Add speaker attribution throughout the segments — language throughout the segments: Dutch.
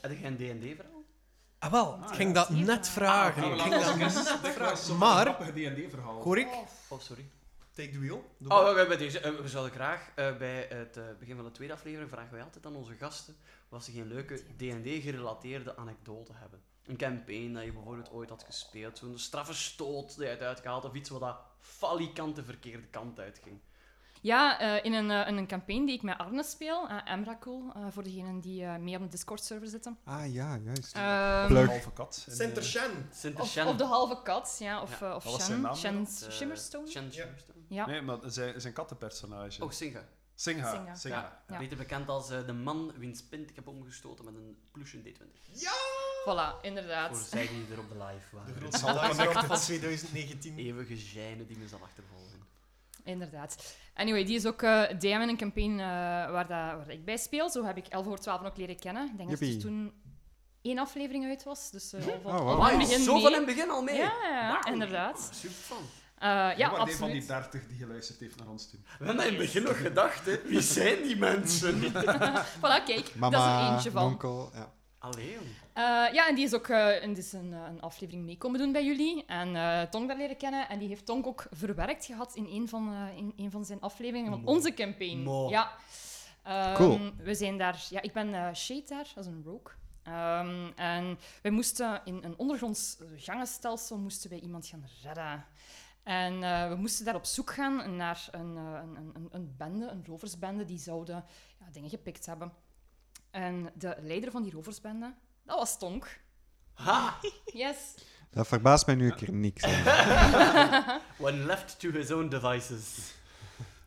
Speaker 1: Heb jij een D&D-verhaal?
Speaker 2: Ah, wel,
Speaker 1: Ah,
Speaker 2: ik ging
Speaker 1: ja.
Speaker 2: dat
Speaker 3: Die
Speaker 2: net
Speaker 3: vraag.
Speaker 2: vragen. Ik
Speaker 4: laat
Speaker 2: ging
Speaker 4: ons
Speaker 2: dat net
Speaker 4: eens- dit was
Speaker 2: vragen.
Speaker 4: zo'n
Speaker 2: Maar,
Speaker 4: grappig D&D-verhaal.
Speaker 2: hoor ik?
Speaker 1: Oh, sorry.
Speaker 2: Take the wheel. Doe
Speaker 1: Oh,
Speaker 2: maar.
Speaker 1: we, deze, eh, we zouden graag eh, bij het eh, begin van de tweede aflevering vragen wij altijd aan onze gasten of ze geen leuke D&D-gerelateerde anekdote hebben. Een campaign dat je bijvoorbeeld ooit had gespeeld, zo'n straffe stoot die je hebt uitgehaald, of iets wat dat falikant de verkeerde kant uitging.
Speaker 3: Ja, eh, in, een, eh, in een campaign die ik met Arne speel, eh Emrakul, eh, voor degenen die eh, mee op de Discord-server zitten.
Speaker 5: Ah ja, juist.
Speaker 3: Ehm,
Speaker 4: Een
Speaker 5: Plug.
Speaker 4: halve kat. En,
Speaker 2: Center
Speaker 4: eh,
Speaker 2: Shen.
Speaker 1: Sinter
Speaker 3: of,
Speaker 1: Shen.
Speaker 3: of de halve kat, ja, of,
Speaker 1: Ja,
Speaker 3: eh,
Speaker 4: wat
Speaker 3: of
Speaker 4: was
Speaker 3: Shen,
Speaker 4: zijn naam dan?
Speaker 3: Shen's
Speaker 1: Eh,
Speaker 3: Shimmerstone.
Speaker 1: Shen
Speaker 2: Ja.
Speaker 1: Shimmerstone.
Speaker 3: Ja.
Speaker 4: Nee, maar zijn, zijn kattenpersonage.
Speaker 1: Oh, Singa.
Speaker 4: Singha.
Speaker 3: Singha.
Speaker 4: Singha.
Speaker 1: Ja.
Speaker 3: Ja.
Speaker 1: Beter bekend als eh, de man wiens pint ik heb omgestoten met een plusje D20.
Speaker 3: Voilà,
Speaker 1: Voor
Speaker 3: inderdaad.
Speaker 1: zij die er op de live
Speaker 2: De
Speaker 1: waren.
Speaker 2: grootste
Speaker 4: Zal
Speaker 2: dagsrap van
Speaker 4: connected.
Speaker 2: 2019.
Speaker 1: Eeuwige gijnen die me zal achtervolgen.
Speaker 3: Inderdaad. Anyway, die is ook eh, DM in een campaign eh, waar, dat, waar ik bij speel. Zo heb ik 11 voor 12 ook leren kennen. Ik denk dat
Speaker 5: Jippie.
Speaker 3: er toen één aflevering uit was. Dus eh van,
Speaker 5: Oh, wauw.
Speaker 3: van
Speaker 5: Amai,
Speaker 3: het begin
Speaker 1: zo
Speaker 3: mee.
Speaker 1: van in het begin al mee.
Speaker 3: Ja, ja, ja,
Speaker 1: Wauw.
Speaker 3: inderdaad.
Speaker 1: Super fan.
Speaker 3: Eh, ja,
Speaker 4: Jij wordt een van die
Speaker 3: absoluut.
Speaker 4: 30 die geluisterd heeft naar ons toen.
Speaker 1: We hebben in het begin nog gedacht, hè. Wie zijn die mensen?
Speaker 3: Voilà, kijk, dat is er
Speaker 5: Mama,
Speaker 3: eentje van.
Speaker 5: onkel. Ja.
Speaker 1: Allee, jong.
Speaker 3: Eh, ja, en die is ook eh, en die is een, eh, een aflevering mee komen doen bij jullie. En eh Tong daar leren kennen. En die heeft Tong ook verwerkt gehad in een van, eh, in een van zijn afleveringen van
Speaker 1: Mooi.
Speaker 3: onze campaign.
Speaker 1: Mooi.
Speaker 3: Ja. Ehm,
Speaker 5: Cool.
Speaker 3: We zijn daar... Ja, ik ben eh, Shade daar, als een rogue. Ehm, en wij moesten in een ondergronds gangenstelsel moesten wij iemand gaan redden. En eh, we moesten daar op zoek gaan naar een, eh, een, een- een, een bende, een roversbende, die zouden ja, dingen gepikt hebben. En de leider van die roversbende, dat was Tonk.
Speaker 1: Ha!
Speaker 3: Yes.
Speaker 5: Dat verbaast mij nu een keer niks. hè.
Speaker 1: When left to his own devices.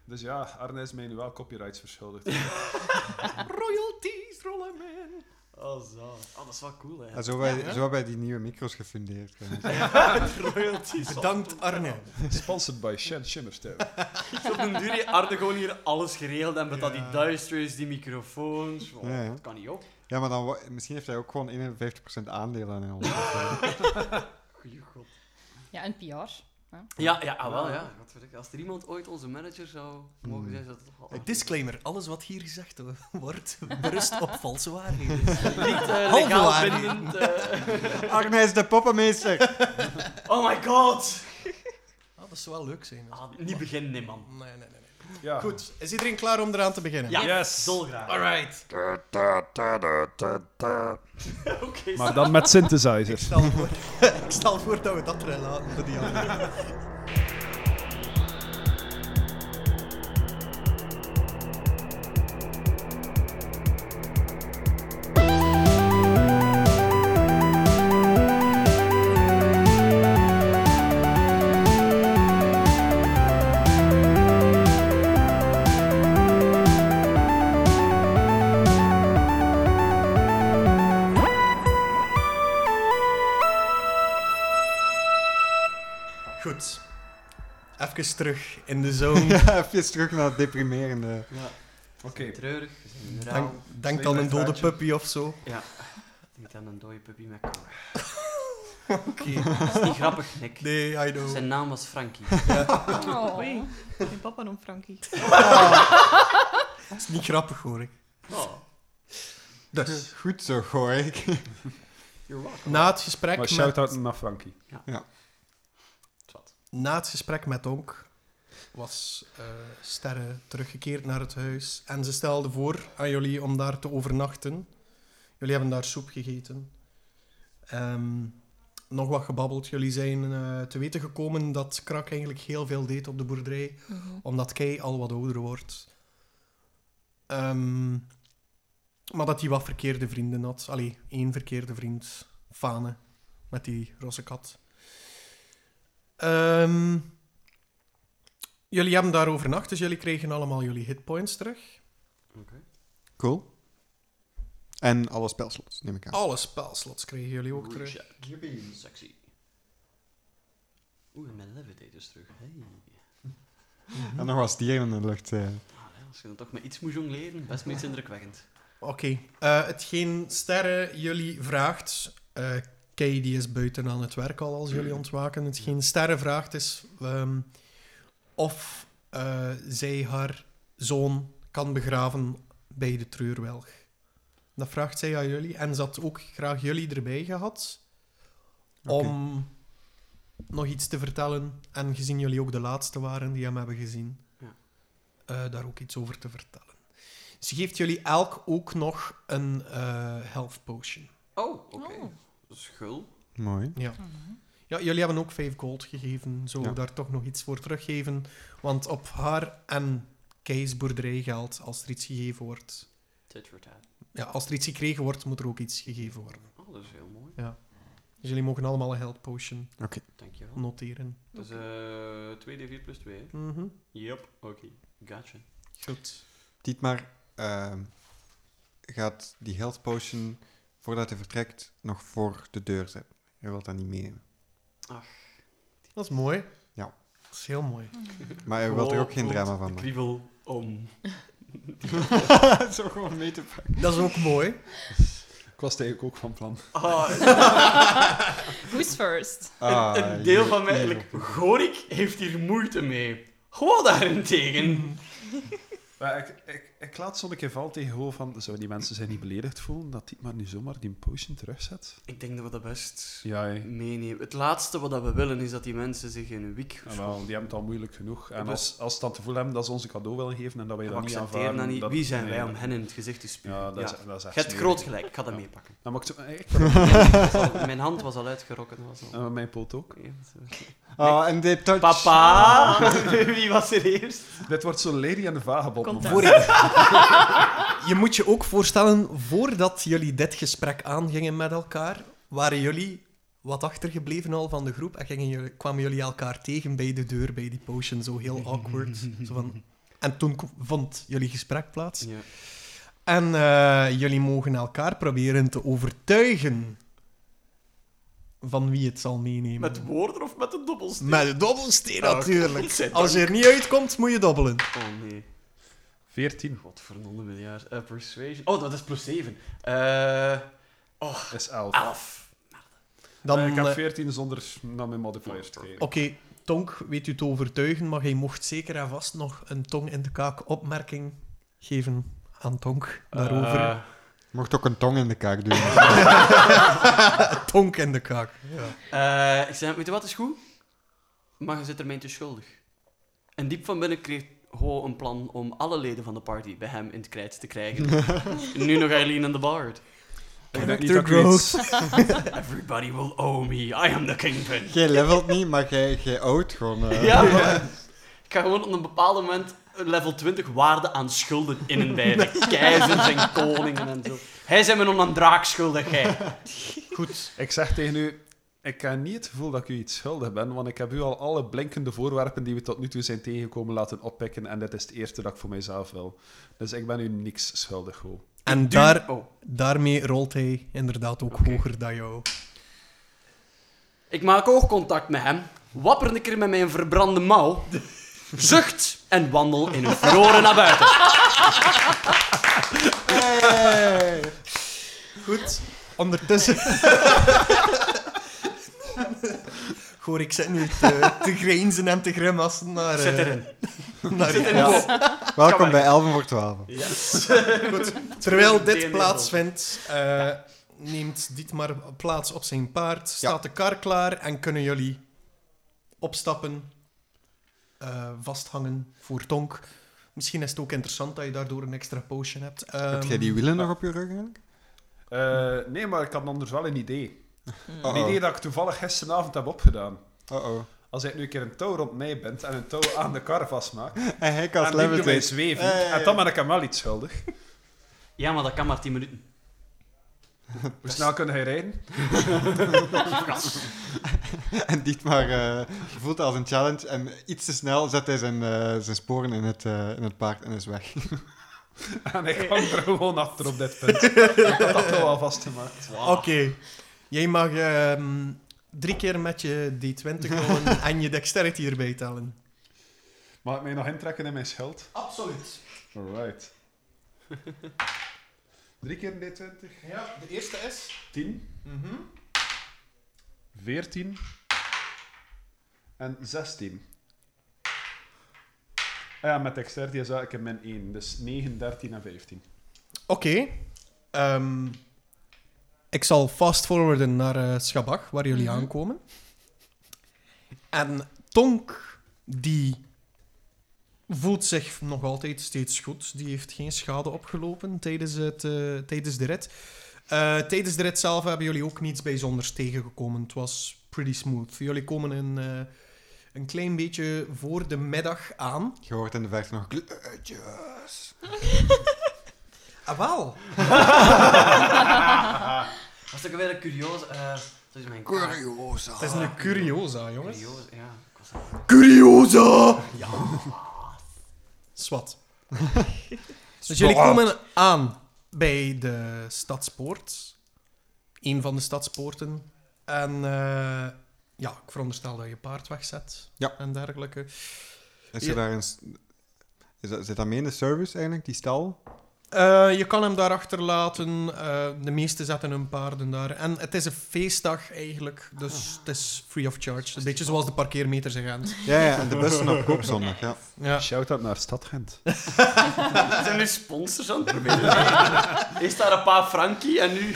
Speaker 4: Dus ja, Arne is mij nu wel copyrights verschuldigd.
Speaker 1: Royalties rollen, man. Oh, zo. Oh, dat is wel cool, hè.
Speaker 5: Ah, Zo hebben zo hebben wij die nieuwe micro's gefundeerd. hè.
Speaker 1: royalties.
Speaker 2: Bedankt, Arne.
Speaker 4: Sponsored by Shen Shimmerstone.
Speaker 1: Dus op den duur heeft Arne gewoon hier alles geregeld en met dat die
Speaker 2: Ja.
Speaker 1: duister's, die microfoons. Oh,
Speaker 5: Ja, ja.
Speaker 1: Dat kan niet op.
Speaker 5: Ja, maar dan, wo- misschien heeft hij ook gewoon 51% aandeel aan ons.
Speaker 1: Goeie god.
Speaker 3: Ja, een PR.
Speaker 1: Ja, ja, ah, wel, ja. Godverdikke. Als er iemand ooit onze manager zou mogen zijn, zou dat toch wel...
Speaker 2: Eh, Disclaimer, alles wat hier gezegd wordt, berust op valse waarheden.
Speaker 1: Niet eh,
Speaker 2: Halve
Speaker 1: legaal
Speaker 2: waarheid.
Speaker 1: bindend. eh.
Speaker 5: Arne is de poppenmeester!
Speaker 1: Oh my god!
Speaker 2: Ah, dat zou wel leuk zijn. als-
Speaker 1: Ah, niet beginnen, nee, man.
Speaker 2: Nee, nee, nee. nee.
Speaker 4: Ja.
Speaker 2: Goed, is iedereen klaar om eraan te beginnen?
Speaker 1: Ja,
Speaker 4: Yes.
Speaker 1: dolgraag.
Speaker 2: Alright.
Speaker 1: Oké,
Speaker 4: Maar dan met
Speaker 2: Ik
Speaker 4: synthesizers.
Speaker 2: stel, voor, ik stel voor dat we dat erin laten voor die andere. Goed. Even terug in de zone.
Speaker 5: ja, even terug naar het deprimerende.
Speaker 4: Oké.
Speaker 1: Treurig, we zijn
Speaker 2: Denk,
Speaker 1: raal.
Speaker 2: denk aan een dode puppy of zo.
Speaker 1: Ja. Denk aan een dode puppy met kanker.
Speaker 2: Oké.
Speaker 1: Dat is niet grappig, Nick.
Speaker 2: Nee, I know.
Speaker 1: Zijn naam was Frankie.
Speaker 3: Oh.
Speaker 6: Oei, mijn papa noemt Frankie.
Speaker 2: Dat is niet grappig hoor ik.
Speaker 1: Oh,
Speaker 2: Dus,
Speaker 5: Goed zo, gooi ik.
Speaker 1: you're welcome.
Speaker 2: na het gesprek
Speaker 4: Maar
Speaker 2: met...
Speaker 4: shout-out naar Frankie.
Speaker 1: Zwat.
Speaker 2: na het gesprek met Onk was eh Sterre teruggekeerd naar het huis. En ze stelde voor aan jullie om daar te overnachten. Jullie hebben daar soep gegeten. Ehm, nog wat gebabbeld. Jullie zijn eh, te weten gekomen dat Krak eigenlijk heel veel deed op de boerderij. Omdat Kei al wat ouder wordt. Ehm, maar dat hij wat verkeerde vrienden had. Allee, één verkeerde vriend. Fane. Met die roze kat. Ehm, jullie hebben daar overnacht, dus jullie kregen allemaal jullie hitpoints terug.
Speaker 5: Cool. En alle spelslots, neem ik aan.
Speaker 2: Alle spelslots kregen jullie ook terug.
Speaker 1: Richard. Sexy. Oeh, en mijn levitator is terug. Hey. Oh.
Speaker 5: En nog was dieren in de lucht. eh.
Speaker 1: Ah, ja, als je dan toch met iets moet jongleren, best meest indrukwekkend.
Speaker 2: Oké, eh, hetgeen Sterren jullie vraagt... eh Kay die is buiten aan het werk al als jullie ontwaken. Hetgeen Sterren vraagt is ehm, of eh, zij haar zoon kan begraven bij de treurwelg. Dat vraagt zij aan jullie. En ze had ook graag jullie erbij gehad. Om nog iets te vertellen. En gezien jullie ook de laatste waren die hem hebben gezien,
Speaker 1: Ja.
Speaker 2: eh, daar ook iets over te vertellen. Ze geeft jullie elk ook nog een eh, health potion.
Speaker 1: Oh, oké.
Speaker 6: Oh.
Speaker 1: Schul.
Speaker 5: Mooi.
Speaker 2: Ja. Ja, jullie hebben ook 5 gold gegeven. Zo
Speaker 5: Ja.
Speaker 2: daar toch nog iets voor teruggeven. Want op haar en Keis boerderij geldt als er iets gegeven wordt.
Speaker 1: Tit for tat.
Speaker 2: Ja, als er iets gekregen wordt, moet er ook iets gegeven worden.
Speaker 1: Oh, dat is heel mooi.
Speaker 2: Dus jullie mogen allemaal een health potion
Speaker 1: Dankjewel.
Speaker 2: noteren.
Speaker 1: Dus eh 2d4 plus 2, hè?
Speaker 2: Mhm.
Speaker 1: Yep. Oké. Gotcha.
Speaker 2: Goed.
Speaker 5: Dietmar ehm, gaat die health potion, voordat hij vertrekt, nog voor de deur zetten. Hij wil dat niet meenemen.
Speaker 2: Dat is mooi.
Speaker 5: Ja.
Speaker 2: Dat is heel mooi.
Speaker 5: Maar hij wil er ook geen
Speaker 1: Gewoon
Speaker 5: drama van
Speaker 1: de
Speaker 5: maken.
Speaker 1: Kriebel om.
Speaker 5: Zo gewoon mee te pakken.
Speaker 2: Dat is ook mooi.
Speaker 4: Ik was het eigenlijk ook van plan.
Speaker 1: Ah,
Speaker 6: Who's first?
Speaker 5: Ah,
Speaker 1: een, een deel
Speaker 5: je-
Speaker 1: van mij,
Speaker 5: je-
Speaker 1: eigenlijk, Gorik heeft hier moeite mee. Gewoon daarentegen.
Speaker 4: Maar ik, ik, ik laat zo'n keer vallen tegen Ho van, zouden die mensen zich niet beledigd voelen dat die maar nu zomaar die potion terugzet?
Speaker 1: Ik denk dat we dat best
Speaker 4: Ja, hè.
Speaker 1: meenemen. Het laatste wat dat we willen is dat die mensen zich in een wiek
Speaker 4: Ah, wel, die hebben het al moeilijk genoeg. En
Speaker 1: Dus-
Speaker 4: als, als ze dan het gevoel hebben dat ze ons een cadeau willen geven en dat wij
Speaker 1: We
Speaker 4: dat niet
Speaker 1: accepteren
Speaker 4: aanvaarden...
Speaker 1: dat niet.
Speaker 4: dat-
Speaker 1: Wie zijn
Speaker 4: nee,
Speaker 1: wij
Speaker 4: dat-
Speaker 1: om hen in het gezicht te spugen?
Speaker 4: Ja, dat,
Speaker 1: Ja.
Speaker 4: Is, dat is
Speaker 1: Je
Speaker 4: echt
Speaker 1: hebt
Speaker 4: smerig.
Speaker 1: groot gelijk, ik ga dat
Speaker 4: Ja.
Speaker 1: meepakken.
Speaker 4: Dan mag ik zo- eh, ik-
Speaker 1: Mijn hand was al uitgerokken. dat Was al...
Speaker 4: eh, mijn poot ook.
Speaker 1: Oké, dat is-
Speaker 5: Oh, en dit touch.
Speaker 1: Papa! Wie was er eerst?
Speaker 4: Dit wordt zo Lady en de Vagebond.
Speaker 6: Content.
Speaker 4: moment.
Speaker 2: Voor je moet je ook voorstellen, voordat jullie dit gesprek aangingen met elkaar, waren jullie wat achtergebleven al van de groep en gingen jullie, kwamen jullie elkaar tegen bij de deur, bij die potion, zo heel awkward. zo van... En toen k- vond jullie gesprek plaats.
Speaker 1: Ja.
Speaker 2: En eh, jullie mogen elkaar proberen te overtuigen van wie het zal meenemen.
Speaker 1: Met woorden of met een dobbelsteen?
Speaker 2: Met de dobbelsteen
Speaker 1: Ah,
Speaker 2: natuurlijk.
Speaker 1: godzijdank.
Speaker 2: Als je er niet uitkomt, moet je dobbelen.
Speaker 1: Oh nee,
Speaker 4: 14
Speaker 1: godverdomme miljard. Eh, persuasion. Oh, dat is plus 7. Eh
Speaker 4: is 11.
Speaker 1: 11.
Speaker 2: Dan,
Speaker 4: Eh, ik
Speaker 2: eh,
Speaker 4: heb
Speaker 2: Oké,
Speaker 4: 14 zonder naar mijn modifiers te kijken.
Speaker 2: Tonk weet u te overtuigen, maar hij mocht zeker en vast nog een tong in de kaak opmerking geven aan Tonk daarover.
Speaker 1: Eh,
Speaker 5: Mocht ook een tong in de kaak doen.
Speaker 2: Tonk in de kaak. Ja.
Speaker 1: eh, ik zei, weet je wat is goed? Maar je zit er mij te schuldig. En diep van binnen kreeg Ho een plan om alle leden van de party bij hem in het krijt te krijgen. nu nog Eileen en de Bard.
Speaker 4: Ik denk niet
Speaker 2: Character
Speaker 4: dat ik
Speaker 2: growth.
Speaker 4: iets-
Speaker 1: Everybody will owe me. I am the kingpin.
Speaker 5: Jij levelt niet, maar jij, jij oud gewoon. eh.
Speaker 1: Ja, maar ik ga gewoon op een bepaald moment een level 20 waarde aan schulden in en bij de keizers en koningen en zo. Hij zijn me nog een draak schuldig, jij.
Speaker 4: Goed, ik zeg tegen u... Ik heb niet het gevoel dat ik u iets schuldig ben, want ik heb u al alle blinkende voorwerpen die we tot nu toe zijn tegengekomen laten oppikken en dit is het eerste dat ik voor mijzelf wil. Dus ik ben u niks schuldig, Ho.
Speaker 2: En daar,
Speaker 1: Oh,
Speaker 2: daarmee rolt hij inderdaad ook
Speaker 1: Oké.
Speaker 2: hoger dan jou.
Speaker 1: ik maak oogcontact met hem, wapper een keer met mijn verbrande mouw, zucht en wandel in een furore naar buiten.
Speaker 5: Hey.
Speaker 2: Goed. Ondertussen. Goor, ik zit nu te, te grijnzen en te grimassen naar... eh,
Speaker 1: Zit erin.
Speaker 2: naar
Speaker 5: Ja.
Speaker 2: jou.
Speaker 5: Welkom bij 11 voor 12.
Speaker 1: Yes.
Speaker 2: Terwijl
Speaker 1: DNA
Speaker 2: dit plaatsvindt, eh, neemt Dietmar plaats op zijn paard, staat de kar klaar en kunnen jullie opstappen, eh, vasthangen voor Tonk. Misschien is het ook interessant dat je daardoor een extra potion hebt. Ehm,
Speaker 5: Heb jij die wielen nog op je rug eigenlijk?
Speaker 4: Eh, nee, maar ik had anders wel een idee. Een
Speaker 5: Uh-oh.
Speaker 4: idee dat ik toevallig gisteravond heb opgedaan.
Speaker 5: Uh-oh.
Speaker 4: Als ik nu een keer een touw rond mij bent en een touw aan de kar vastmaak,
Speaker 5: En hij
Speaker 4: en
Speaker 5: kan
Speaker 4: die doet mij
Speaker 5: levitate.
Speaker 4: zweven,
Speaker 5: Ja, ja, ja.
Speaker 4: en dan ben ik hem wel iets schuldig.
Speaker 1: Ja, maar dat kan maar 10 minuten.
Speaker 4: Hoe snel kun hij rijden?
Speaker 5: En Dietmar eh, voelt het als een challenge en iets te snel zet hij zijn, eh, zijn sporen in het, eh, in het paard en is weg.
Speaker 4: En ik hang er gewoon achter op dit punt. ik had dat touw al vastgemaakt.
Speaker 2: Oké. Jij mag ehm, drie keer met je D20 rollen en je dexterity erbij tellen.
Speaker 4: Mag ik mij nog intrekken in mijn schild?
Speaker 2: Absoluut.
Speaker 4: Alright. Drie keer een D20.
Speaker 2: Ja, de eerste is...
Speaker 4: 10, 14 en 16. Ah Ja, met dexterity is dat ik heb mijn 1. Dus 9, 13 en 15.
Speaker 2: Oké. Ehm, ik zal fast-forwarden naar eh, Schabach, waar jullie
Speaker 3: Mhm.
Speaker 2: aankomen. En Tonk, die voelt zich nog altijd steeds goed. Die heeft geen schade opgelopen tijdens, het, eh, tijdens de rit. Eh, tijdens de rit zelf hebben jullie ook niets bijzonders tegengekomen. Het was pretty smooth. Jullie komen een, eh, een klein beetje voor de middag aan.
Speaker 5: Je hoort in de verte nog kleurtjes.
Speaker 2: Ah, wel.
Speaker 1: Dat is ook weer een curioos. eh, dat is mijn
Speaker 5: Curiosa.
Speaker 2: Het is een Ah, curiosa, jongens.
Speaker 1: Curioos, ja. Ik was daar-
Speaker 5: Curiosa!
Speaker 2: Swat. dus jullie komen aan bij de stadspoort. Een van de stadspoorten. En eh, ja, ik veronderstel dat je paard wegzet.
Speaker 5: Ja.
Speaker 2: En dergelijke.
Speaker 5: Is
Speaker 2: Ja.
Speaker 5: er daar een... s- Is dat, zit dat mee in de service eigenlijk, die stal?
Speaker 2: Eh, je kan hem daar achterlaten. Eh, de meesten zetten hun paarden daar. En het is een feestdag eigenlijk. Dus het is free of charge. Een beetje zoals de parkeermeters in Gent.
Speaker 5: Ja, ja, en de bussen op koopzondag, ja.
Speaker 2: Ja.
Speaker 4: Shout-out naar Stad Gent.
Speaker 1: Zijn er sponsors aan het proberen? Is daar een paar Frankie en nu...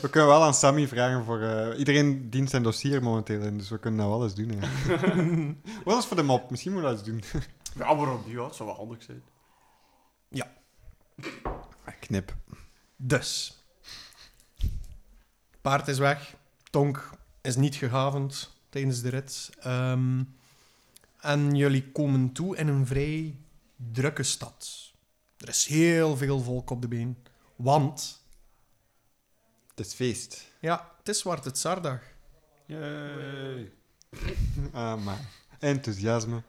Speaker 5: We kunnen wel aan Sammy vragen voor... eh, iedereen dient zijn dossier momenteel in, dus we kunnen nou alles doen. Hè. Wat is voor de mop? Misschien moeten we dat eens doen.
Speaker 1: Ja, waarom niet? Ja, het zou wel handig zijn.
Speaker 5: Ah, Knip.
Speaker 2: Dus. Paard is weg. Tonk is niet gehavend tijdens de rit. Ehm, en jullie komen toe in een vrij drukke stad. Er is heel veel volk op de been. Want,
Speaker 5: Het is feest.
Speaker 2: ja, het is Zwarte Tsardag.
Speaker 4: Yay.
Speaker 5: Ah, maar... Enthousiasme.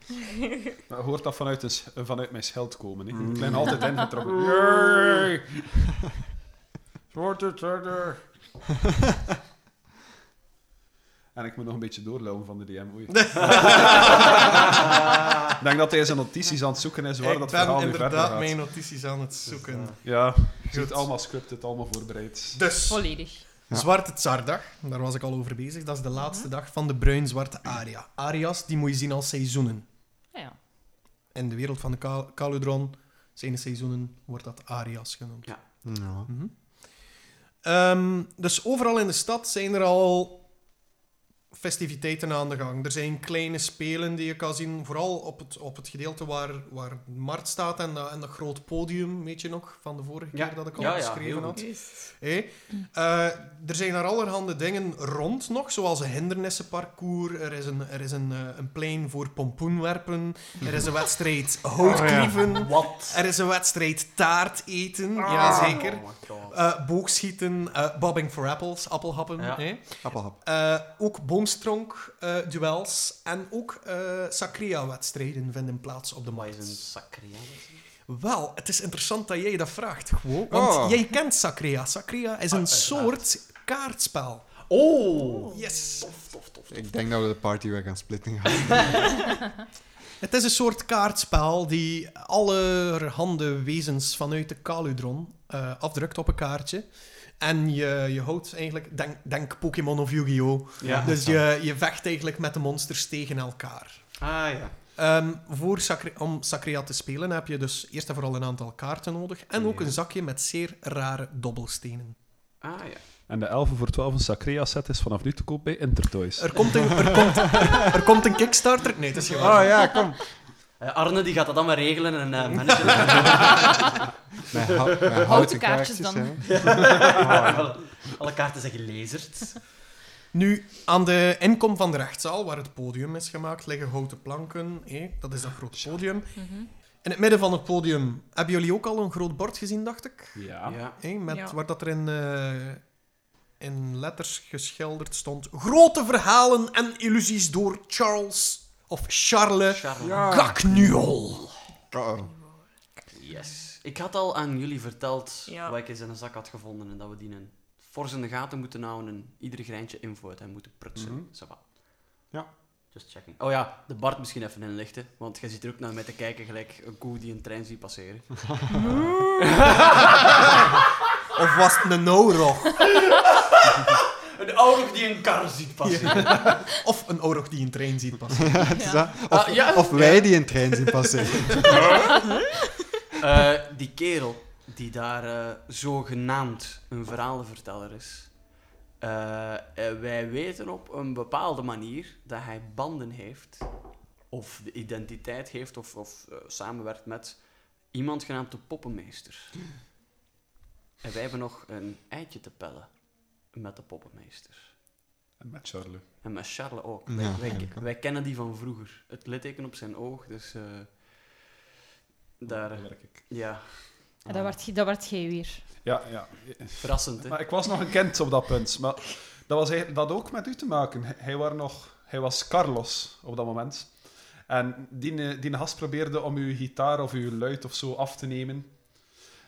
Speaker 4: Maar hoort dat vanuit, een s- eh, vanuit mijn scheld komen. Hè?
Speaker 5: Mm.
Speaker 4: Ik ben altijd
Speaker 2: Mm.
Speaker 4: ingetrokken. Yay! Zwarte Turner. En ik moet nog een beetje doorlopen van de DM. Oei. ik denk dat hij zijn notities aan het zoeken is waar
Speaker 2: Ik
Speaker 4: dat verhaal
Speaker 2: ben
Speaker 4: nu verder
Speaker 2: inderdaad
Speaker 4: gaat.
Speaker 2: mijn notities aan het zoeken.
Speaker 4: Ja, je
Speaker 2: Goed.
Speaker 4: ziet allemaal scripted, allemaal voorbereid.
Speaker 2: Dus,
Speaker 3: Volledig.
Speaker 5: Ja.
Speaker 2: Zwarte Tsardag, daar was ik al over bezig. Dat is de laatste dag van de bruin-zwarte aria. Arias, die moet je zien als seizoenen.
Speaker 3: Ja, ja.
Speaker 2: In de wereld van de Kal- Caludron zijn de seizoenen, wordt dat Arias genoemd.
Speaker 5: Ja.
Speaker 2: Mhm. Ehm, dus overal in de stad zijn er al festiviteiten aan de gang. Er zijn kleine spelen die je kan zien, vooral op het, op het gedeelte waar, waar de markt staat en dat, en dat groot podium, weet je nog, van de vorige
Speaker 1: Ja.
Speaker 2: keer dat ik al
Speaker 1: Ja, ja,
Speaker 2: beschreven
Speaker 1: heel
Speaker 2: had.
Speaker 1: goed.
Speaker 2: Hé? Eh, er zijn daar allerhande dingen rond nog, zoals een hindernissenparcours. Er is een, er is een, eh, een plein voor pompoenwerpen. Er is een wedstrijd
Speaker 1: Oh,
Speaker 2: houtklieven.
Speaker 1: Wat?
Speaker 2: Er is een wedstrijd taart eten. Jazeker.
Speaker 1: Oh my god.
Speaker 2: Eh, boogschieten, eh, bobbing for apples, appelhappen.
Speaker 1: Ja.
Speaker 2: hè.
Speaker 5: Appelhap.
Speaker 2: Eh, ook boomstronk-duels en ook eh, sacria-wedstrijden vinden plaats op de
Speaker 1: Wat is een
Speaker 2: markt.
Speaker 1: sacria?
Speaker 2: Wel, het is interessant dat jij dat vraagt, gewoon, want
Speaker 5: Oh.
Speaker 2: jij kent sacria. Sacria is een
Speaker 1: Ah, uiteraard.
Speaker 2: soort kaartspel.
Speaker 1: Oh!
Speaker 2: Yes.
Speaker 1: Tof, tof, tof.
Speaker 5: Ik denk dat we de party weer gaan splitten gaan.
Speaker 2: Het is een soort kaartspel die allerhande wezens vanuit de Kaludron eh, afdrukt op een kaartje. En je, je houdt eigenlijk, denk, denk Pokémon of Yu-Gi-Oh!
Speaker 1: Ja.
Speaker 2: Dus je, je vecht eigenlijk met de monsters tegen elkaar.
Speaker 1: Ah ja.
Speaker 2: Ehm, voor Sacre- om Sacrea te spelen heb je dus eerst en vooral een aantal kaarten nodig. En ook
Speaker 1: Ja.
Speaker 2: een zakje met zeer rare dobbelstenen.
Speaker 1: Ah ja.
Speaker 4: En de 11 voor 12 een Sacrea set is vanaf nu te koop bij Intertoys.
Speaker 2: Er komt een, er komt, er komt een Kickstarter. Nee, het is gewoon.
Speaker 5: Oh ja, kom.
Speaker 1: Eh, Arne die gaat dat allemaal regelen en eh managen.
Speaker 5: Mijn, hou- mijn houten,
Speaker 3: kaartjes dan.
Speaker 5: hè.
Speaker 1: Alle kaarten zijn gelezerd.
Speaker 2: Nu, aan de inkom van de rechtszaal, waar het podium is gemaakt, liggen houten planken. Hé, dat is dat groot podium. In het midden van het podium hebben jullie ook al een groot bord gezien, dacht ik.
Speaker 4: Ja.
Speaker 1: Ja.
Speaker 2: Hé, met,
Speaker 6: Ja.
Speaker 2: Waar dat er in, eh, in letters geschilderd stond. Grote verhalen en illusies door Charles of Charles
Speaker 1: Charles.
Speaker 2: Gaknuol.
Speaker 5: Oh, oh.
Speaker 1: Yes. Ik had al aan jullie verteld
Speaker 6: Ja.
Speaker 1: wat ik eens in een zak had gevonden en dat we die in fors in de gaten moeten houden en ieder greintje info uit hem moeten prutsen.
Speaker 5: Mhm.
Speaker 1: Ça va.
Speaker 5: Ja.
Speaker 1: Just checking. Oh ja, de Bart misschien even inlichten, want jij zit er ook naar mij te kijken gelijk een koe die een trein ziet passeren.
Speaker 2: Of was het een Oorog?
Speaker 1: Een oorlog die een kar ziet passeren.
Speaker 2: Of een Oorog die een trein ziet passen.
Speaker 5: Het is dat. Of,
Speaker 1: Ah, ja.
Speaker 5: of wij die een trein zien passeren.
Speaker 1: Eh, die kerel die daar eh, zogenaamd een verhalenverteller is. Eh, eh, wij weten op een bepaalde manier dat hij banden heeft, of de identiteit heeft, of, of eh, samenwerkt met iemand genaamd de poppenmeester. En wij hebben nog een eitje te pellen met de poppenmeester.
Speaker 4: En met Charlie.
Speaker 1: En met Charles ook.
Speaker 5: Ja,
Speaker 1: wij, wij,
Speaker 5: eigenlijk wel.
Speaker 1: wij kennen die van vroeger. Het litteken op zijn oog, dus... eh, daar, eh,
Speaker 4: werk ik.
Speaker 1: ja,
Speaker 3: En dat werd, dat werd jij weer.
Speaker 4: Ja, ja.
Speaker 1: verrassend, hè?
Speaker 4: Maar ik was nog een kind op dat punt. Maar dat, was, eigenlijk- dat had ook met u te maken. Hij, was nog, hij was Carlos op dat moment. En die, eh, die gast probeerde om uw gitaar of uw luid of zo af te nemen.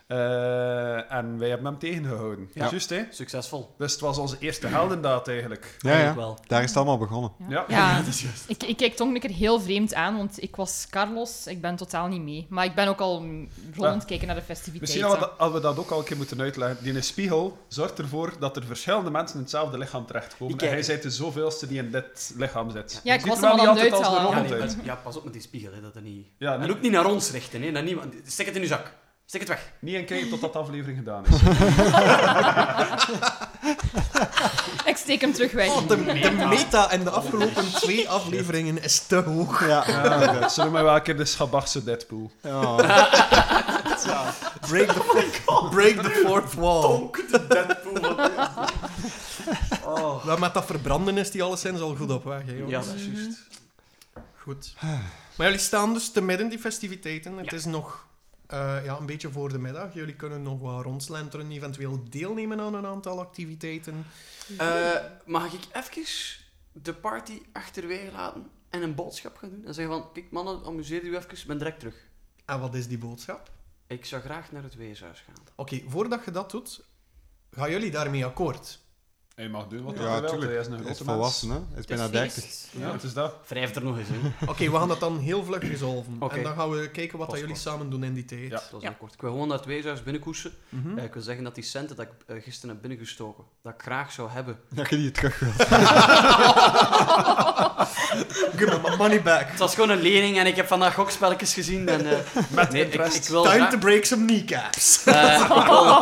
Speaker 4: Eh, en wij hebben hem tegengehouden.
Speaker 1: Ja.
Speaker 4: Juist, hè?
Speaker 1: Succesvol.
Speaker 4: Dus het was onze eerste heldendaad eigenlijk.
Speaker 5: Ja,
Speaker 1: Eigenlijk
Speaker 5: ja.
Speaker 1: wel.
Speaker 5: Daar is het allemaal begonnen.
Speaker 4: Ja.
Speaker 1: dat is juist.
Speaker 3: Ik, ik keek toch een keer heel vreemd aan, want ik was Carlos, ik ben totaal niet mee. Maar ik ben ook al mm, rond aan het kijken naar de
Speaker 4: Misschien
Speaker 3: festiviteiten.
Speaker 4: hadden we, dat, hadden we dat ook al een keer moeten uitleggen. Die spiegel zorgt ervoor dat er verschillende mensen in hetzelfde lichaam terechtkomen.
Speaker 1: Ik
Speaker 4: en
Speaker 1: kijk.
Speaker 4: hij zei de zoveelste die in dit lichaam zit.
Speaker 3: Ja, ik
Speaker 4: Je ziet
Speaker 3: was
Speaker 4: er wel
Speaker 3: hem al
Speaker 4: niet
Speaker 3: aan het
Speaker 4: altijd als een
Speaker 1: Ja,
Speaker 3: uithalen.
Speaker 4: robot
Speaker 1: nee,
Speaker 4: uit.
Speaker 1: maar- ja, pas op met die spiegel, hè, dat er niet...
Speaker 4: Ja,
Speaker 1: En
Speaker 4: niet,
Speaker 1: ook niet naar ons richten, hè. Dat niet, want stek het in uw zak. Stek het weg.
Speaker 4: niet een keer tot dat de aflevering gedaan is.
Speaker 3: Ik steek hem terug weg.
Speaker 2: Oh, de, de meta in de afgelopen twee afleveringen is te hoog.
Speaker 5: Ja. Oh,
Speaker 4: Ja, dat zullen we wel een keer de schabachse Deadpool.
Speaker 5: Ja.
Speaker 2: Break the, break the fourth wall.
Speaker 1: Oh.
Speaker 2: Wel, met dat verbranden is die alleszins al goed op weg. Hè,
Speaker 1: Ja,
Speaker 2: jongens.
Speaker 1: dat is juist.
Speaker 2: Goed. Maar jullie staan dus te midden die festiviteiten. Het is nog eh, ja, een beetje voor de middag. Jullie kunnen nog wat rondslenteren, eventueel deelnemen aan een aantal activiteiten.
Speaker 1: Eh, mag ik even de party achterwege laten en een boodschap gaan doen? En zeggen van, kijk mannen, amuseer u even, ik ben direct terug.
Speaker 2: En wat is die boodschap?
Speaker 1: Ik zou graag naar het weeshuis gaan.
Speaker 2: Oké, voordat je dat doet, gaan jullie daarmee akkoord?
Speaker 4: Hij mag doen wat hij
Speaker 5: Ja,
Speaker 4: wil,
Speaker 5: tuurlijk.
Speaker 4: hij is een
Speaker 5: Hij is
Speaker 4: grote
Speaker 5: volwassen,
Speaker 4: mens.
Speaker 5: hè. Hij is bijna 30.
Speaker 4: Ja, het is dat.
Speaker 1: Wrijf er nog eens in.
Speaker 2: Oké, we gaan dat dan heel vlug resolven.
Speaker 1: Oké.
Speaker 2: En dan gaan we kijken wat dat
Speaker 1: Pas
Speaker 2: jullie
Speaker 1: op.
Speaker 2: samen doen in die tijd.
Speaker 4: Ja.
Speaker 1: Dat was
Speaker 3: Ja.
Speaker 1: heel kort. Ik wil gewoon naar het weeshuis binnenkoersen.
Speaker 2: Mhm.
Speaker 1: Eh, ik wil zeggen dat die centen dat ik eh, gisteren heb binnengestoken, dat ik graag zou hebben.
Speaker 5: Dat je die terug wil.
Speaker 2: Give me my money back.
Speaker 1: Het was gewoon een lening en ik heb vandaag gokspelletjes gezien. En, eh, nee, ik, ik wil
Speaker 2: Time
Speaker 1: graag-
Speaker 2: to break some kneecaps.
Speaker 1: Eh, ik wil-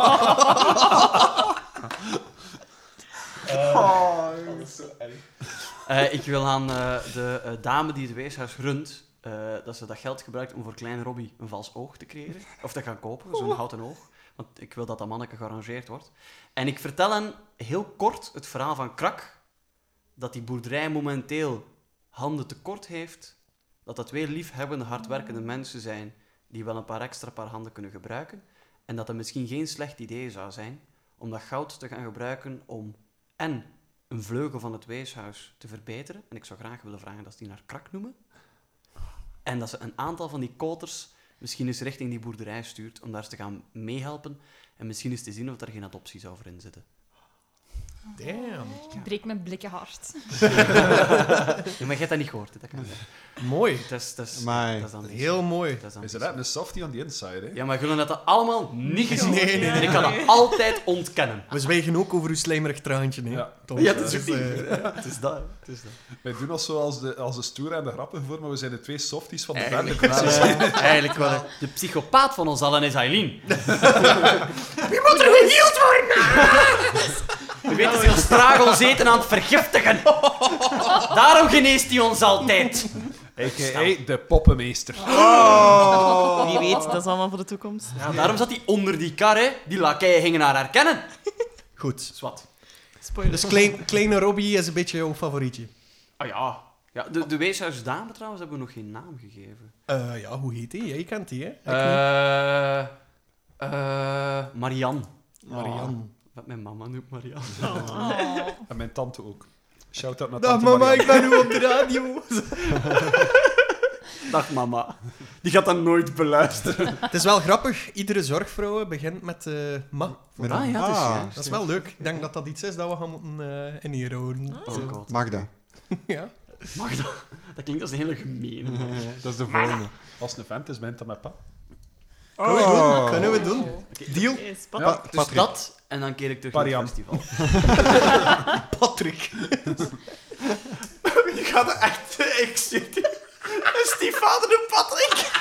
Speaker 1: Eh, ik wil aan eh, de eh, dame die het weeshuis runt, eh, dat ze dat geld gebruikt om voor Klein Robbie een vals oog te creëren. Of te gaan kopen, zo'n houten oog. Want ik wil dat dat manneke gearrangeerd wordt. En ik vertel hem heel kort het verhaal van Krak. Dat die boerderij momenteel handen tekort heeft. Dat dat twee liefhebbende, hardwerkende mensen zijn die wel een paar extra paar handen kunnen gebruiken. En dat het misschien geen slecht idee zou zijn om dat goud te gaan gebruiken om en een vleugel van het weeshuis te verbeteren. En ik zou graag willen vragen dat ze die naar krak noemen. En dat ze een aantal van die koters misschien eens richting die boerderij stuurt om daar eens te gaan meehelpen. En misschien eens te zien of daar geen adoptie zou voor in zitten.
Speaker 2: Damn.
Speaker 3: Ik breek mijn blikken hard.
Speaker 1: Ja, maar je hebt dat niet gehoord, hè, dat kan niet.
Speaker 2: Mooi.
Speaker 1: Dat is, dat is,
Speaker 5: Amai,
Speaker 1: dat is dan niet
Speaker 2: Heel
Speaker 1: zo.
Speaker 2: mooi.
Speaker 1: Dat is dan
Speaker 4: Is
Speaker 1: niet
Speaker 4: dat
Speaker 1: zo.
Speaker 4: een softie aan die inside, hè?
Speaker 1: Ja, maar jullie hebben dat allemaal niet gezien.
Speaker 2: Nee, nee,
Speaker 1: En ik kan dat altijd ontkennen.
Speaker 2: We zwijgen ook over uw slijmerig traantje, hè?
Speaker 4: Ja.
Speaker 2: Tom.
Speaker 1: Ja, dat is ook
Speaker 2: Dus,
Speaker 1: niet.
Speaker 2: eh,
Speaker 1: Het is dat. hè. Het is dat.
Speaker 4: Wij doen ons zo als de, als de stoere en de grappige voor, maar we zijn de twee softies van de band.
Speaker 1: Eigenlijk wel. hè. Eigenlijk wel. hè. De psychopaat van ons allen is Eileen. Je moet er gehield worden! We weten veel stragels eten aan het vergiftigen. Daarom geneest hij ons altijd.
Speaker 4: A.k.a. de poppenmeester.
Speaker 6: Wie weet, dat is allemaal voor de toekomst.
Speaker 1: Ja, daarom zat hij onder die kar, hè. Die lakeien gingen haar herkennen.
Speaker 2: Goed.
Speaker 1: Zwat.
Speaker 6: Spoiler.
Speaker 2: Dus klein, Kleine Robbie is een beetje jouw favorietje.
Speaker 1: Ah ja. ja de, de weeshuisdame trouwens hebben we nog geen naam gegeven.
Speaker 2: Eh, ja, hoe heet die? Jij kent die, hè? Ik niet.
Speaker 1: Eh... eh Marianne.
Speaker 2: Ah. Marianne.
Speaker 1: Wat mijn mama noemt Marianne.
Speaker 6: Oh.
Speaker 4: En mijn tante ook. Shout-out naar
Speaker 2: Dag
Speaker 4: tante
Speaker 2: Nou, mama,
Speaker 4: Marianne.
Speaker 2: ik ben nu op de radio.
Speaker 1: Dag mama. Die gaat dat nooit beluisteren.
Speaker 2: het is wel grappig, iedere zorgvrouw begint met eh, ma.
Speaker 5: Met
Speaker 1: Ah,
Speaker 5: een-
Speaker 1: ja, dat is- ja.
Speaker 2: Dat is wel leuk. Ik denk dat dat iets is dat we gaan moeten eh in hier houden.
Speaker 1: Oh god.
Speaker 5: Magda.
Speaker 2: Ja.
Speaker 1: Mag dat? Dat klinkt als een hele gemene.
Speaker 5: Dat is de volgende.
Speaker 4: Als het een vent is, bent dat met pa.
Speaker 2: Kunnen we
Speaker 5: Oh.
Speaker 2: doen? Kunnen we doen? Deal,
Speaker 6: Yes,
Speaker 5: Pa-
Speaker 6: papa.
Speaker 4: Ja,
Speaker 1: Dus
Speaker 5: Patrick.
Speaker 1: dat, en dan keer ik terug
Speaker 4: Parian.
Speaker 1: naar het festival.
Speaker 2: Patrick.
Speaker 1: Je gaat er echt... eh, Ik zit hier. Een stiefvader en Patrick.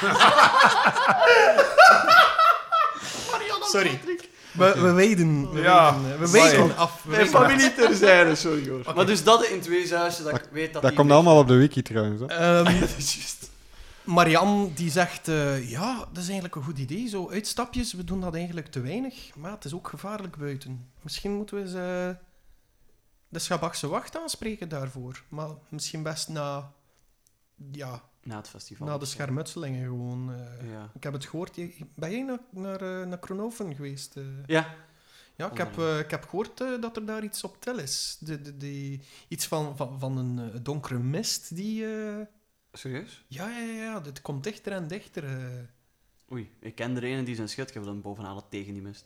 Speaker 1: Marianne
Speaker 2: Sorry. We, we wijden. We,
Speaker 4: Ja,
Speaker 2: wijden, we
Speaker 4: sorry.
Speaker 2: wijden af. We
Speaker 1: Mijn
Speaker 2: wijden af.
Speaker 1: familie terzijde, sorry hoor.
Speaker 2: Oké.
Speaker 1: Maar dus dat in twee zuizen, dat ik weet dat
Speaker 5: Dat
Speaker 1: die-
Speaker 5: komt allemaal op de wiki trouwens. Hè.
Speaker 2: Ehm,
Speaker 1: Dat is juist.
Speaker 2: Marianne die zegt, eh, ja, dat is eigenlijk een goed idee. Zo uitstapjes, we doen dat eigenlijk te weinig. Maar het is ook gevaarlijk buiten. Misschien moeten we eens eh, de Schabakse wacht aanspreken daarvoor. Maar misschien best na, ja,
Speaker 1: Na het festival.
Speaker 2: na de schermutselingen gewoon. eh.
Speaker 1: Ja.
Speaker 2: Ik heb het gehoord. je- Ben jij naar, naar, eh, naar Kronoven geweest? eh?
Speaker 1: Ja.
Speaker 2: Ja, ik heb, eh, ik heb gehoord eh, dat er daar iets op tel is. De, de, die- iets van, van, van een eh, donkere mist die... eh,
Speaker 1: Serieus?
Speaker 2: ja, ja, ja, ja, dit komt dichter en dichter. eh.
Speaker 1: Oei, ik ken er een die zijn schut geeft dan bovenaan het tegen die mist.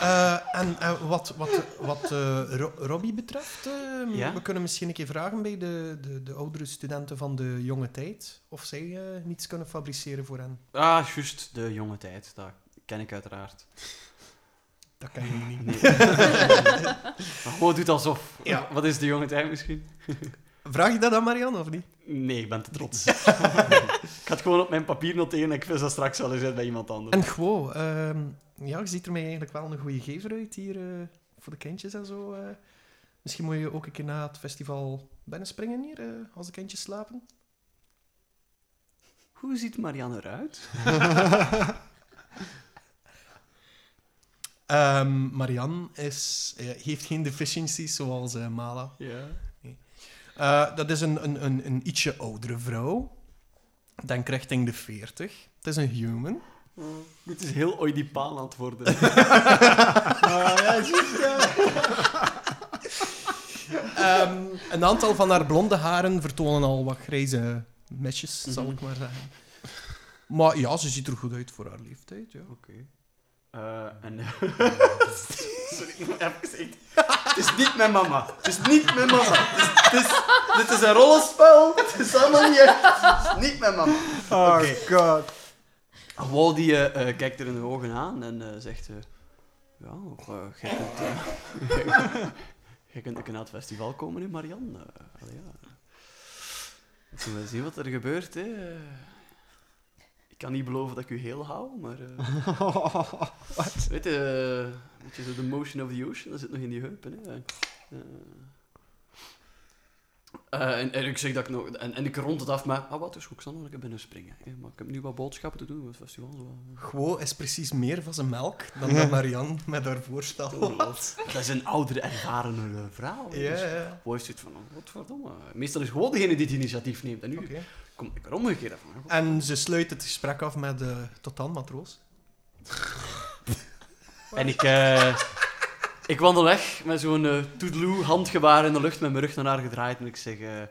Speaker 2: Eh, en eh, wat, wat, wat eh, Ro- Robbie betreft, eh,
Speaker 1: Ja?
Speaker 2: we kunnen misschien een keer vragen bij de, de, de oudere studenten van de jonge tijd of zij eh, niets kunnen fabriceren voor hen.
Speaker 1: Ah, juist, de jonge tijd. Dat ken ik uiteraard.
Speaker 2: Dat kan je niet.
Speaker 1: Nee. maar gewoon doet alsof.
Speaker 2: Ja.
Speaker 1: Wat is de jonge tijd misschien?
Speaker 2: Vraag je dat aan Marianne of niet?
Speaker 1: Nee, ik ben te trots. ik ga het gewoon op mijn papier noteren en ik vis dat straks wel eens uit bij iemand anders.
Speaker 2: En Gwo, ehm, ja, je ziet er mij eigenlijk wel een goede gever uit hier eh, voor de kindjes en zo. eh. Misschien moet je ook een keer na het festival binnen springen hier, eh, als de kindjes slapen.
Speaker 1: Hoe ziet Marianne eruit?
Speaker 2: Ehm Marianne is, eh, heeft geen deficiencies zoals eh, Mala.
Speaker 1: Ja.
Speaker 2: Eh, dat is een, een, een, een ietsje oudere vrouw. Denk richting de 40. Het is een human.
Speaker 1: Dit is heel oedipaal aan het worden.
Speaker 2: Ehm, een aantal van haar blonde haren vertonen al wat grijze mesjes, zal ik maar zeggen. Maar ja, ze ziet er goed uit voor haar leeftijd. Ja.
Speaker 1: Eh, en... Sorry, ik moet even zeggen. Het is niet mijn mama. Het is niet mijn mama. Het is, het is, dit is een rollenspel. Het is allemaal niet echt. Het is niet mijn mama.
Speaker 5: Oh
Speaker 1: Oké.
Speaker 5: god.
Speaker 1: Wal die eh, eh, kijkt er in de ogen aan en eh, zegt... eh, ja, eh, jij kunt... eh, jij kunt ook naar het festival komen in Marianne. Eh, allee, ja. We zullen wel zien wat er gebeurt, hè. Eh, Ik kan niet beloven dat ik u heel hou, maar... eh, Weet je, eh, een beetje zo de motion of the ocean, dat zit nog in die heupen. Hè. Eh. Eh, en, en ik zeg dat ik nog... En, en ik rond het af, maar... Ah, wat, dus ik zal nog een keer binnen springen. hè. Maar ik heb nu wat boodschappen te doen, want het festival dus is wel...
Speaker 2: Gwo is precies meer van zijn melk dan dat Marianne met haar
Speaker 1: Oh,
Speaker 2: voorstel.
Speaker 1: Dat is een oudere, ervarenere vrouw. hè.
Speaker 2: Ja,
Speaker 1: Dus
Speaker 2: ja.
Speaker 1: Boy zit van, oh, godverdomme. Meestal is gewoon degene die het initiatief neemt. En nu
Speaker 2: Oké.
Speaker 1: komt ik er omgekeerd van. oh, hè.
Speaker 2: En ze sluit het gesprek af met eh tot dan, matroos.
Speaker 1: En ik, eh, ik wandel weg met zo'n eh toedeloe handgebaar in de lucht met mijn rug naar haar gedraaid. En ik zeg, eh,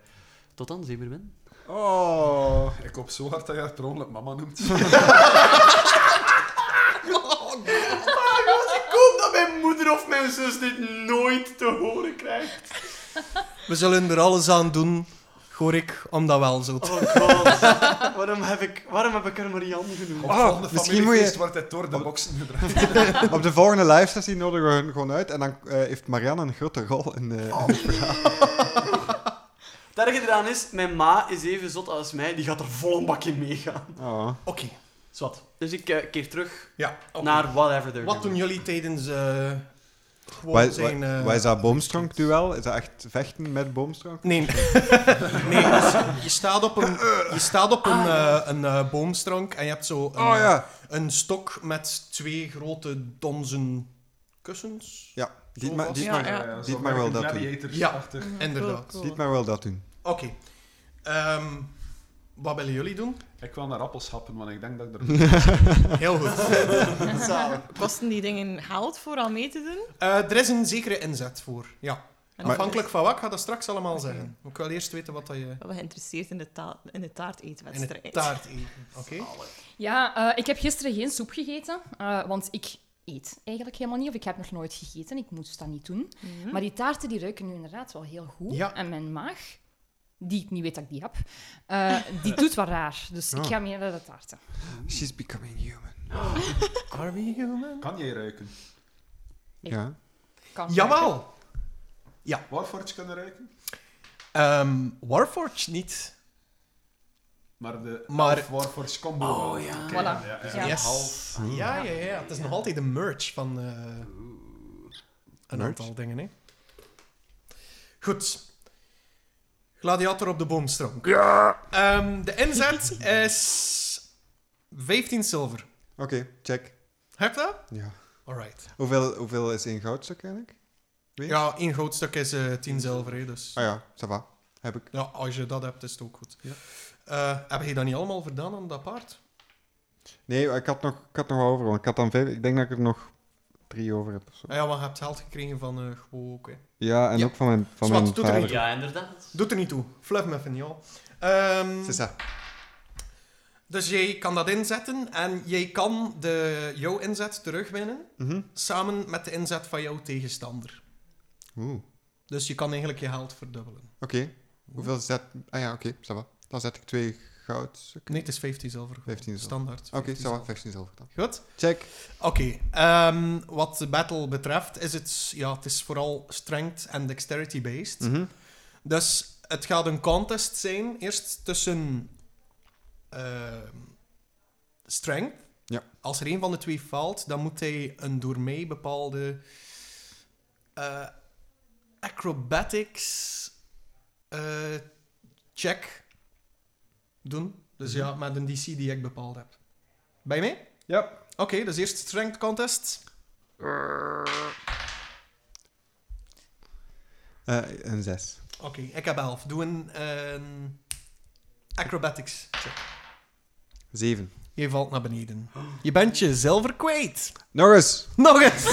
Speaker 1: tot dan, Zeemermin.
Speaker 4: Oh, ik hoop zo hard dat je haar per ongeluk mama noemt.
Speaker 1: Ik hoop dat mijn moeder of mijn zus dit nooit te horen krijgt.
Speaker 2: We zullen er alles aan doen, hoor ik, om dat wel zo te
Speaker 1: Oh god, waarom heb ik, waarom heb ik er Marianne genoemd?
Speaker 4: Op
Speaker 5: Oh,
Speaker 4: de volgende
Speaker 5: misschien
Speaker 4: familiefeest
Speaker 5: moet je-
Speaker 4: wordt het door de boxen gedraaid.
Speaker 5: Op de volgende live sessie nodigen we hen gewoon uit en dan eh, heeft Marianne een grote rol in de.
Speaker 1: Het erge eraan is, mijn ma is even zot als mij, die gaat er vol een bakje meegaan.
Speaker 5: Oh.
Speaker 2: Oké,
Speaker 1: Zwat. Dus ik eh, keer terug
Speaker 2: ja. oké.
Speaker 1: naar whatever er
Speaker 2: Wat doen
Speaker 1: gebeurt.
Speaker 2: jullie tijdens eh gewoon
Speaker 5: Wat
Speaker 2: zijn... eh,
Speaker 5: is dat boomstronkduel? Is dat echt vechten met boomstronk?
Speaker 2: Nee. nee, dus je staat op een, je staat op een, eh, een eh, boomstronk en je hebt zo een, eh,
Speaker 5: Oh ja,
Speaker 2: een stok met twee grote donzen kussens.
Speaker 5: ja. Diet
Speaker 2: Zo
Speaker 5: maar,
Speaker 2: was-
Speaker 5: diet
Speaker 6: Ja,
Speaker 5: maar,
Speaker 6: ja.
Speaker 4: zo
Speaker 5: diet maar
Speaker 4: werken
Speaker 5: wel dat doen.
Speaker 2: gladiatorsachtig. Inderdaad.
Speaker 5: diet
Speaker 6: Cool, cool.
Speaker 5: maar wel dat doen.
Speaker 2: Oké. Ehm, wat willen jullie doen?
Speaker 4: Ik wil naar appels happen, want ik denk dat ik er...
Speaker 2: Heel goed.
Speaker 6: Kosten die dingen geld voor al mee te doen?
Speaker 2: Eh, er is een zekere inzet voor, ja.
Speaker 6: En
Speaker 5: Maar-
Speaker 2: Afhankelijk van wat, ik ga dat straks allemaal zeggen. Ik wil eerst weten wat dat je
Speaker 6: Ik ben wel geïnteresseerd in de, taart, in de
Speaker 2: in
Speaker 6: taarteetwedstrijd.
Speaker 2: het taart eet. Oké.
Speaker 3: Ja, eh, ik heb gisteren geen soep gegeten, eh, want ik eet eigenlijk helemaal niet. Of ik heb nog nooit gegeten, ik moest dat niet doen.
Speaker 6: Mhm.
Speaker 3: Maar die taarten die ruiken nu inderdaad wel heel goed.
Speaker 2: Ja.
Speaker 3: En mijn maag, die ik niet weet dat ik die heb, eh, die doet wat raar. Dus
Speaker 2: Ah.
Speaker 3: ik
Speaker 5: Oh.
Speaker 3: ga meer naar de taarten.
Speaker 5: She's becoming human.
Speaker 2: Are we human?
Speaker 4: Kan jij ruiken?
Speaker 5: Ja.
Speaker 3: Kan werken.
Speaker 2: Jawel!
Speaker 4: Waarvoor kunnen ruiken?
Speaker 2: Ehm Warforged niet.
Speaker 4: Maar de
Speaker 2: Maar-
Speaker 4: elf Warforce combo.
Speaker 1: Oh, ja.
Speaker 4: Oké,
Speaker 3: Voilà.
Speaker 4: ja, ja.
Speaker 3: Ja.
Speaker 2: Yes.
Speaker 1: half.
Speaker 2: Ja, ja, ja. Het is nog altijd de merch van eh, een
Speaker 5: Merch?
Speaker 2: aantal dingen, hè. Goed. Gladiator op de boomstronk. Ehm, de inzet is 15 zilver.
Speaker 5: Oké, check.
Speaker 2: Heb je dat?
Speaker 5: Ja.
Speaker 2: Alright.
Speaker 5: Hoeveel, hoeveel is één goudstuk eigenlijk? Weet je?
Speaker 2: Ja, één goudstuk is eh 10 zilver, hè, dus...
Speaker 5: Ah ja, ça va. Heb ik.
Speaker 2: Ja, als je dat hebt, is het ook goed.
Speaker 5: Ja.
Speaker 2: Eh, heb je dat niet allemaal verdaan aan dat paard?
Speaker 5: Nee, ik had nog, ik had nog over. want Ik had dan vijf. Ik denk dat ik er nog drie over heb. of zo.
Speaker 2: Ah ja, maar je hebt geld gekregen van eh Gwo ook, hè.
Speaker 5: Ja, en
Speaker 2: Ja.
Speaker 5: ook van mijn, van
Speaker 2: Zwart,
Speaker 5: mijn
Speaker 2: doet er
Speaker 5: vader.
Speaker 1: Ja, inderdaad.
Speaker 2: Doet er niet toe. Fluff me van jou. Ehm,
Speaker 5: C'est ça.
Speaker 2: Dus jij kan dat inzetten en jij kan de, jouw inzet terugwinnen
Speaker 5: Mhm.
Speaker 2: samen met de inzet van jouw tegenstander.
Speaker 5: Oeh. Oké.
Speaker 2: Dus je kan eigenlijk je geld verdubbelen.
Speaker 5: Hoeveel is dat? Ah ja, oké, ça va. Dan zet ik twee goudstukken.
Speaker 2: Nee, het is 15 zilver. gewoon.
Speaker 5: 15 zilver.
Speaker 2: Standaard.
Speaker 5: Oké,
Speaker 2: 15
Speaker 5: ça va.
Speaker 2: zilver.
Speaker 5: 15 zilver dan.
Speaker 2: Goed.
Speaker 5: Check.
Speaker 2: Oké, ehm, wat de battle betreft is het, ja, het is vooral strength en dexterity based.
Speaker 5: Mhm.
Speaker 2: Dus het gaat een contest zijn, eerst tussen ehm, strength.
Speaker 5: Ja.
Speaker 2: Als er een van de twee faalt, dan moet hij een door mij bepaalde eh, acrobatics eh, check doen. Dus ja, met een DC die ik bepaald heb. Ben je mee?
Speaker 4: Ja.
Speaker 2: Oké, dus eerst strength contest.
Speaker 5: Eh, een 6.
Speaker 2: Oké, ik heb 11. Doe een ehm, acrobatics check.
Speaker 5: 7.
Speaker 2: Je valt naar beneden. Je bent je zilver kwijt.
Speaker 5: Nog eens.
Speaker 2: Nog eens.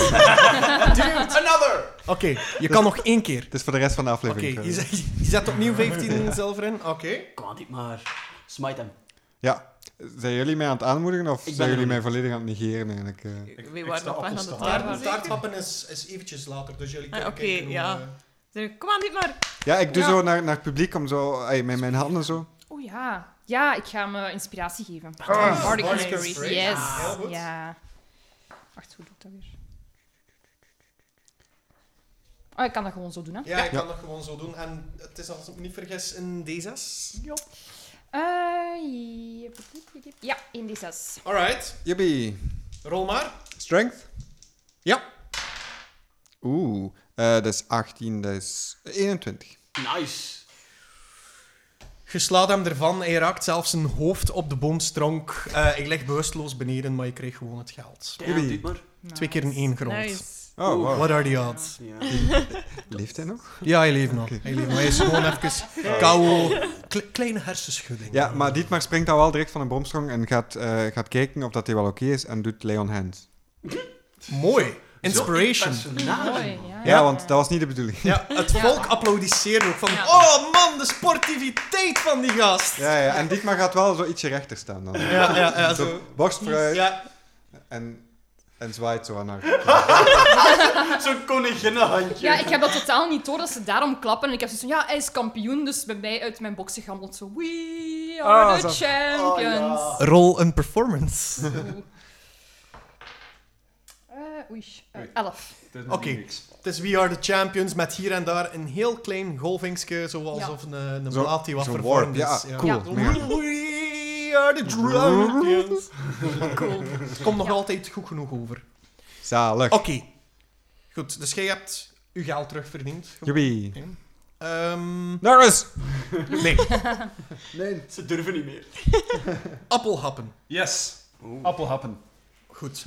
Speaker 2: another. Oké, je kan nog één keer.
Speaker 5: Het is voor de rest van de
Speaker 2: Oké,
Speaker 5: aflevering.
Speaker 2: je,
Speaker 5: trouwens.
Speaker 2: zet- je zet opnieuw 15 zilver in. Oké.
Speaker 1: Kom aan, dit maar. Smite hem.
Speaker 5: Ja. Zijn jullie mij aan het aanmoedigen of
Speaker 1: ben
Speaker 5: zijn
Speaker 1: er
Speaker 5: jullie
Speaker 1: nog
Speaker 5: mij volledig aan het negeren eigenlijk? eh?
Speaker 4: Ik-
Speaker 6: We
Speaker 4: ik
Speaker 6: waren
Speaker 4: sta
Speaker 6: op weg aan de
Speaker 4: appelstaan.
Speaker 6: taart.
Speaker 2: Taart,
Speaker 6: Zeker.
Speaker 2: taartpappen is, is eventjes later, dus jullie
Speaker 6: Ah,
Speaker 2: kunnen
Speaker 6: oké,
Speaker 2: kijken hoe,
Speaker 6: ja.
Speaker 2: eh,
Speaker 6: Zeg, Dus Kom aan, dit maar.
Speaker 5: Ja, ik doe
Speaker 2: Ja.
Speaker 5: zo naar, naar het publiek om zo, ey, met mijn handen zo.
Speaker 3: Oh ja. Ja, ik ga me inspiratie geven.
Speaker 2: Ah,
Speaker 3: Bardic
Speaker 2: Bardic
Speaker 3: Inspiration.
Speaker 2: Inspiration.
Speaker 3: Yes.
Speaker 2: Ah, heel goed.
Speaker 3: Ja. Wacht, hoe doe ik dat weer? Oh, ik kan dat gewoon zo doen, hè?
Speaker 2: ja, ik kan dat gewoon zo doen. En het is, als ik me niet vergis, een D6.
Speaker 3: Eh, ja, 1d6.
Speaker 2: Alright,
Speaker 5: Jippie.
Speaker 2: rol maar.
Speaker 5: Strength?
Speaker 2: Ja.
Speaker 5: Oeh, eh, dat is 18, dat is 21.
Speaker 1: Nice.
Speaker 2: Je slaat hem ervan, hij raakt zelfs zijn hoofd op de boomstronk. Eh ik lig bewusteloos beneden, maar je kreeg gewoon het geld.
Speaker 1: Damn, dit maar.
Speaker 2: Twee keer in één grond.
Speaker 6: Nice.
Speaker 5: Oh,
Speaker 1: Oeh.
Speaker 5: wow.
Speaker 2: What are the odds?
Speaker 1: Ja.
Speaker 5: Leeft hij nog?
Speaker 2: Ja, hij leeft nog. Hij leeft nog. Hij is gewoon even kou. Kle- kleine hersenschudding.
Speaker 5: Ja, maar Dietmar springt dan wel direct van een bromstrong en gaat, eh, gaat kijken of dat hij wel oké is en doet Leon Hand.
Speaker 2: Mooi. Inspiration.
Speaker 1: Zo'n personage.
Speaker 3: Mooi, ja.
Speaker 5: Ja, want dat was niet de bedoeling.
Speaker 2: Ja, het
Speaker 3: Ja.
Speaker 2: volk applaudisseerde ook van...
Speaker 6: Ja.
Speaker 2: Oh man, de sportiviteit van die gast.
Speaker 5: Ja, ja, en Dietmar gaat wel zo ietsje rechter staan dan.
Speaker 2: Ja, ja, ja,
Speaker 5: Zo
Speaker 2: zo.
Speaker 5: borst vooruit
Speaker 2: Ja,
Speaker 5: en, en zwaait zo aan haar.
Speaker 1: Zo'n koninginnenhandje.
Speaker 3: Ja, ik heb dat totaal niet door dat ze daarom klappen. En ik heb zoiets van, ja, hij is kampioen, dus bij mij uit mijn boxen gammelt zo... We are
Speaker 5: Ah,
Speaker 3: the
Speaker 5: zo.
Speaker 3: champions.
Speaker 1: Oh,
Speaker 2: Rol een performance.
Speaker 3: Eh, oei, eh,
Speaker 4: Oei.
Speaker 3: elf.
Speaker 4: Het is nog
Speaker 2: Oké.
Speaker 4: niet niks.
Speaker 2: Het is We Are The Champions met hier en daar een heel klein golvingske, zoals
Speaker 3: Ja.
Speaker 2: of een, eh, een
Speaker 5: Zo-
Speaker 2: plaat die wat
Speaker 5: zo'n
Speaker 2: vervormd
Speaker 5: warp,
Speaker 2: is.
Speaker 5: ja,
Speaker 3: cool,
Speaker 2: Zo,
Speaker 5: mega.
Speaker 2: We Are The Champions. cool. Het komt nog
Speaker 3: Ja.
Speaker 2: altijd goed genoeg over.
Speaker 5: Zalig.
Speaker 2: Oké. Goed, dus jij hebt uw geld terugverdiend.
Speaker 5: Jippie.
Speaker 2: Ehm,
Speaker 5: Nog eens!
Speaker 2: nee,
Speaker 5: Nee.
Speaker 1: Ze durven niet meer.
Speaker 2: appelhappen.
Speaker 4: Yes. Appelhappen.
Speaker 2: Goed.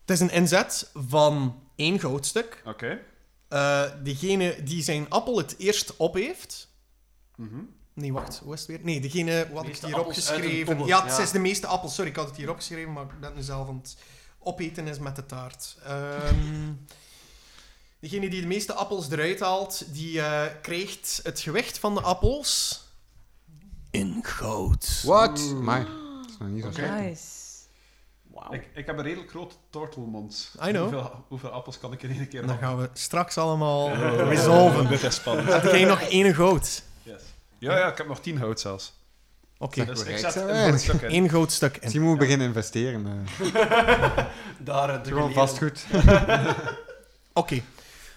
Speaker 2: Het is een inzet van één goudstuk.
Speaker 4: Oké.
Speaker 2: Eh, degene die zijn appel het eerst op heeft.
Speaker 4: Mhm.
Speaker 2: Nee, wacht, hoe is het weer? Nee, degene wat ik
Speaker 1: Meeste
Speaker 2: hier
Speaker 1: appels uit een
Speaker 2: opgeschreven.
Speaker 1: kobbel,
Speaker 2: Ja, het
Speaker 1: ja.
Speaker 2: is de meeste appels. Sorry, ik had het hier opgeschreven, maar ik ben nu zelf aan het opeten is met de taart. Ehm, degene die de meeste appels eruit haalt, die eh, krijgt het gewicht van de appels in goud.
Speaker 5: What? Maar, dat is nog niet zo slecht.
Speaker 6: Nice.
Speaker 1: Wauw.
Speaker 4: Ik, ik heb een redelijk grote tortelmond.
Speaker 2: I know.
Speaker 4: Hoeveel, hoeveel appels kan ik in één keer
Speaker 2: En dan
Speaker 4: happen?
Speaker 2: gaan we straks allemaal resolven.
Speaker 4: Dit is spannend.
Speaker 2: Heb jij nog één goud?
Speaker 4: Yes. Ja, ja, ik heb nog tien hout zelfs.
Speaker 2: Oké,
Speaker 4: Dus ik
Speaker 5: Correct.
Speaker 4: zet
Speaker 5: Zo
Speaker 4: een
Speaker 5: weinig.
Speaker 4: mooi stuk in.
Speaker 2: één goud stuk in.
Speaker 5: Misschien moeten we beginnen investeren. eh.
Speaker 1: Daar, eh, de geleerden.
Speaker 5: Gewoon vastgoed.
Speaker 2: Oké.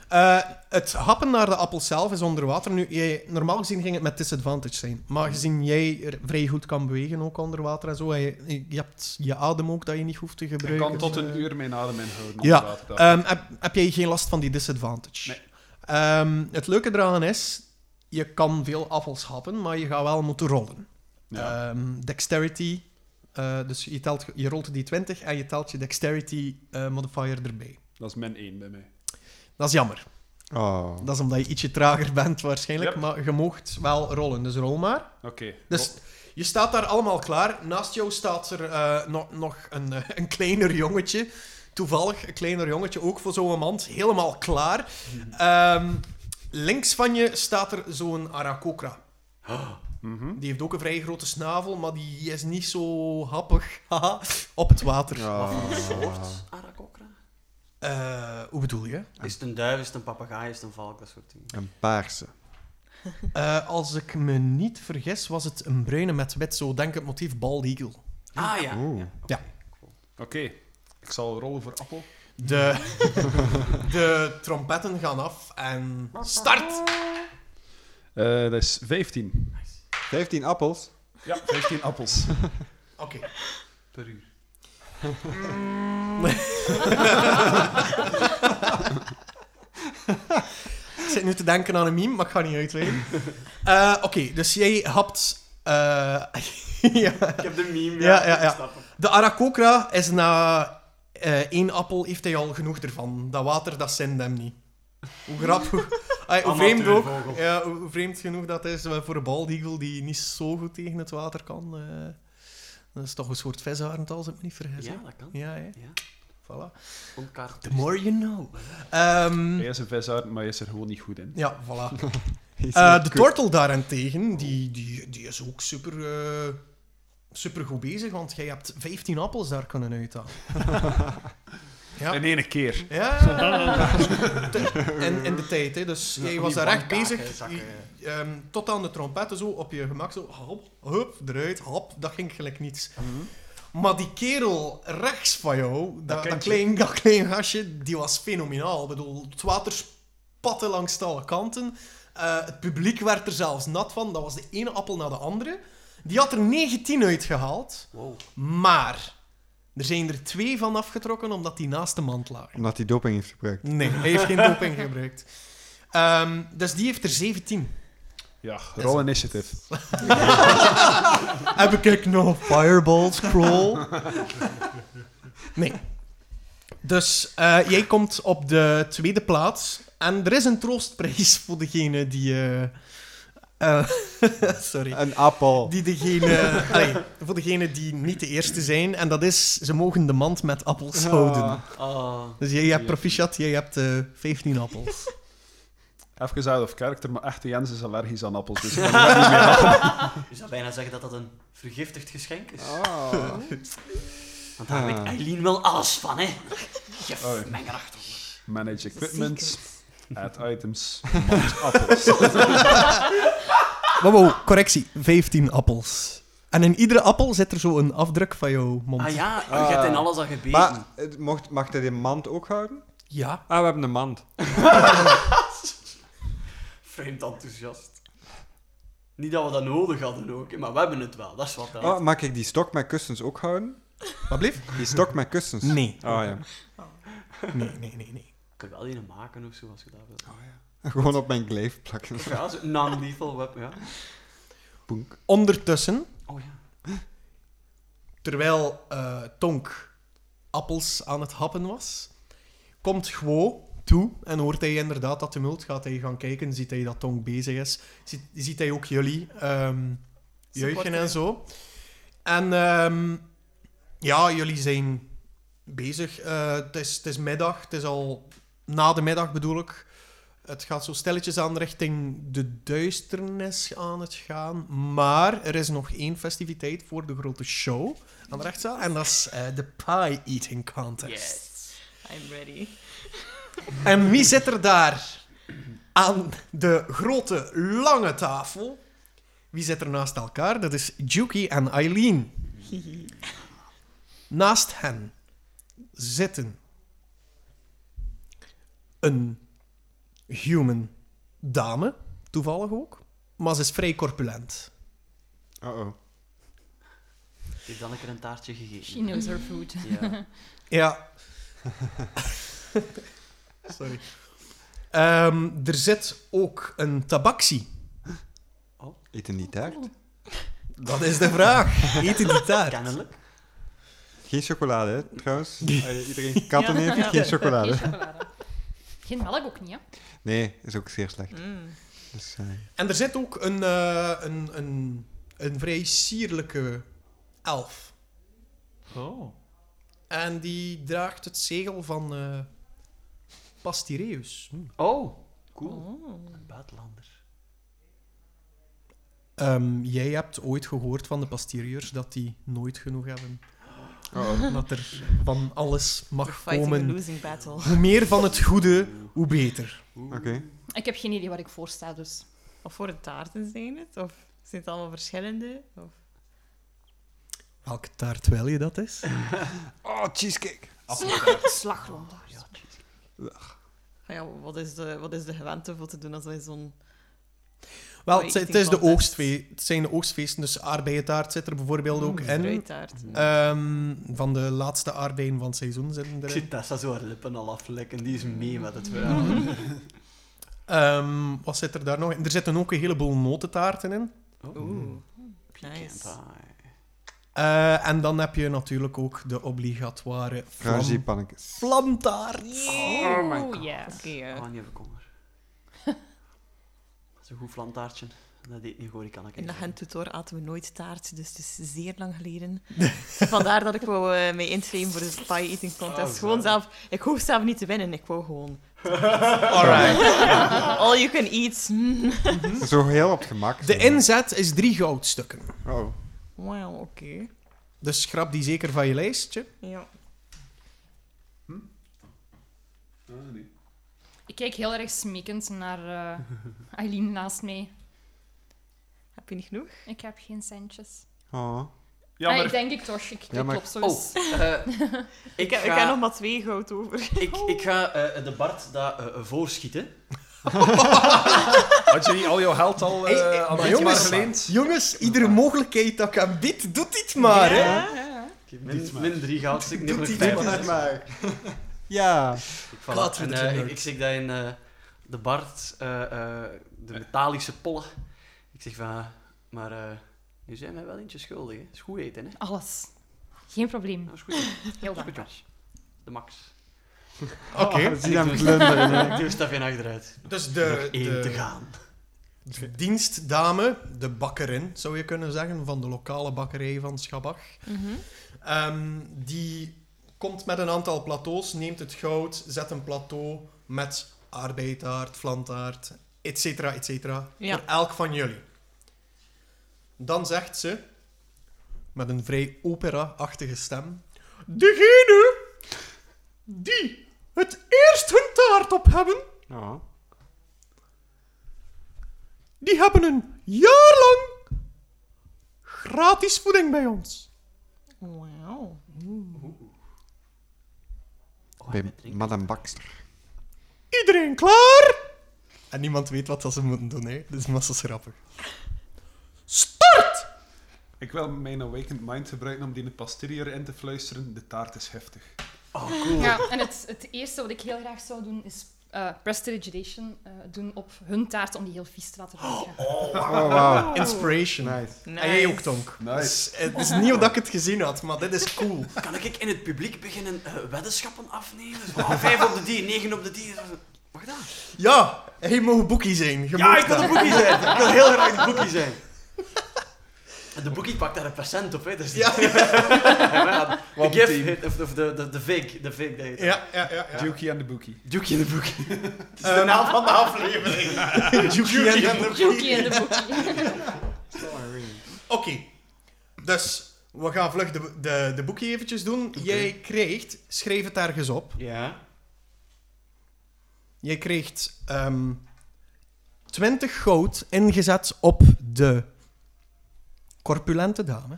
Speaker 2: Eh, het happen naar de appel zelf is onder water. Nu, jij, normaal gezien ging het met disadvantage zijn. Maar gezien jij er vrij goed kan bewegen, ook onder water en zo, en je, je hebt je adem ook dat je niet hoeft te
Speaker 4: Ik
Speaker 2: gebruiken.
Speaker 4: kan tot een
Speaker 2: Eh,
Speaker 4: uur mijn adem inhouden.
Speaker 2: Ja,
Speaker 4: inderdaad, dat-
Speaker 2: Ehm, heb, heb jij geen last van die disadvantage?
Speaker 4: Nee.
Speaker 2: Ehm, het leuke eraan is, je kan veel appels happen, maar je gaat wel moeten rollen.
Speaker 4: ja.
Speaker 2: Ehm, dexterity, eh, dus je, telt, je rolt die 20 en je telt je dexterity eh, modifier erbij.
Speaker 4: Dat is min 1 bij mij.
Speaker 2: Dat is jammer.
Speaker 5: Oh.
Speaker 2: Dat is omdat je ietsje trager bent waarschijnlijk,
Speaker 4: Yep.
Speaker 2: maar je moogt wel rollen, dus rol maar.
Speaker 4: Oké.
Speaker 2: Dus je staat daar allemaal klaar. Naast jou staat er eh, nog, nog een, eh, een kleiner jongetje. Toevallig een kleiner jongetje, ook voor zo'n mand. Helemaal klaar. Ehm, links van je staat er zo'n Arakokra.
Speaker 4: Mhm.
Speaker 2: Die heeft ook een vrij grote snavel, maar die is niet zo happig. Haha, Op het water.
Speaker 5: Oh.
Speaker 1: soort Arakokra?
Speaker 2: Eh, hoe bedoel je?
Speaker 1: Is het een duif, is het een papegaai, is het een valk, dat soort dingen.
Speaker 5: Een paarse.
Speaker 2: Eh, als ik me niet vergis, was het een bruine met wit. Zo denk het motief Bald Eagle.
Speaker 1: Ah ja.
Speaker 5: Oeh.
Speaker 1: ja.
Speaker 2: Ja.
Speaker 4: Oké. Ik zal rollen voor appel.
Speaker 2: De, de trompetten gaan af en start!
Speaker 4: Eh, dat is 15.
Speaker 5: 15 appels.
Speaker 4: Ja, 15 appels.
Speaker 2: Oké.
Speaker 1: Per uur.
Speaker 2: Ik zit nu te denken aan een meme, maar ik ga niet uitweiden. Eh, Oké, dus jij hapt... eh, ja.
Speaker 1: Ik heb de meme.
Speaker 2: Ja, ja, ja.
Speaker 1: ik snap hem.
Speaker 2: De Arakokra is na eh, één appel heeft hij al genoeg ervan. Dat water, dat zendt hem niet. Hoe grappig. Ay, hoe vreemd ook.
Speaker 1: Amateurvogel.
Speaker 2: Ja, hoe hoe vreemd genoeg dat is eh, voor een baldiegel die niet zo goed tegen het water kan. eh. dat is toch een soort visarend, als ik me niet vergis.
Speaker 1: Ja,
Speaker 2: hè?
Speaker 1: dat kan.
Speaker 2: Ja, hè?
Speaker 1: Ja.
Speaker 2: Voilà.
Speaker 1: Onkaart.
Speaker 2: The more you know. Ehm,
Speaker 4: Hij is een visarend, maar hij is er gewoon niet goed in.
Speaker 2: ja, voilà.
Speaker 5: Is
Speaker 2: Eh,
Speaker 5: dat
Speaker 2: de
Speaker 5: kut?
Speaker 2: tortel daarentegen, die, die, die is ook super, eh, super goed bezig, want jij hebt 15 appels daar kunnen uithalen. ja.
Speaker 4: In één keer.
Speaker 2: Ja, Te- in, in de tijd, hè. dus jij
Speaker 1: van
Speaker 2: was
Speaker 1: die
Speaker 2: daar echt
Speaker 1: bankkaken,
Speaker 2: bezig.
Speaker 1: zakken,
Speaker 2: Je- ehm, tot aan de trompetten zo, op je gemak zo, hop, hop, eruit, hop, dat ging gelijk niets.
Speaker 1: Mhm.
Speaker 2: Maar die kerel rechts van jou, dat, dat,
Speaker 4: kindje.
Speaker 2: klein, dat klein gastje, die was fenomenaal. Ik bedoel, het water spatte langs alle kanten. Eh, het publiek werd er zelfs nat van. Dat was de ene appel na de andere. Die had er 19 uitgehaald,
Speaker 1: Wow.
Speaker 2: maar er zijn er twee van afgetrokken omdat die naast de mand lagen.
Speaker 5: Omdat hij doping heeft gebruikt.
Speaker 2: Nee, hij heeft geen doping gebruikt. Ehm, dus die heeft er 17.
Speaker 4: Ja, roll initiative.
Speaker 2: Heb ik ik nog Fireball Scroll? Nee. Dus eh, jij komt op de tweede plaats. En er is een troostprijs voor degene die. eh, eh, sorry.
Speaker 5: Een appel.
Speaker 2: Die degene, allee, voor degene die niet de eerste zijn. En dat is, ze mogen de mand met appels houden.
Speaker 1: Ah.
Speaker 2: Dus jij hebt proficiat, jij hebt eh 15 appels.
Speaker 4: Even out of character, maar echte Jens is allergisch aan appels. Dus ik kan niet meer aan.
Speaker 1: Je zou bijna zeggen dat dat een vergiftigd geschenk is.
Speaker 5: Oh.
Speaker 1: Want daar
Speaker 5: Ah.
Speaker 1: weet Eileen wel alles van, hè. Jef,
Speaker 4: Oh.
Speaker 1: mijn gracht.
Speaker 4: Manage equipment,
Speaker 6: Secret.
Speaker 4: add items, mand appels.
Speaker 2: Wow, wow, correctie. 15 appels. En in iedere appel zit er zo een afdruk van jouw mond.
Speaker 1: Ah ja, je
Speaker 5: Ah.
Speaker 1: hebt in alles al gebeten.
Speaker 5: Maar het mocht, mag hij de mand ook houden?
Speaker 2: Ja.
Speaker 5: Ah, we hebben een mand.
Speaker 1: Vreemd enthousiast. Niet dat we dat nodig hadden ook, hè, maar we hebben het wel. Dat is wat dat.
Speaker 5: Oh, mag ik die stok met kussens ook houden?
Speaker 2: Wat bleef?
Speaker 5: Die stok met kussens?
Speaker 2: Nee.
Speaker 5: Oh ja.
Speaker 2: Nee, nee, nee, nee.
Speaker 1: Ik kan wel een maken of zo, als je dat wil.
Speaker 5: Gewoon op mijn kleef plakken.
Speaker 1: Ja, zo'n non-lethal web, ja.
Speaker 5: Boenk.
Speaker 2: Ondertussen,
Speaker 1: Oh ja.
Speaker 2: terwijl eh, Tonk appels aan het happen was, komt Gwo toe en hoort hij inderdaad dat tumult. Gaat hij gaan kijken, ziet hij dat Tonk bezig is. Ziet, ziet hij ook jullie ehm juichen en zo. En ehm, ja, jullie zijn bezig. Eh, Het is, het is middag, het is al na de middag bedoel ik. Het gaat zo stilletjes aan richting de duisternis aan het gaan. Maar er is nog één festiviteit voor de grote show aan de rechtszaal. En dat is eh, de Pie Eating Contest.
Speaker 6: Yes. I'm ready.
Speaker 2: En wie zit er daar aan de grote, lange tafel? Wie zit er naast elkaar? Dat is Juki en Eileen. Naast hen zitten een human dame, toevallig ook. Maar ze is vrij corpulent.
Speaker 5: Uh-oh.
Speaker 1: Heeft dan een keer een taartje gegeten.
Speaker 3: She knows her food.
Speaker 1: Ja.
Speaker 2: Ja. Sorry. Ehm, er zit ook een tabaksie.
Speaker 5: Eten die taart?
Speaker 2: Dat is de vraag. Eten die taart.
Speaker 1: Kennelijk.
Speaker 5: Geen chocolade, hè, trouwens. Eh, Iedereen die katten heeft,
Speaker 3: Ja.
Speaker 5: geen chocolade.
Speaker 3: Geen chocolade. Geen melk ook niet, hè?
Speaker 5: Nee, is ook zeer slecht.
Speaker 6: Mm.
Speaker 5: Dus, eh,
Speaker 2: En er zit ook een, eh, een, een, een vrij sierlijke elf.
Speaker 4: Oh.
Speaker 2: En die draagt het zegel van eh Pastireus.
Speaker 1: Oh, cool.
Speaker 6: Oh.
Speaker 1: Een buitenlander.
Speaker 2: Ehm, jij hebt ooit gehoord van de Pastiriërs dat die nooit genoeg hebben. Dat er van alles
Speaker 6: We're
Speaker 2: mag
Speaker 6: fighting a
Speaker 2: komen.
Speaker 6: losing battle.
Speaker 2: Hoe meer van het goede, hoe beter.
Speaker 5: Oké.
Speaker 3: Ik heb geen idee waar ik voor sta, dus...
Speaker 6: Of voor de taarten zijn het? Of zijn het allemaal verschillende? Of...
Speaker 2: Welke taart wil je dat is?
Speaker 5: Oh, cheesecake.
Speaker 3: Slagroom daar.
Speaker 1: Ja, jeez.
Speaker 6: Ah Ja, wat is de, wat is de gewente voor te doen als wij zo'n...
Speaker 2: Wel,
Speaker 6: Oh,
Speaker 2: het,
Speaker 6: ik
Speaker 2: het
Speaker 6: denk
Speaker 2: is de
Speaker 6: wel best.
Speaker 2: oogstfeest, het zijn de oogstfeesten, dus aardbeientaart zit er bijvoorbeeld ook in.
Speaker 6: fruittaart?
Speaker 2: Ehm, van de laatste aardbeien van het seizoen zitten
Speaker 1: Ik
Speaker 2: erin.
Speaker 1: zie Tessa zo haar lippen al aflekken. Die is mee met het verhaal.
Speaker 2: Ehm, wat zit er daar nog in? Er zitten ook een heleboel notentaarten in.
Speaker 1: Oh,
Speaker 6: Oeh.
Speaker 1: Nice.
Speaker 6: Nice.
Speaker 2: Eh, en dan heb je natuurlijk ook de obligatoire vlam-
Speaker 5: Kruisie pannetjes.
Speaker 2: vlamtaart.
Speaker 1: Oh my god.
Speaker 3: ja.
Speaker 6: Oké, eh. ja.
Speaker 1: Oh, niet even kommer. Dat is een goed flantaartje. Dat deed niet goed, kan ik
Speaker 6: In
Speaker 1: niet
Speaker 6: de
Speaker 1: zeggen.
Speaker 6: Gentutor aten we nooit taart, dus het is zeer lang geleden. Vandaar dat ik wou eh, mij inschrijven voor de pie eating contest.
Speaker 1: Ah,
Speaker 6: gewoon
Speaker 1: zo.
Speaker 6: zelf... Ik hoef zelf niet te winnen, ik wou gewoon...
Speaker 2: Alright.
Speaker 6: All you can eat. Mm.
Speaker 5: Zo heel op het gemak.
Speaker 2: Hm? De inzet is drie goudstukken.
Speaker 5: Oh.
Speaker 6: Wauw, oké.
Speaker 2: Dus schrap die zeker van je lijstje.
Speaker 6: Ja.
Speaker 4: Ah, nee.
Speaker 3: Ik kijk heel erg smekend naar eh, Eileen naast mij.
Speaker 6: Heb je niet genoeg?
Speaker 3: Ik heb geen centjes.
Speaker 5: Oh.
Speaker 3: Ah,
Speaker 4: Jammer.
Speaker 3: ik denk ik toch. Ik, ik
Speaker 5: Jammer.
Speaker 3: klop zo eens.
Speaker 1: Oh, eh,
Speaker 6: Ik,
Speaker 1: ik,
Speaker 6: heb, ik
Speaker 1: ga,
Speaker 6: heb
Speaker 1: ik,
Speaker 6: nog maar twee goud over.
Speaker 1: ik, ga eh, de Bart daar eh, eh, voorschieten.
Speaker 4: Had je niet al jouw geld al eh,
Speaker 2: Hey,
Speaker 4: aan
Speaker 2: maar
Speaker 4: het
Speaker 2: jongens,
Speaker 4: maar geleend?
Speaker 2: Jongens, iedere mogelijkheid dat ik aan bied, doet dit maar. Hè?
Speaker 6: Ja, ja.
Speaker 1: Min, min drie goudstukken.
Speaker 2: Doet
Speaker 1: neem er
Speaker 2: die
Speaker 1: vijf
Speaker 2: doet
Speaker 1: uit.
Speaker 2: die
Speaker 5: maar. Ja.
Speaker 1: Ik, voilà.
Speaker 2: Laten we
Speaker 1: En, eh,
Speaker 2: het doen,
Speaker 1: ik,
Speaker 2: Jurk.
Speaker 1: ik zeg dat in eh, de Bart, eh, eh, de metallische pollen. Ik zeg van, ah, maar eh, nu zijn wij wel eentje schuldig. Hè. Is goed eten, hè?
Speaker 3: Alles. Geen probleem.
Speaker 1: Dat is goed. eten.
Speaker 3: Heel
Speaker 1: Dat is goed,
Speaker 3: dankbaar.
Speaker 1: jongens. De max.
Speaker 4: Ah,
Speaker 2: Oké.
Speaker 5: Oh, zie je
Speaker 1: En
Speaker 5: hem
Speaker 1: ik doe-
Speaker 5: glunderen.
Speaker 2: eh.
Speaker 5: hè.
Speaker 1: Ik doe een stapje achteruit.
Speaker 2: Dus
Speaker 1: Ah. Nog
Speaker 2: de,
Speaker 1: één te
Speaker 2: de,
Speaker 1: gaan.
Speaker 2: de dienstdame, de bakkerin, zou je kunnen zeggen, van de lokale bakkerij van Schabach,
Speaker 6: Mhm.
Speaker 2: Ehm, die komt met een aantal plateaus, neemt het goud, zet een plateau met aardbeitaart, vlantaart, et cetera, et cetera.
Speaker 6: Ja.
Speaker 2: Voor elk van jullie. Dan zegt ze, met een vrij opera-achtige stem, Degene die het eerst hun taart op hebben,
Speaker 5: Oh.
Speaker 2: die hebben een jaar lang gratis voeding bij ons.
Speaker 6: Wauw.
Speaker 1: Oh,
Speaker 5: Bij
Speaker 1: met drinken.
Speaker 5: Madame Baxter.
Speaker 2: Iedereen klaar? En niemand weet wat dat ze moeten doen, hè? Dus massa grappig. Start!
Speaker 4: Ik wil mijn awakened mind gebruiken om die posterior in te fluisteren. De taart is heftig.
Speaker 1: Oh, cool.
Speaker 3: Ja, en het, het eerste wat ik heel graag zou doen is eh prestidigitation eh, doen op hun taart om die heel vies te laten ruiken.
Speaker 5: Oh, wow.
Speaker 2: Ah. Inspiration.
Speaker 5: Nice.
Speaker 2: En jij ook, Tonk.
Speaker 4: Nice.
Speaker 2: Dus, eh, het is nieuw dat ik het gezien had, maar dit is cool.
Speaker 1: Kan ik in het publiek beginnen eh, weddenschappen afnemen? Zo, ah, vijf op de die, negen op de die. Mag dat?
Speaker 2: Ja, hij mag boekie zijn. Je
Speaker 1: Ja,
Speaker 2: mag
Speaker 1: ik wil de
Speaker 2: dat.
Speaker 1: boekie zijn. Ik wil heel graag de boekie zijn. En de boekie pakt daar een percent op, hè. Dus
Speaker 2: Ja.
Speaker 1: ja. De
Speaker 4: Wat een
Speaker 1: gift, of of de, de, de fake, de fake dat heet.
Speaker 2: Ja, ja, ja. ja.
Speaker 4: Dookie en de Bookie.
Speaker 1: Duke in de boekie. Het is de naam van de aflevering.
Speaker 2: Yuki Eh, en de boekie.
Speaker 3: Joekie in de boekie.
Speaker 2: Oké. Dus, we gaan vlug de, de, de boekie eventjes doen. Jij krijgt, schreef het ergens op,
Speaker 1: Ja.
Speaker 2: Jij krijgt ehm 20 goud ingezet op de corpulente dame.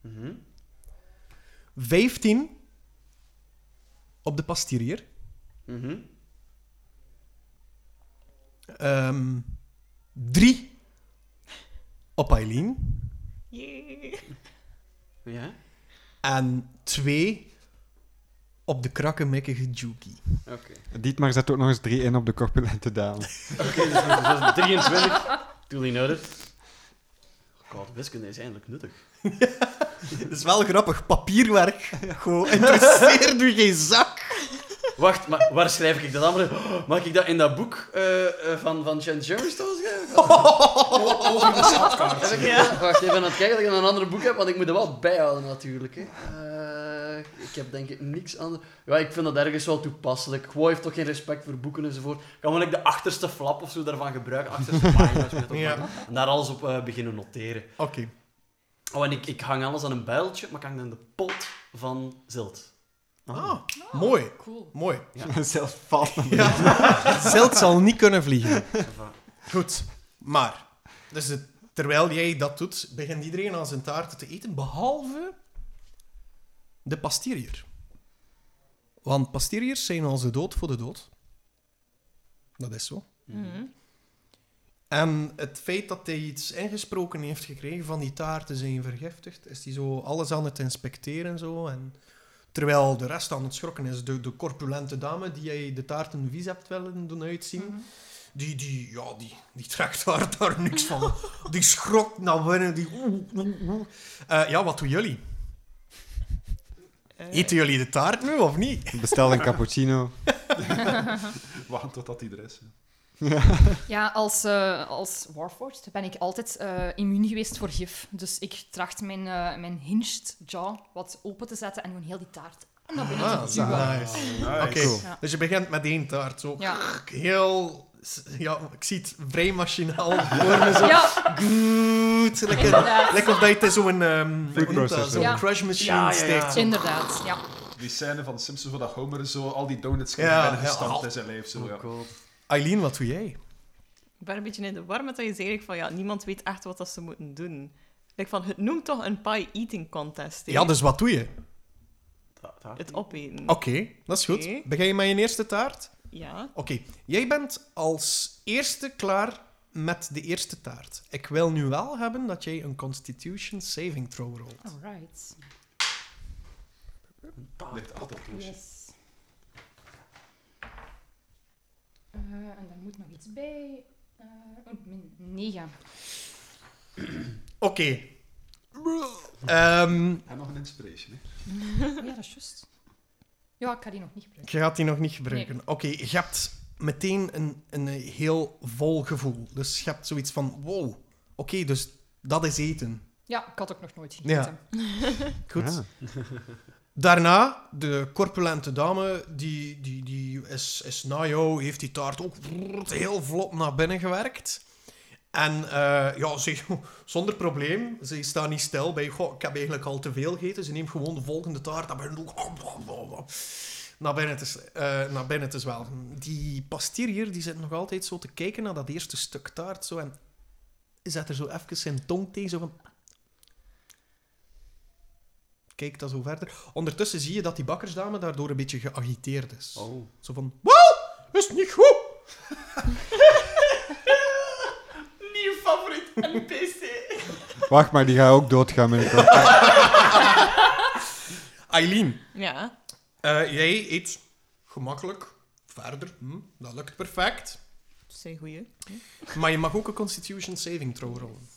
Speaker 1: Mhm.
Speaker 2: 15 op de pastirier.
Speaker 1: Mhm.
Speaker 2: Ehm, drie op Eileen.
Speaker 6: Jee.
Speaker 1: Ja?
Speaker 2: En twee op de krakkemikkige Juki.
Speaker 1: Oké.
Speaker 5: Dietmar zet ook nog eens drie in op de corpulente dame.
Speaker 1: Oké, dus dat is 23. Duly noted. God, wiskunde is eindelijk nuttig.
Speaker 2: Het is wel grappig, papierwerk. Gewoon, interesseert u geen zak.
Speaker 1: Wacht, maar waar schrijf ik dat andere? Oh, Mag ik dat in dat boek eh, eh, van, van Jen Jamestown schrijven? Over de schatkaart. Heb ik dat? Wacht even aan het kijken dat ik een ander boek heb, want ik moet er wel bijhouden natuurlijk. Hè. Eh, ik heb denk ik niks anders. Ja, ik vind dat ergens wel toepasselijk. Gewoon heeft toch geen respect voor boeken enzovoort. Kan wel ik de achterste flap of zo daarvan gebruiken, achterste pagina's. weet je toch,
Speaker 2: Ja.
Speaker 1: maar- En daar alles op eh, beginnen noteren.
Speaker 2: Oké.
Speaker 1: Oh, en ik, ik hang alles aan een bijltje, maar ik hang dan de pot van Zilt.
Speaker 2: Ah, mooi.
Speaker 3: Cool.
Speaker 2: Mooi.
Speaker 5: Zelfs valt naar beneden.
Speaker 2: Ja. Zeld zal niet kunnen vliegen.
Speaker 1: Enfin,
Speaker 2: Goed, maar. Dus het- terwijl jij dat doet, begint iedereen aan zijn taarten te eten, behalve de pasterier. Want pasteriers zijn als de dood voor de dood. Dat is zo.
Speaker 6: Mhm.
Speaker 2: En het feit dat hij iets ingesproken heeft gekregen van die taarten zijn vergiftigd, is hij zo alles aan het inspecteren en zo. En terwijl de rest aan het schrokken is, de, de corpulente dame die jij de taarten vies hebt willen doen uitzien, die, die, ja, die, die trekt daar, daar niks van. Die schrokt naar binnen. Die... Eh, ja, wat doen jullie?
Speaker 6: Eh,
Speaker 2: Eten jullie de taart nu of niet?
Speaker 5: Bestel een cappuccino.
Speaker 4: Wacht totdat die er is.
Speaker 3: Ja, als, eh, als Warforged ben ik altijd eh, immuun geweest voor gif. Dus ik tracht mijn, eh, mijn hinged jaw wat open te zetten en gewoon heel die taart naar binnen
Speaker 2: Ah,
Speaker 3: te
Speaker 2: zo.
Speaker 3: duwen.
Speaker 2: nice.
Speaker 4: Nice.
Speaker 2: Oké,
Speaker 5: Cool.
Speaker 3: Ja.
Speaker 2: dus je begint met één taart. Zo
Speaker 3: Ja.
Speaker 2: heel... Ja, ik zie het vrij machinaal voor me zo.
Speaker 3: ja,
Speaker 2: Goed. Lekker,
Speaker 3: Inderdaad.
Speaker 2: lekker dat je het in zo'n ehm,
Speaker 5: Food
Speaker 2: hoe noemt dat?
Speaker 5: processor.
Speaker 2: zo'n
Speaker 3: Ja.
Speaker 2: crush machine
Speaker 1: Ja, ja, ja.
Speaker 2: steekt. Zo.
Speaker 3: inderdaad. Ja.
Speaker 4: Die scène van de Simpsons waar dat Homer zo al die donuts
Speaker 2: Ja,
Speaker 4: in binnen
Speaker 2: ja. oh.
Speaker 4: gestampt in zijn lijf. Zo, ja.
Speaker 1: cool.
Speaker 2: Eileen, wat doe jij?
Speaker 6: Ik ben een beetje in de war met dat je zei van ja, niemand weet echt wat dat ze moeten doen. Like van, het noemt toch een pie eating contest. hè?
Speaker 2: Ja, dus Oh. wat doe je?
Speaker 1: Dat- dat-
Speaker 6: Het opeten.
Speaker 2: Oké, dat is goed.
Speaker 6: Oké.
Speaker 2: Begin je met je eerste taart?
Speaker 6: Ja.
Speaker 2: Oké, jij bent als eerste klaar met de eerste taart. Ik wil nu wel hebben dat jij een Constitution Saving Throw rolt.
Speaker 3: Oh. Alright.
Speaker 4: Ligt altijd toe.
Speaker 3: Yes. Eh, en daar moet nog iets bij. Eh oh, min 9.
Speaker 2: Oké. Ehm,
Speaker 4: En nog een inspiration. Hè.
Speaker 3: Oh ja, dat is juist. Ja, ik ga die nog niet gebruiken.
Speaker 2: Je gaat die nog niet gebruiken. Oké, je hebt meteen een, een heel vol gevoel. Dus je hebt zoiets van, wow, oké, dus dat is eten.
Speaker 3: Ja, ik had ook nog nooit gegeten.
Speaker 2: Goed.
Speaker 5: Ja.
Speaker 2: Daarna, de corpulente dame, die, die, die is, is na jou, heeft die taart ook heel vlot naar binnen gewerkt. En eh, ja, ze, zonder probleem, ze staat niet stil bij, goh, ik heb eigenlijk al te veel gegeten. Ze neemt gewoon de volgende taart en begint ook naar binnen te, s- eh, naar binnen te zwelgen. Die pasterier die zit nog altijd zo te kijken naar dat eerste stuk taart zo, en zet er zo even zijn tong tegen, zo van... Kijk dat zo verder. Ondertussen zie je dat die bakkersdame daardoor een beetje geagiteerd is.
Speaker 1: Oh.
Speaker 2: Zo van, wow, is niet goed.
Speaker 6: Nieuw favoriet NPC.
Speaker 5: Wacht maar, die gaat ook doodgaan binnenkort.
Speaker 2: Eileen,
Speaker 6: Ja.
Speaker 2: eh, jij eet gemakkelijk verder. Hm, dat lukt perfect.
Speaker 6: Dat zijn goeie.
Speaker 2: Maar je mag ook een Constitution Saving Throw rollen.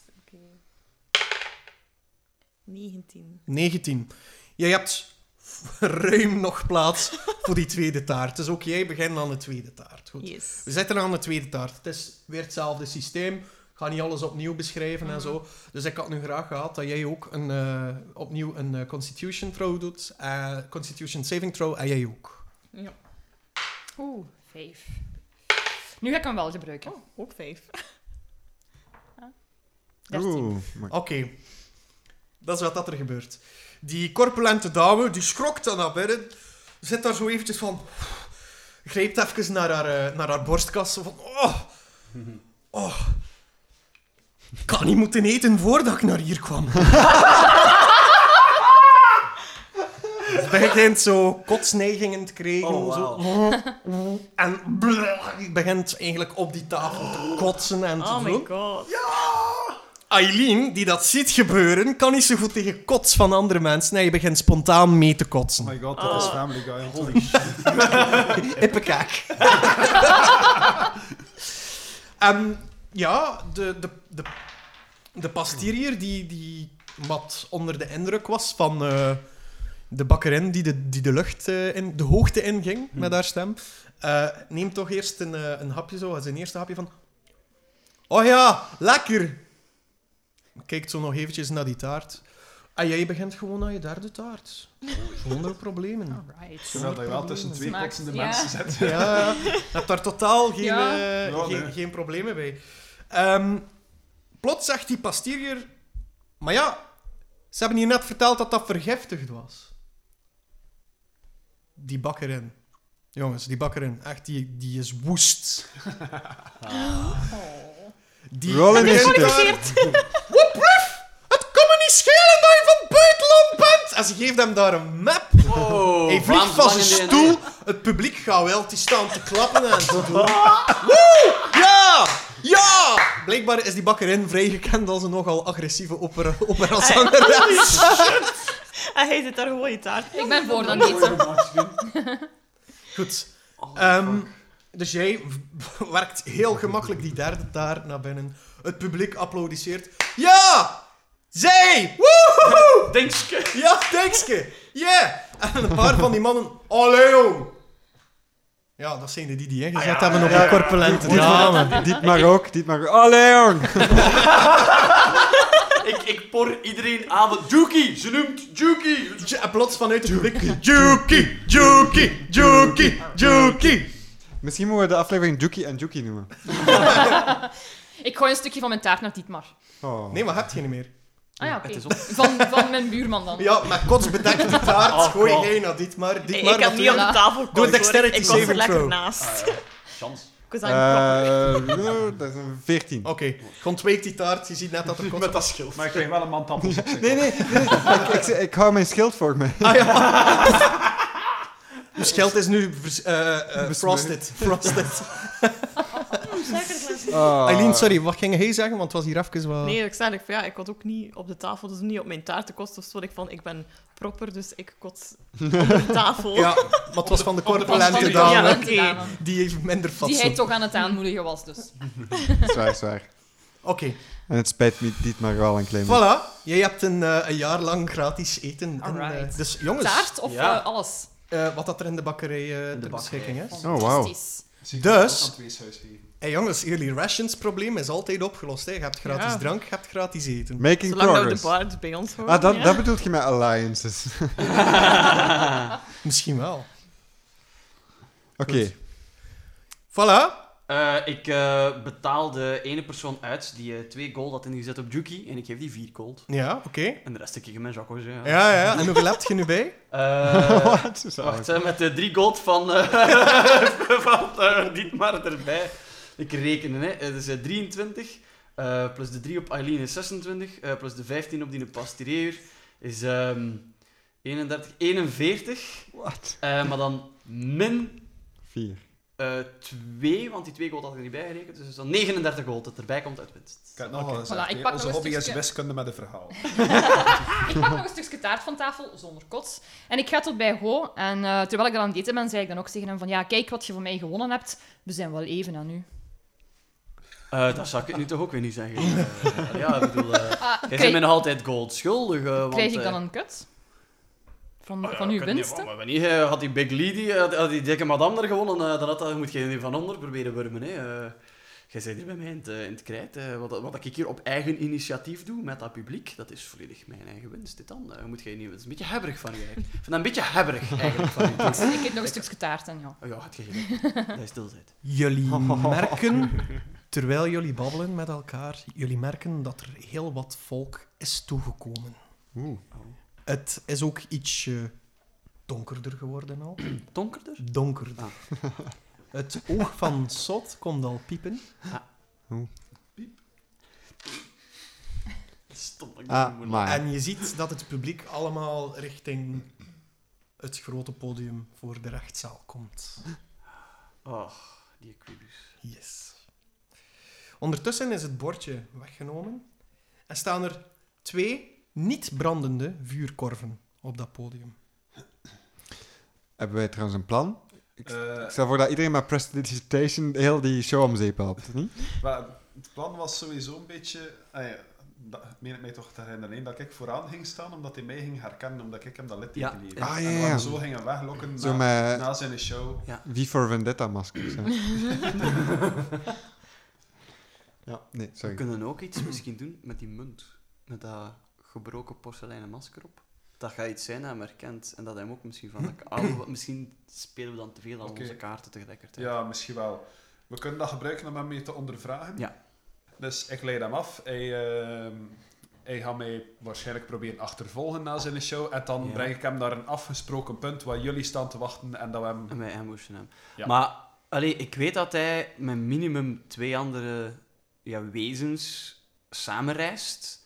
Speaker 6: 19.
Speaker 2: 19. Jij hebt ruim nog plaats voor die tweede taart. Dus ook jij begint aan de tweede taart. Goed.
Speaker 6: Yes.
Speaker 2: We zitten aan de tweede taart. Het is weer hetzelfde systeem. Ik ga niet alles opnieuw beschrijven en zo. Dus ik had nu graag gehad dat jij ook een, eh, opnieuw een eh, Constitution throw doet. eh, constitution saving throw en jij ook.
Speaker 6: Ja.
Speaker 3: Oeh, 5. Nu ga ik hem wel gebruiken.
Speaker 6: Oh, ook 5.
Speaker 3: 13.
Speaker 5: maar-
Speaker 2: Oké. Dat is wat dat er gebeurt. Die corpulente dame, die schrokt dan naar binnen. Zit daar zo eventjes van... Grijpt even naar haar, eh, naar haar borstkas. zo Van, oh, oh. Ik had niet moeten eten voordat ik naar hier kwam. begint zo kotsneigingen te krijgen.
Speaker 1: Oh,
Speaker 2: zo. En blah, begint eigenlijk op die tafel te kotsen en te
Speaker 6: Oh my
Speaker 2: doen.
Speaker 6: god.
Speaker 2: Aileen, die dat ziet gebeuren, kan niet zo goed tegen kots van andere mensen. Nee, je begint spontaan mee te
Speaker 4: Oh
Speaker 2: kotsen.
Speaker 4: my god, dat is Family Guy. Holy
Speaker 2: Ippekaak. en Ehm, ja, de, de, de, de pastirier die, die wat onder de indruk was van eh, de bakkerin die de, die de lucht eh, in, de hoogte inging met haar stem, eh, neemt toch eerst een, eh, een hapje zo, zijn eerste hapje van... Oh ja, lekker! Kijkt zo nog eventjes naar die taart. En jij begint gewoon aan je derde taart. Zonder problemen.
Speaker 3: Alright.
Speaker 4: Terwijl dat je wel tussen twee
Speaker 3: Smaakt-
Speaker 4: kotsende
Speaker 3: ja.
Speaker 4: mensen zit.
Speaker 2: Ja, je hebt daar totaal geen,
Speaker 3: Ja.
Speaker 2: eh,
Speaker 4: Ja,
Speaker 2: geen,
Speaker 4: nee.
Speaker 2: geen problemen bij. Ehm, plots zegt die pastierier... Maar ja, ze hebben hier net verteld dat dat vergiftigd was. Die bakkerin. Jongens, die bakkerin. Echt, die, die is woest. Die
Speaker 5: Rollen
Speaker 2: begint
Speaker 5: is het.
Speaker 2: daar- Woep, woep. Het kan me niet schelen dat je van buitenland bent! En ze geeft hem daar een map.
Speaker 1: Oh,
Speaker 2: Hij vliegt
Speaker 1: Vlaams
Speaker 2: van
Speaker 1: Belang
Speaker 2: zijn
Speaker 1: en DNA.
Speaker 2: stoel. Het publiek gaat wel, die staan te klappen en te doen. Woe! Ja! Ja! Blijkbaar is die bakkerin vrij gekend als een nogal agressieve opera operazangeres.
Speaker 6: En hij zit daar gewoon je taart.
Speaker 3: Ik ben voor dan eten.
Speaker 2: Goed.
Speaker 1: Oh,
Speaker 2: ehm,
Speaker 1: fuck.
Speaker 2: dus jij w- werkt heel gemakkelijk die derde taart naar binnen. Het publiek applaudisseert. Ja! Zij! Woehoe!
Speaker 1: Denkske.
Speaker 2: Ja, tekstje. Yeah. En een paar van die mannen... Allee, joh. Ja, dat zijn de die die ingezet hebben op
Speaker 5: ja,
Speaker 2: een
Speaker 5: ja.
Speaker 2: corpulente
Speaker 5: Dit
Speaker 2: dame.
Speaker 5: maar, dit maar ook, dit maar ook. Allee, jong!
Speaker 1: Ik, ik por iedereen aan. want Juki, ze noemt Juki.
Speaker 2: Ju- En plots vanuit het publiek... Juki, Juki, Juki, Juki.
Speaker 5: Misschien moeten we de aflevering Juki en Juki noemen.
Speaker 3: Ik gooi een stukje van mijn taart naar Dietmar.
Speaker 5: Oh.
Speaker 2: Nee, maar heb je niet meer.
Speaker 3: Ah ja, oké.
Speaker 1: Het is op.
Speaker 3: Van, van mijn buurman dan.
Speaker 2: Ja, met kots bedekte taart
Speaker 1: Oh,
Speaker 2: gooi
Speaker 1: God.
Speaker 2: jij nou naar Dietmar.
Speaker 6: Ik
Speaker 2: Dietmar
Speaker 6: had niet
Speaker 2: natuurlijk-
Speaker 6: op de tafel gekomen.
Speaker 2: een dexterity
Speaker 6: Ik was er
Speaker 2: saving
Speaker 6: lekker
Speaker 2: throw.
Speaker 6: naast.
Speaker 1: Chans.
Speaker 6: Ik was aan het proppen.
Speaker 5: Eh, ja, dat is een 14.
Speaker 2: Oké, ontweek die taart. Je ziet net dat er kots...
Speaker 1: dat schild.
Speaker 4: Maar ik kreeg wel een man tampons op zich.
Speaker 5: Nee, nee, nee. ik, ik, ik hou mijn schild voor me.
Speaker 2: Ah, ja. Uw schild is nu vers- eh, eh, frosted. Frosted.
Speaker 5: Oh.
Speaker 2: Eileen, sorry, wat ging hij zeggen? Want het was hier even wat...
Speaker 6: Nee, ik zei eigenlijk van ja, ik had ook niet op de tafel, dus niet op mijn taart te kosten of zo. Ik van, ik ben proper, dus ik kot op de tafel.
Speaker 2: Ja, maar het was van de
Speaker 3: Van
Speaker 2: corpulente
Speaker 3: de
Speaker 2: dame.
Speaker 6: Ja.
Speaker 3: corpulente dame.
Speaker 2: Die heeft minder vat.
Speaker 3: Die
Speaker 2: zo.
Speaker 3: hij
Speaker 2: Oké.
Speaker 3: toch aan het aanmoedigen was, dus.
Speaker 5: Zwaar, zwaar. En het spijt me dit maar wel een klein beetje.
Speaker 2: Voilà. Jij hebt een, eh, een jaar lang gratis eten. En, eh,
Speaker 3: Alright.
Speaker 2: dus jongens,
Speaker 3: Taart of
Speaker 1: Ja.
Speaker 3: eh, alles?
Speaker 2: eh, wat dat er in de bakkerij eh, ter
Speaker 1: bakkerij.
Speaker 2: beschikking is.
Speaker 5: wauw.
Speaker 3: Fantastisch.
Speaker 2: Dus-
Speaker 4: Aan
Speaker 2: Hey jongens, jullie rations probleem is altijd opgelost. Hè. Je hebt gratis
Speaker 6: Ja.
Speaker 2: drank, je hebt gratis eten.
Speaker 5: Making
Speaker 6: Zolang dat we de
Speaker 5: progress.
Speaker 6: baard bij ons houden.
Speaker 5: Ah, dat,
Speaker 6: ja.
Speaker 5: dat bedoelt je met alliances. Oké.
Speaker 2: Misschien wel. Voilà.
Speaker 1: Eh, ik eh, betaal de ene persoon uit die eh, twee gold had ingezet op Juki. En ik geef die vier gold.
Speaker 2: Ja, oké.
Speaker 1: En de rest heb ik in mijn zakko's. Ja.
Speaker 2: Ja, ja. En hoeveel heb je nu bij?
Speaker 1: Eh,
Speaker 5: Wat? Zo.
Speaker 1: wacht, eh, met de drie gold van, eh van eh, Dietmar erbij. Ik reken, hè. Het is eh, 23. eh, plus de 3 op Aileen is 26. eh, plus de 15 op die pastireer is ehm 31. 41.
Speaker 5: Wat?
Speaker 1: eh, maar dan min
Speaker 5: Vier.
Speaker 1: eh 2, want die 2 gold had ik er niet bij gerekend. Dus dan 39 gold dat erbij komt uit winst.
Speaker 4: Ik heb het nog wel eens
Speaker 3: Voilà,
Speaker 4: gezegd,
Speaker 3: ik
Speaker 4: hè.
Speaker 3: pak
Speaker 4: Onze
Speaker 3: nog een
Speaker 4: hobby is
Speaker 3: stukje.
Speaker 4: wiskunde met een verhaal.
Speaker 3: Ik pak nog een stukje taart van tafel, zonder kots. En ik ga tot bij Ho. En eh, terwijl ik dan aan het eten ben, zei ik dan ook tegen hem van... Ja, kijk wat je voor mij gewonnen hebt. We zijn wel even aan u.
Speaker 1: Eh, dat zou ik nu toch ook weer niet zeggen. Eh, ja, ik bedoel, eh
Speaker 3: Ah,
Speaker 1: jij
Speaker 3: krijg-
Speaker 1: bent mij nog altijd gold schuldig. eh, want,
Speaker 3: Krijg ik
Speaker 1: eh,
Speaker 3: dan een kut? Van,
Speaker 1: ah, ja,
Speaker 3: van uw
Speaker 1: ik weet niet,
Speaker 3: winsten?
Speaker 1: Maar wanneer eh, had die Big Lady, eh, had die dikke madame daar gewonnen, eh, dan had, dat- moet je niet van onder proberen wurmen. Hè. Eh, jij zit hier bij mij in het, eh, in het krijt. eh, wat, wat ik hier op eigen initiatief doe met dat publiek, dat is volledig mijn eigen winst. Dit dan, eh, moet je niet, het is een beetje hebberig van je eigenlijk. Ik vind dat een beetje hebberig eigenlijk van je.
Speaker 3: Ik heb nog een stukje taart en ja.
Speaker 1: Oh ja, had je gelijk. Dat is stilzijn.
Speaker 2: Jullie merken, terwijl jullie babbelen met elkaar, jullie merken dat er heel wat volk is toegekomen.
Speaker 5: Oeh.
Speaker 2: Het is ook ietsje donkerder geworden al.
Speaker 1: Donkerder?
Speaker 2: Donkerder. Het oog van Sot komt al piepen.
Speaker 1: Stom, ik
Speaker 5: Ah, maar. Ah,
Speaker 2: En je ziet dat het publiek allemaal richting het grote podium voor de rechtszaal komt.
Speaker 1: Oh, die Quibus.
Speaker 2: Yes. Ondertussen is het bordje weggenomen en staan er twee niet brandende vuurkorven op dat podium.
Speaker 5: Hebben wij trouwens een plan? Ik,
Speaker 4: Eh,
Speaker 5: ik stel voor dat iedereen met prestidigitation heel die show om zeep helpt, niet?
Speaker 4: Maar het plan was sowieso een beetje... Ah ja, dat meen ik mij toch te herinneren. hè, Dat ik vooraan ging staan, omdat hij mij ging herkennen, omdat ik hem dat litteken
Speaker 1: Ja.
Speaker 4: hier.
Speaker 1: Ah,
Speaker 5: ja,
Speaker 4: En we
Speaker 5: ja.
Speaker 4: hem zo gingen weglokken
Speaker 5: Zo
Speaker 4: na,
Speaker 5: met
Speaker 4: na zijn show.
Speaker 5: Wie voor Vendetta maskers. hè. ja, nee,
Speaker 1: We
Speaker 5: sorry.
Speaker 1: kunnen ook iets misschien doen met die munt. Met dat gebroken porseleinen masker op. Dat gaat iets zijn dat hem herkent. En dat hij hem ook misschien van... de- Ah, wat- misschien spelen we dan te veel aan
Speaker 4: Oké.
Speaker 1: onze kaarten tegelijkertijd.
Speaker 4: Ja, misschien wel. We kunnen dat gebruiken om hem mee te ondervragen.
Speaker 1: Ja.
Speaker 4: Dus ik leid hem af. Hij, ehm, hij gaat mij waarschijnlijk proberen achtervolgen na zijn show. En dan
Speaker 1: Ja.
Speaker 4: breng ik hem naar een afgesproken punt waar jullie staan te wachten en dat we hem...
Speaker 1: En wij ambushen hem.
Speaker 4: Ja.
Speaker 1: Maar allee, ik weet dat hij met minimum twee andere ja, wezens samenreist.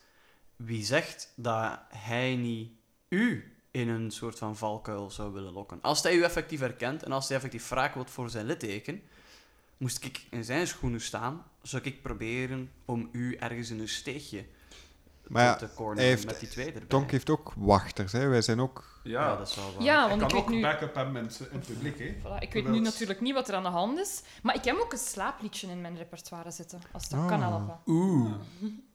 Speaker 1: Wie zegt dat hij niet u in een soort van valkuil zou willen lokken? Als hij u effectief herkent en als hij effectief wraak wordt voor zijn litteken, moest ik in zijn schoenen staan, zou ik proberen om u ergens in een steegje
Speaker 5: Maar ja,
Speaker 1: te corneren
Speaker 5: hij heeft-
Speaker 1: met die twee erbij.
Speaker 5: Tonk heeft ook wachters, hè. Wij zijn ook...
Speaker 1: ja.
Speaker 4: Ja,
Speaker 1: dat is wel waar.
Speaker 3: Ja,
Speaker 4: ik
Speaker 3: Ah, want
Speaker 4: kan
Speaker 3: ik weet
Speaker 4: ook
Speaker 3: nu...
Speaker 4: backup hebben in, in het publiek, hè.
Speaker 3: Voilà, ik weet nu
Speaker 4: Wilt.
Speaker 3: natuurlijk niet wat er aan de hand is, maar ik heb ook een slaapliedje in mijn repertoire zitten, als dat
Speaker 5: Ah.
Speaker 3: kan helpen.
Speaker 1: Oeh,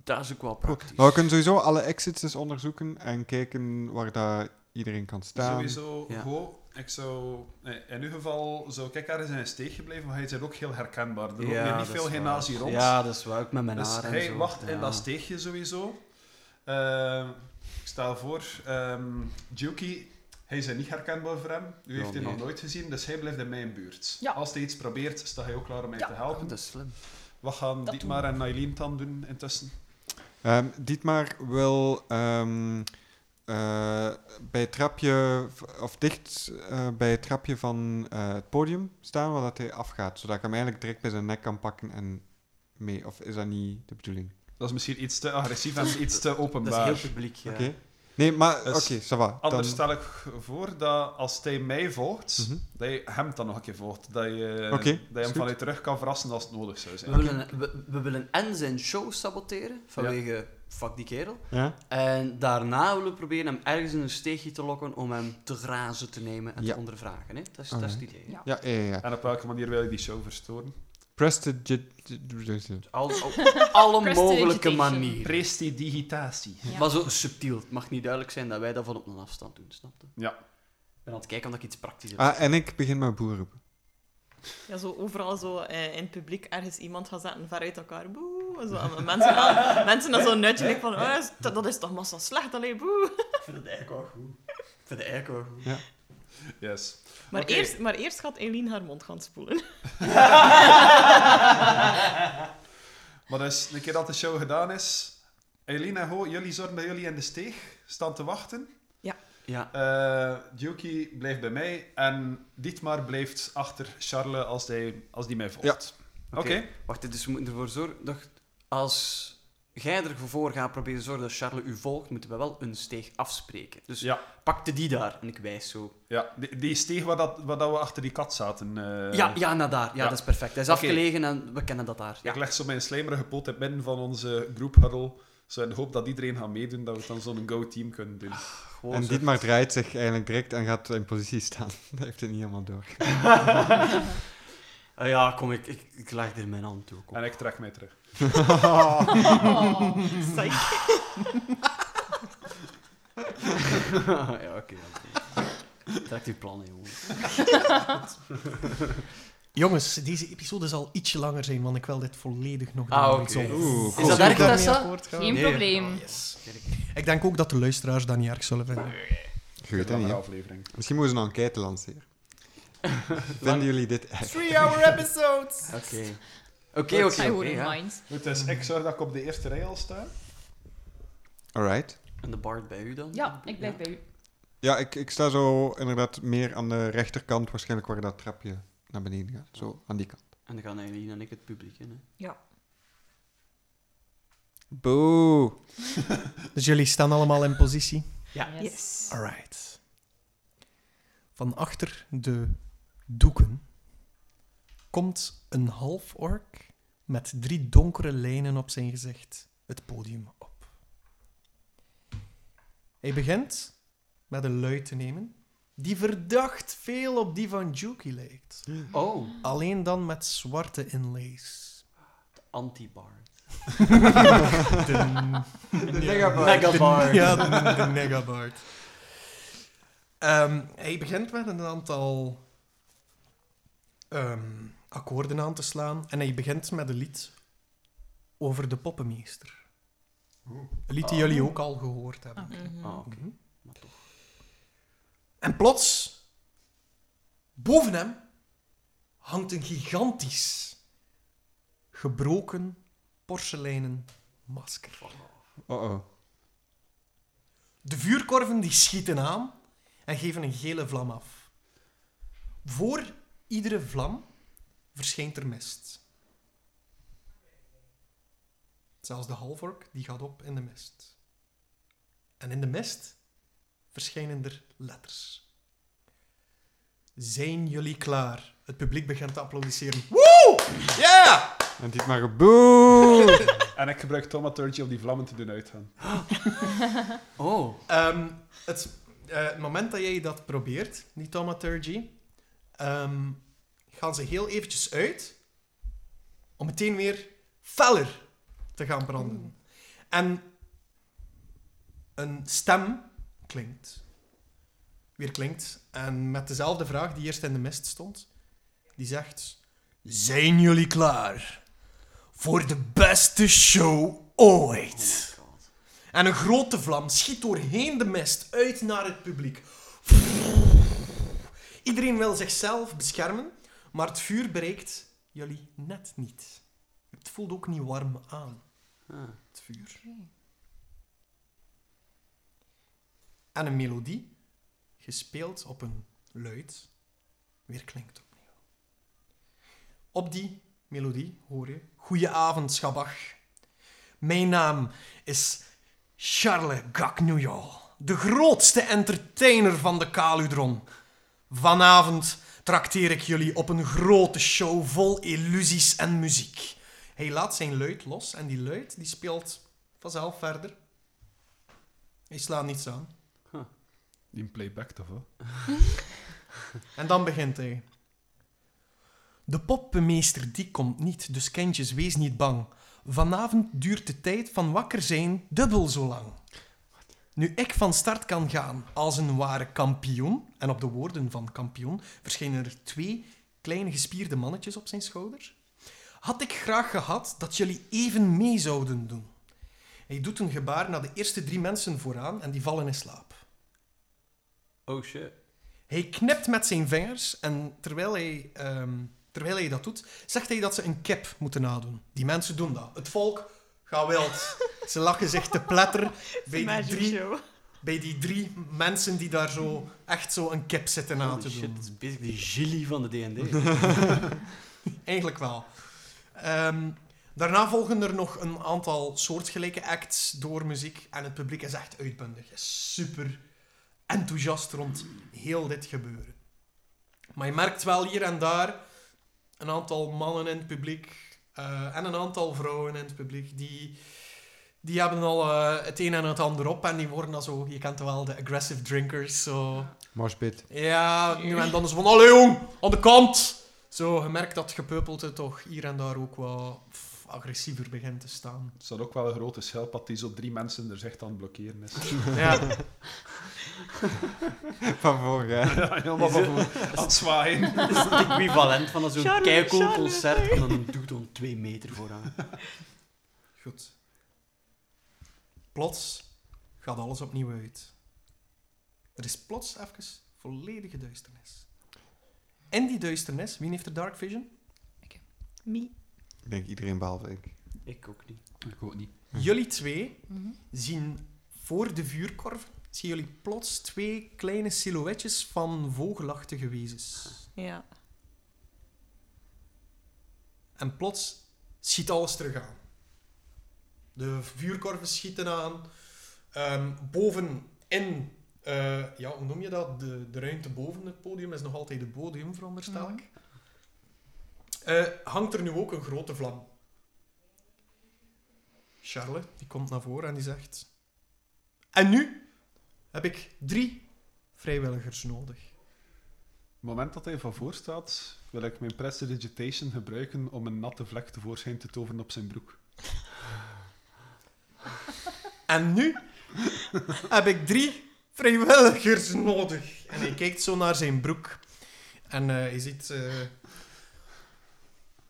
Speaker 1: dat is ook wel
Speaker 5: Cool.
Speaker 1: praktisch.
Speaker 5: Maar Nou, we kunnen sowieso alle exits eens onderzoeken en kijken waar dat iedereen kan staan.
Speaker 4: Sowieso,
Speaker 1: Ja.
Speaker 4: gewoon, ik zou... nee, In uw geval zou ik ergens in een steeg gebleven, maar hij is er ook heel herkenbaar. Er loopt hier niet
Speaker 1: dat is
Speaker 4: veel
Speaker 1: waar.
Speaker 4: genazie rond.
Speaker 1: Ja, dat is waar. Ook met mijn
Speaker 4: Dus
Speaker 1: haar en
Speaker 4: hij
Speaker 1: zo.
Speaker 4: wacht
Speaker 1: Ja.
Speaker 4: in dat steegje sowieso. Ehm, ik stel voor, ehm Juki, hij is niet herkenbaar voor hem. U
Speaker 1: Ja,
Speaker 4: heeft hij
Speaker 1: nee.
Speaker 4: nog nooit gezien, dus hij blijft in mijn buurt.
Speaker 3: Ja.
Speaker 4: Als hij iets probeert, sta hij ook klaar om mij
Speaker 3: Ja.
Speaker 4: te
Speaker 1: Oh,
Speaker 4: helpen.
Speaker 1: dat is slim.
Speaker 4: Wat gaan
Speaker 3: Dat
Speaker 4: Dietmar en Nailin dan doen intussen?
Speaker 5: Ehm, Dietmar wil ehm, eh, bij het trapje, v- of dicht eh, bij het trapje van eh, het podium staan waar dat hij afgaat, zodat ik hem eigenlijk direct bij zijn nek kan pakken en mee. Of is dat niet de bedoeling?
Speaker 4: Dat is misschien iets te agressief en iets te
Speaker 1: Dat is
Speaker 4: openbaar.
Speaker 1: heel publiek, ja.
Speaker 5: Oké. Nee, maar oké,
Speaker 4: Dus
Speaker 5: ça va.
Speaker 4: Anders
Speaker 5: dan-
Speaker 4: stel ik voor dat als hij mij volgt,
Speaker 5: Mhm.
Speaker 4: dat je hem dan nog een keer volgt. Dat je, dat
Speaker 5: Oké,
Speaker 4: je
Speaker 5: is
Speaker 4: hem
Speaker 5: goed.
Speaker 4: vanuit terug kan verrassen als het nodig zou
Speaker 1: We,
Speaker 4: zijn.
Speaker 1: willen, we, we willen en zijn show saboteren, vanwege fuck die kerel.
Speaker 5: Ja?
Speaker 1: En daarna willen we proberen hem ergens in een steegje te lokken om hem te grazen te nemen en
Speaker 5: Ja.
Speaker 1: te ondervragen. Hè? Dat, is, dat is het idee. hè.
Speaker 3: Ja.
Speaker 5: Ja, ja, ja. ja.
Speaker 4: En op welke manier wil je die show verstoren?
Speaker 5: Prestigi-
Speaker 1: Al, op alle mogelijke
Speaker 3: Prestidigitation.
Speaker 1: manieren.
Speaker 4: Prestidigitatie.
Speaker 3: Ja.
Speaker 1: Maar zo subtiel. Het mag niet duidelijk zijn dat wij dat van op een afstand doen, snapte?
Speaker 4: Ja.
Speaker 1: Ik ben aan het kijken of ik iets praktisch heb.
Speaker 5: Ah, en ik begin met boerroepen.
Speaker 6: Ja, zo overal zo eh, in het publiek ergens iemand gaat zetten ver uit elkaar. Boe. Zo, en mensen, dan, mensen dan zo nutje like van, "Ah, is- dat, dat is toch massa slecht, alleen boe.
Speaker 1: Ik vind het eigenlijk wel goed. Ik vind het eigenlijk wel goed.
Speaker 4: Yes.
Speaker 6: Maar,
Speaker 4: Oké.
Speaker 6: eerst, maar eerst gaat Eileen haar mond gaan spoelen.
Speaker 4: Maar dus, een keer dat de show gedaan is, Eileen en Ho, jullie zorgen dat jullie in de steeg staan te wachten.
Speaker 1: Ja,
Speaker 4: Eh Yuki blijft bij mij en Dietmar blijft achter Charles als die, als die mij volgt. Oké.
Speaker 1: Oké. Wacht, dus we moeten ervoor zorgen dat als jij ervoor gaat proberen te zorgen dat Charles u volgt, moeten we wel een steeg afspreken. Dus
Speaker 4: Ja.
Speaker 1: pakte die daar en ik wijs zo.
Speaker 4: Ja, die, die steeg waar, dat, waar dat we achter die kat zaten. eh,
Speaker 1: ja, ja, naar daar. Ja,
Speaker 4: ja.
Speaker 1: dat is perfect. Hij is
Speaker 4: Oké.
Speaker 1: afgelegen en we kennen dat daar. Ja.
Speaker 4: Ik leg zo mijn slijmerige poot in het midden van onze groephuddle. Zo in de hoop dat iedereen gaat meedoen, dat we dan zo'n go-team kunnen doen.
Speaker 1: Gewoon
Speaker 5: En
Speaker 1: zo.
Speaker 5: Dietmar draait zich eigenlijk direct en gaat in positie staan. Dat heeft hij niet helemaal door.
Speaker 1: Ah, ja, kom, ik, ik, ik leg er mijn hand toe. Kom.
Speaker 4: En ik trek mij terug.
Speaker 6: Oh, psych.
Speaker 1: ja, oké. oké. Trek uw plannen, jongen.
Speaker 2: Jongens, deze episode zal ietsje langer zijn, want ik wil dit volledig nog
Speaker 1: Ah,
Speaker 2: doen.
Speaker 1: oké.
Speaker 2: Zo.
Speaker 5: Oeh,
Speaker 1: Is dat erg, Tessa?
Speaker 3: Geen
Speaker 1: Nee. Oh,
Speaker 3: probleem.
Speaker 2: Yes. Ik denk ook dat de luisteraars dat niet erg zullen vinden.
Speaker 5: Je weet
Speaker 4: Een
Speaker 5: dat niet,
Speaker 4: andere
Speaker 5: hè?
Speaker 4: aflevering.
Speaker 5: Misschien moeten we een enquête lanceren. Vinden jullie dit echt?
Speaker 1: Oké. Oké,
Speaker 3: I
Speaker 1: oké, oké.
Speaker 3: wouldn't
Speaker 1: ja.
Speaker 3: mind.
Speaker 4: Goed, dus ik zorg dat ik op de eerste rij al sta.
Speaker 5: Alright.
Speaker 1: En de Bart bij u dan?
Speaker 3: Ja, ik blijf bij u.
Speaker 5: Ja, ik, ik sta zo inderdaad meer aan de rechterkant, waarschijnlijk waar dat trapje naar beneden gaat. Zo, aan die kant.
Speaker 1: En dan gaan Eileen en ik het publiek in. Hè.
Speaker 5: Boe!
Speaker 2: Dus jullie staan allemaal in positie.
Speaker 1: Ja.
Speaker 3: Yes.
Speaker 2: Alright. Van achter de doeken komt een half ork met drie donkere lijnen op zijn gezicht het podium op. Hij begint met een luid te nemen die verdacht veel op die van Juki lijkt.
Speaker 1: Oh,
Speaker 2: Alleen dan met zwarte inlays.
Speaker 1: anti-bar.
Speaker 2: De,
Speaker 5: Negabar.
Speaker 1: Megabar.
Speaker 2: de- ja, de, de Negabar. Ehm, hij begint met een aantal ehm, akkoorden aan te slaan. En hij begint met een lied over de poppenmeester. Een lied die
Speaker 1: Oh.
Speaker 2: jullie ook al gehoord hebben.
Speaker 6: Mhm.
Speaker 1: Ah, oké.
Speaker 2: Mhm.
Speaker 1: Maar toch.
Speaker 2: En plots, boven hem, hangt een gigantisch gebroken porseleinen masker.
Speaker 5: Oh-oh.
Speaker 2: De vuurkorven die schieten aan en geven een gele vlam af. Voor iedere vlam verschijnt er mist. Zelfs de halvork die gaat op in de mist. En in de mist verschijnen er letters. Zijn jullie klaar? Het publiek begint te applaudisseren. Woe! Yeah!
Speaker 5: En dit maar boe!
Speaker 4: En ik gebruik Tomaturgy om die vlammen te doen uitgaan.
Speaker 1: Oh,
Speaker 2: Ehm, het eh, moment dat jij dat probeert, die thaumaturgy, ehm, gaan ze heel eventjes uit om meteen weer feller te gaan branden. En een stem klinkt. Weer klinkt. En met dezelfde vraag die eerst in de mist stond. Die zegt... Zijn jullie klaar voor de beste show ooit?
Speaker 1: Oh god.
Speaker 2: En een grote vlam schiet doorheen de mist uit naar het publiek. Iedereen wil zichzelf beschermen, maar het vuur bereikt jullie net niet. Het voelt ook niet warm aan,
Speaker 1: Ah.
Speaker 2: het vuur. En een melodie, gespeeld op een luid, weer klinkt opnieuw. Op die melodie hoor je... Goedenavond, Schabach. Mijn naam is Charles Gagnouyal, de grootste entertainer van de Kaludron. Vanavond trakteer ik jullie op een grote show vol illusies en muziek. Hij laat zijn luid los en die luid die speelt vanzelf verder. Hij slaat niets aan.
Speaker 4: Die een playback toch wel?
Speaker 2: En dan begint hij. De poppenmeester die komt niet, dus kindjes, wees niet bang. Vanavond duurt de tijd van wakker zijn dubbel zo lang. Nu ik van start kan gaan als een ware kampioen, en op de woorden van kampioen verschijnen er twee kleine gespierde mannetjes op zijn schouder, had ik graag gehad dat jullie even mee zouden doen. Hij doet een gebaar naar de eerste drie mensen vooraan en die vallen in slaap.
Speaker 1: Oh shit.
Speaker 2: Hij knipt met zijn vingers en terwijl hij, ehm, terwijl hij dat doet, zegt hij dat ze een kip moeten nadoen. Die mensen doen dat. Het volk gaat wild. ze lachen zich te platter bij die,
Speaker 6: Magic
Speaker 2: drie,
Speaker 6: show.
Speaker 2: bij die drie mensen die daar zo echt zo een kip zitten na
Speaker 1: Holy
Speaker 2: te
Speaker 1: shit,
Speaker 2: doen.
Speaker 1: het is basically Gilly van de D&D.
Speaker 2: Eigenlijk wel. Ehm, daarna volgen er nog een aantal soortgelijke acts door muziek. En het publiek is echt uitbundig. Is super enthousiast rond heel dit gebeuren. Maar je merkt wel hier en daar een aantal mannen in het publiek eh, en een aantal vrouwen in het publiek die, die hebben al eh, het een en het ander op en die worden dan zo, je kent wel, de aggressive drinkers. Zo.
Speaker 5: Morsbit.
Speaker 2: Ja, nu en dan is van, allee jong, aan de kant. Zo, je merkt dat gepeupelte toch hier en daar ook wat pff, agressiever begint te staan.
Speaker 4: Het staat ook wel een grote schelpad die zo drie mensen er zicht aan het blokkeren is.
Speaker 2: Ja,
Speaker 5: Van vorig jaar.
Speaker 4: Helemaal van voor- aan het zwaaien.
Speaker 1: Dat is het equivalent van zo'n
Speaker 6: Charlie,
Speaker 1: keikoel
Speaker 6: Charlie,
Speaker 1: concert en dan een doodon twee meter vooraan.
Speaker 2: goed. Plots gaat alles opnieuw uit. Er is plots even volledige duisternis. En die duisternis, wie heeft er dark vision?
Speaker 6: Me.
Speaker 5: Ik denk iedereen behalve ik.
Speaker 1: Ik ook niet.
Speaker 4: Ik ook niet.
Speaker 2: Jullie twee
Speaker 3: Mhm.
Speaker 2: zien voor de vuurkorf, zien jullie plots twee kleine silhouetjes van vogelachtige wezens.
Speaker 6: Ja.
Speaker 2: En plots schiet alles terug aan. De vuurkorven schieten aan. Ehm boven in eh, eh, ja, hoe noem je dat? De, de ruimte boven het podium is nog altijd het podium, veronderstel ik. Eh, hangt er nu ook een grote vlam? Charlotte, die komt naar voren en die zegt... En nu heb ik drie vrijwilligers nodig.
Speaker 4: het moment dat hij van voor staat, wil ik mijn prestidigitation gebruiken om een natte vlek tevoorschijn te toveren op zijn broek.
Speaker 2: En nu heb ik drie vrijwilligers nodig. En hij kijkt zo naar zijn broek. En eh, hij ziet... eh,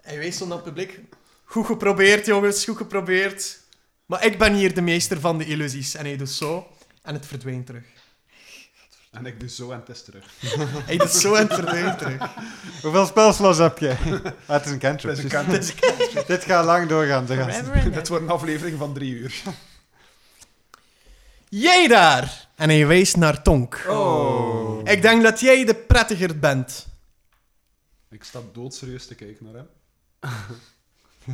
Speaker 2: hij wijst zo naar het publiek. Goed geprobeerd, jongens. Goed geprobeerd. Maar ik ben hier de meester van de illusies. En hij doet zo. En het verdwijnt terug.
Speaker 4: En ik doe zo en het is terug.
Speaker 2: Hij doet zo en het verdwijnt terug.
Speaker 5: Hoeveel spelslots heb je? Ah, het is een cantrip.
Speaker 4: Het is een
Speaker 5: dus
Speaker 4: kant.
Speaker 5: dit gaat lang doorgaan, de gast.
Speaker 6: Forever and
Speaker 4: Dit
Speaker 6: ever.
Speaker 4: wordt een aflevering van drie uur.
Speaker 2: Jij daar! En hij wijst naar Tonk.
Speaker 5: Oh.
Speaker 2: Ik denk dat jij de prettiger bent.
Speaker 4: Ik sta doodserieus te kijken naar hem.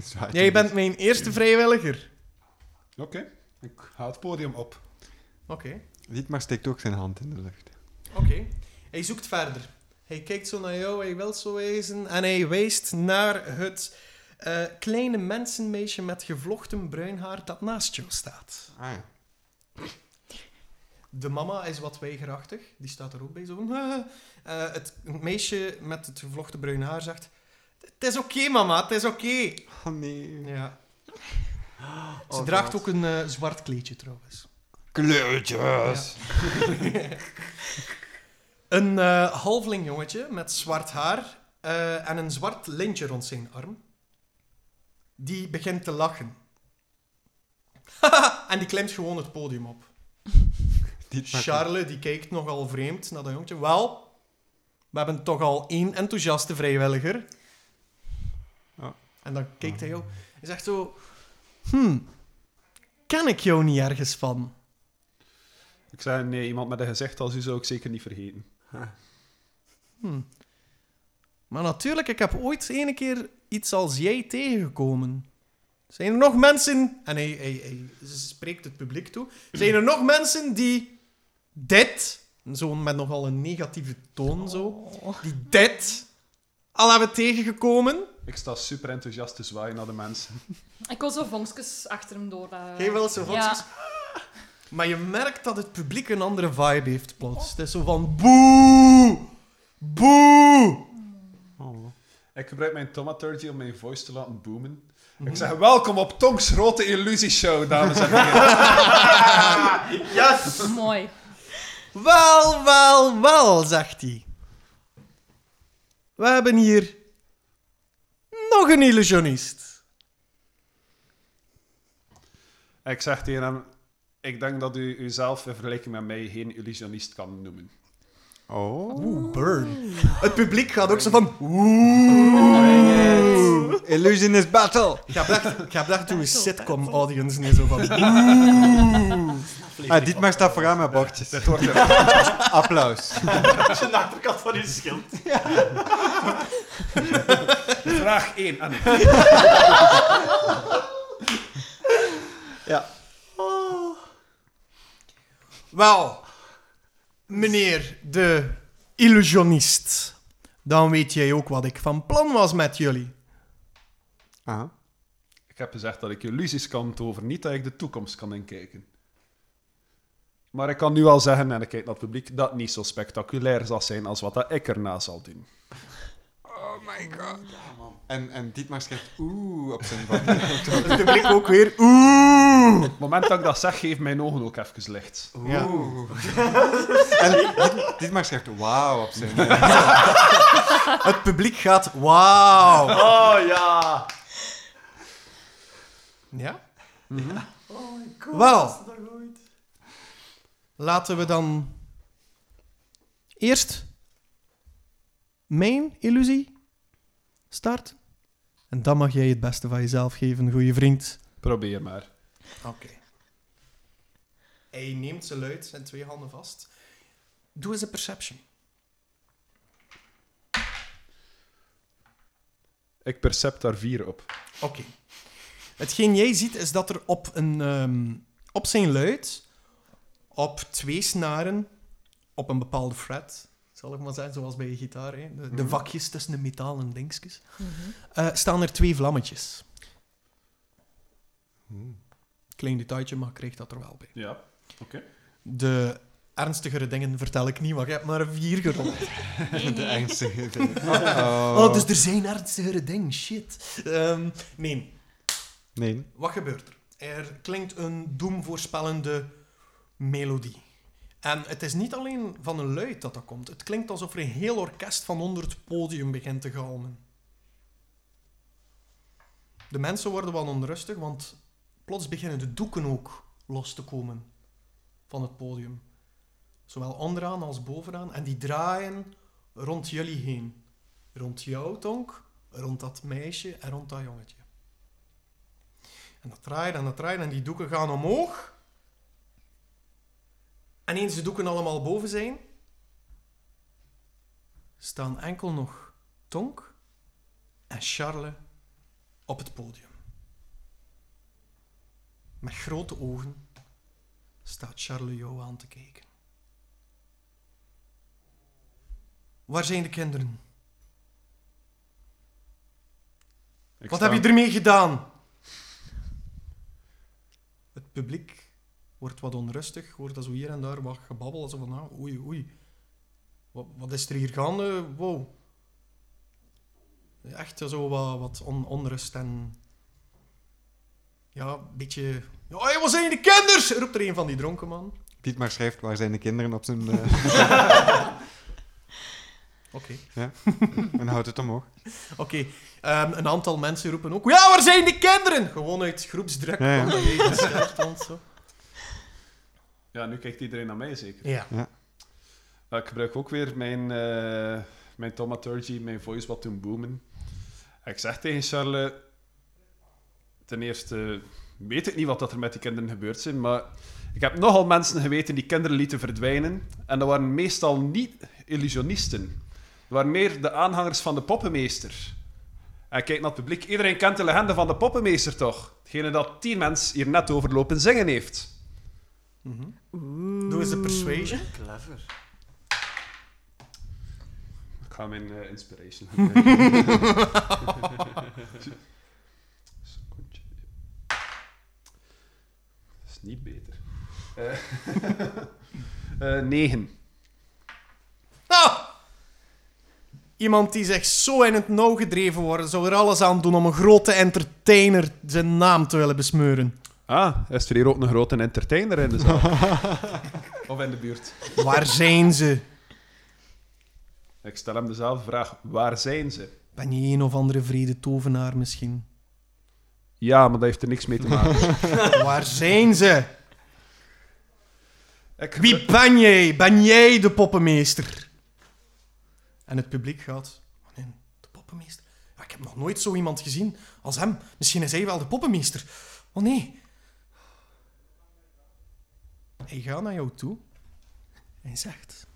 Speaker 5: Zwaait
Speaker 2: Jij
Speaker 5: hem
Speaker 2: bent mijn eerste vrijwilliger.
Speaker 4: Oké, ik ga het podium op.
Speaker 2: Oké.
Speaker 5: niet. Dietmar steekt ook zijn hand in de lucht.
Speaker 2: Oké. Hij zoekt verder. Hij kijkt zo naar jou, hij wil zo wijzen. En hij wijst naar het eh, kleine mensenmeisje met gevlochten bruin haar dat naast jou staat.
Speaker 5: Ah ja.
Speaker 2: De mama is wat weigerachtig. Die staat er ook bij zo. van, Eh, het meisje met het gevlochten bruin haar zegt... Het is oké, mama. Het is oké.
Speaker 5: Oh nee.
Speaker 2: Ja. Ze
Speaker 1: Oh,
Speaker 2: draagt
Speaker 1: God.
Speaker 2: ook een eh, zwart kleedje, trouwens.
Speaker 5: Kleurtjes.
Speaker 2: Een eh, halfling jongetje met zwart haar eh, en een zwart lintje rond zijn arm. Die begint te lachen. en die klimt gewoon het podium op.
Speaker 5: Dietmar
Speaker 2: Charles die kijkt nogal vreemd naar dat jongetje. Wel, we hebben toch al één enthousiaste vrijwilliger.
Speaker 5: Ja.
Speaker 2: En dan kijkt hij jou en zegt zo... Hmm, ken ik jou niet ergens van?
Speaker 4: Ik zei, nee, iemand met een gezicht als u zou ik zeker niet vergeten.
Speaker 2: Hmm. Maar natuurlijk, ik heb ooit ene keer iets als jij tegengekomen. Zijn er nog mensen... En hij, hij, hij ze spreekt het publiek toe. Zijn er nog mensen die dit... Zo met nogal een negatieve toon, zo. Die dit al hebben tegengekomen.
Speaker 4: Ik sta super enthousiast te zwaaien naar de mensen.
Speaker 3: Ik wil zo vonkjes achter hem door. eh.
Speaker 2: Geen wel zo van...
Speaker 3: Ja.
Speaker 2: Maar je merkt dat het publiek een andere vibe heeft plots. Het is zo van... Boe! Boe!
Speaker 5: Oh.
Speaker 4: Ik gebruik mijn tomaturgy om mijn voice te laten boomen.
Speaker 6: Mhm.
Speaker 4: Ik zeg, welkom op Tonks Grote Illusieshow, dames en heren.
Speaker 2: Yes!
Speaker 3: Mooi.
Speaker 2: Wel, wel, wel, zegt hij. We hebben hier nog een illusionist.
Speaker 4: ik zeg tegen hem, ik denk dat u uzelf in vergelijking met mij geen illusionist kan noemen.
Speaker 5: Oh.
Speaker 2: Oeh, burn. Het publiek gaat ook zo van...
Speaker 5: Illusionist battle.
Speaker 2: Ik heb echt- ik heb echt een sitcom audience nu zo van...
Speaker 5: Ah, Dietmar staat vooraan met bordjes.
Speaker 4: Dit wordt een,
Speaker 7: Dat
Speaker 5: Applaus.
Speaker 7: is de achterkant van uw schild.
Speaker 4: vraag 1 aan u.
Speaker 2: Wel, meneer de illusionist. Dan weet jij ook wat ik van plan was met jullie.
Speaker 5: Aha.
Speaker 4: Ik heb gezegd dat ik illusies kan toveren, niet dat ik de toekomst kan inkijken. Maar ik kan nu al zeggen, en ik kijk naar het publiek, dat het niet zo spectaculair zal zijn als wat dat ik erna zal doen.
Speaker 5: Oh my god.
Speaker 1: man.
Speaker 5: En, en Dietmar schrijft oeh op zijn bord.
Speaker 2: Het publiek ook weer... Oeh!
Speaker 4: Op het moment dat ik dat zeg, geef mijn ogen ook even licht.
Speaker 2: Ja.
Speaker 5: en Diet- Dietmar schrijft wauw op zijn bord.
Speaker 2: Het publiek gaat... Wauw!
Speaker 7: Oh ja.
Speaker 2: Ja? Mhm. Wel. Laten we dan eerst mijn illusie starten. En dan mag jij het beste van jezelf geven, goede vriend.
Speaker 4: Probeer maar.
Speaker 2: Oké. Hij neemt ze luid en twee handen vast. Doe eens een perception.
Speaker 4: Ik percept daar vier op.
Speaker 2: Oké. Hetgeen jij ziet is dat er op, een, ehm, op zijn luid, op twee snaren, op een bepaalde fret, zal ik maar zeggen, zoals bij je gitaar. Hè. De, de
Speaker 5: Mhm.
Speaker 2: vakjes tussen de metaal en dingetjes.
Speaker 3: Mhm.
Speaker 2: Eh, staan er twee vlammetjes.
Speaker 5: Hmm.
Speaker 2: Klein detailtje, maar ik kreeg dat er wel bij.
Speaker 4: Ja.
Speaker 2: De ernstigere dingen vertel ik niet, want ik heb maar vier gerold.
Speaker 5: De ernstige. de-
Speaker 2: Oh. dus er zijn ernstigere dingen, shit. Ehm, nee,
Speaker 5: Nee.
Speaker 2: wat gebeurt er? Er klinkt een doemvoorspellende melodie. En het is niet alleen van een luid dat dat komt. Het klinkt alsof er een heel orkest van onder het podium begint te galmen. De mensen worden wel onrustig, want plots beginnen de doeken ook los te komen van het podium. Zowel onderaan als bovenaan. En die draaien rond jullie heen. Rond jou, Tonk, rond dat meisje en rond dat jongetje. En dat draait en dat draait en die doeken gaan omhoog. En eens de doeken allemaal boven zijn, staan enkel nog Tonk en Charles op het podium. Met grote ogen staat Charles jou aan te kijken. Waar zijn de kinderen?
Speaker 4: Ik
Speaker 2: Wat
Speaker 4: sta-
Speaker 2: heb je ermee gedaan? Het publiek wordt wat onrustig, hoort dat zo hier en daar wat gebabbel, alsof van, ah, oei, oei. Wat, wat is er hier gaande? Wow. Echt zo wat, wat on- onrust en... Ja, een beetje... Hoi, wat zijn de kinders? roept er een van die dronken man.
Speaker 5: Piet maar schrijft waar zijn de kinderen op zijn. eh,
Speaker 2: Oké.
Speaker 5: en houdt het omhoog.
Speaker 2: Oké, ehm, een aantal mensen roepen ook... Ja, waar zijn de kinderen? Gewoon uit groepsdruk,
Speaker 5: Ja, ja.
Speaker 2: omdat jij gescherpt want zo.
Speaker 4: Ja, nu kijkt iedereen naar mij zeker.
Speaker 2: Ja.
Speaker 4: Ja, ik gebruik ook weer mijn, eh mijn thaumaturgy, mijn voice wat doen boomen. En ik zeg tegen Charles, ten eerste weet ik niet wat dat er met die kinderen gebeurd zijn, maar ik heb nogal mensen geweten die kinderen lieten verdwijnen. En dat waren meestal niet illusionisten. Dat waren meer de aanhangers van de poppenmeester. En kijk naar het publiek. Iedereen kent de legende van de poppenmeester, toch? Degene dat tien mensen hier net overlopen zingen heeft.
Speaker 2: Mhm. Doe eens de persuasion.
Speaker 1: Clever.
Speaker 4: Ik ga mijn eh, inspiration gebruiken. Secondje. Dat is niet beter. Eh, eh, negen.
Speaker 2: Ah! Iemand die zich zo in het nauw gedreven wordt, zou er alles aan doen om een grote entertainer zijn naam te willen besmeuren.
Speaker 4: Ah, is er hier ook een grote entertainer in de zaal? of in de buurt?
Speaker 2: Waar zijn ze?
Speaker 4: Ik stel hem dezelfde vraag. Waar zijn ze?
Speaker 2: Ben je een of andere vrede tovenaar misschien?
Speaker 4: Ja, maar dat heeft er niks mee te maken.
Speaker 2: Waar zijn ze?
Speaker 4: Ik
Speaker 2: Wie ben jij? Ben jij de poppenmeester? En het publiek gaat... Meneer, de poppenmeester? Ja, ik heb nog nooit zo iemand gezien als hem. Misschien is hij wel de poppenmeester. Oh nee. Hij gaat naar jou toe en zegt...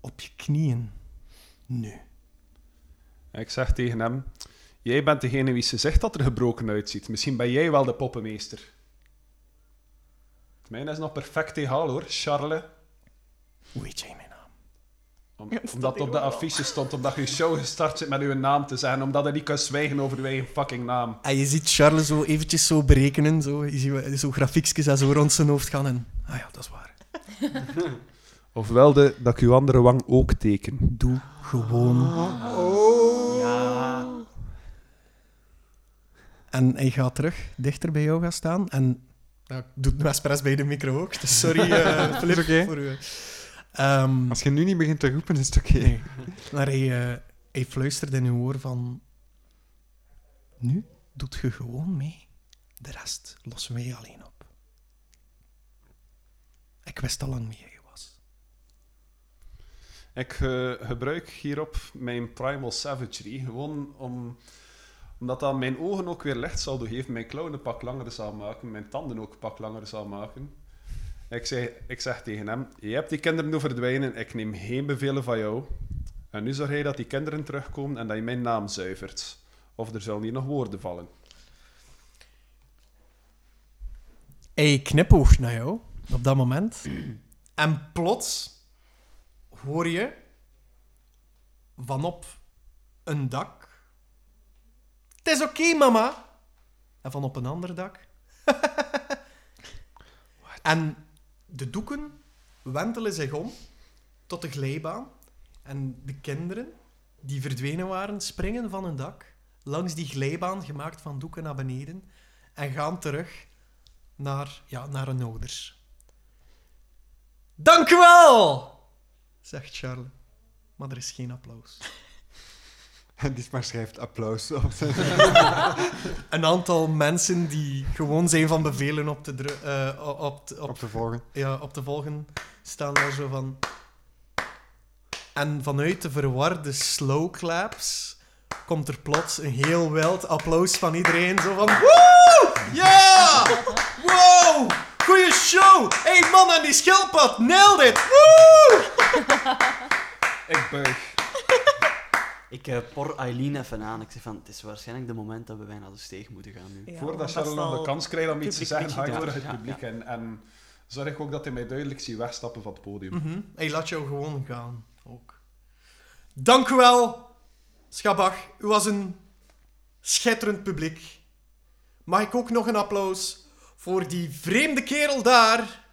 Speaker 2: Op je knieën. Nu.
Speaker 4: Ik zeg tegen hem: Jij bent degene wie ze zegt dat er gebroken uitziet. Misschien ben jij wel de poppenmeester. Het Mijn is nog perfect tegenhaal hoor, Charles.
Speaker 2: Hoe weet jij mijn naam?
Speaker 4: Om-
Speaker 6: Ja,
Speaker 4: omdat het op
Speaker 6: dat staat
Speaker 4: de
Speaker 6: hier wel.
Speaker 4: affiche stond, omdat je show gestart zit met uw naam te zeggen, omdat je niet kunt zwijgen over uw eigen fucking naam.
Speaker 2: En je ziet Charles zo eventjes zo berekenen. Zo, je ziet zo grafiekjes en zo rond zijn hoofd gaan. En, ah ja, dat is waar.
Speaker 4: Ofwel de, dat ik uw andere wang ook teken.
Speaker 2: Doe gewoon.
Speaker 1: Ja.
Speaker 2: En hij gaat terug dichter bij jou gaan staan. En nou, ik doe het nu expres bij de micro ook. Dus sorry, eh Filip,
Speaker 5: Is oké.
Speaker 2: voor u. Ehm,
Speaker 5: Als je nu niet begint te roepen, is het oké.
Speaker 2: Nee. maar hij, eh, hij fluistert in uw oor van... Nu doet je gewoon mee. De rest lossen wij alleen op. Ik wist al lang wie jij was.
Speaker 4: Ik eh, gebruik hierop mijn Primal Savagery, gewoon om, omdat dat mijn ogen ook weer licht zal doorgeven, mijn klauwen een pak langer zal maken, mijn tanden ook een pak langer zal maken. Ik zeg, ik zeg tegen hem, je hebt die kinderen doen verdwijnen, ik neem geen bevelen van jou. En nu zorg jij dat die kinderen terugkomen en dat je mijn naam zuivert. Of er zullen hier nog woorden vallen.
Speaker 2: Hij knipoogt naar jou op dat moment. En plots hoor je vanop een dak. Het is oké, mama. En vanop een ander dak. en de doeken wentelen zich om tot de glijbaan. En de kinderen die verdwenen waren, springen van hun dak langs die glijbaan gemaakt van doeken naar beneden en gaan terug naar, ja, naar hun ouders. Dank u wel, zegt Charles. Maar er is geen applaus.
Speaker 5: En Dietmar schrijft applaus op zijn...
Speaker 2: Een aantal mensen die gewoon zijn van bevelen op te, dru- eh, op, te- op,
Speaker 5: op te volgen.
Speaker 2: ja, op te volgen, staan daar zo van. En vanuit de verwarde slow claps komt er plots een heel wild applaus van iedereen. Zo van, woe! Ja! Wow! Goeie show! Hé hey, man aan die schildpad, nailed it! Woe!
Speaker 4: Ik buig.
Speaker 1: Ik eh, por Eileen even aan. Ik zeg van, het is waarschijnlijk de moment dat we wij naar de steeg moeten gaan nu.
Speaker 6: Ja,
Speaker 4: Voordat
Speaker 6: want
Speaker 4: Charles nog
Speaker 6: zal-
Speaker 4: de kans krijgt om iets te
Speaker 1: publiek
Speaker 4: zeggen,
Speaker 1: beetje
Speaker 4: ga ik
Speaker 1: daar.
Speaker 4: door het
Speaker 1: Ja,
Speaker 4: publiek. En, en zorg ook dat hij mij duidelijk ziet wegstappen van het podium.
Speaker 2: Mhm. Hey, laat jou gewoon gaan. Ook. Dank u wel, Schabach. U was een schitterend publiek. Mag ik ook nog een applaus voor die vreemde kerel daar,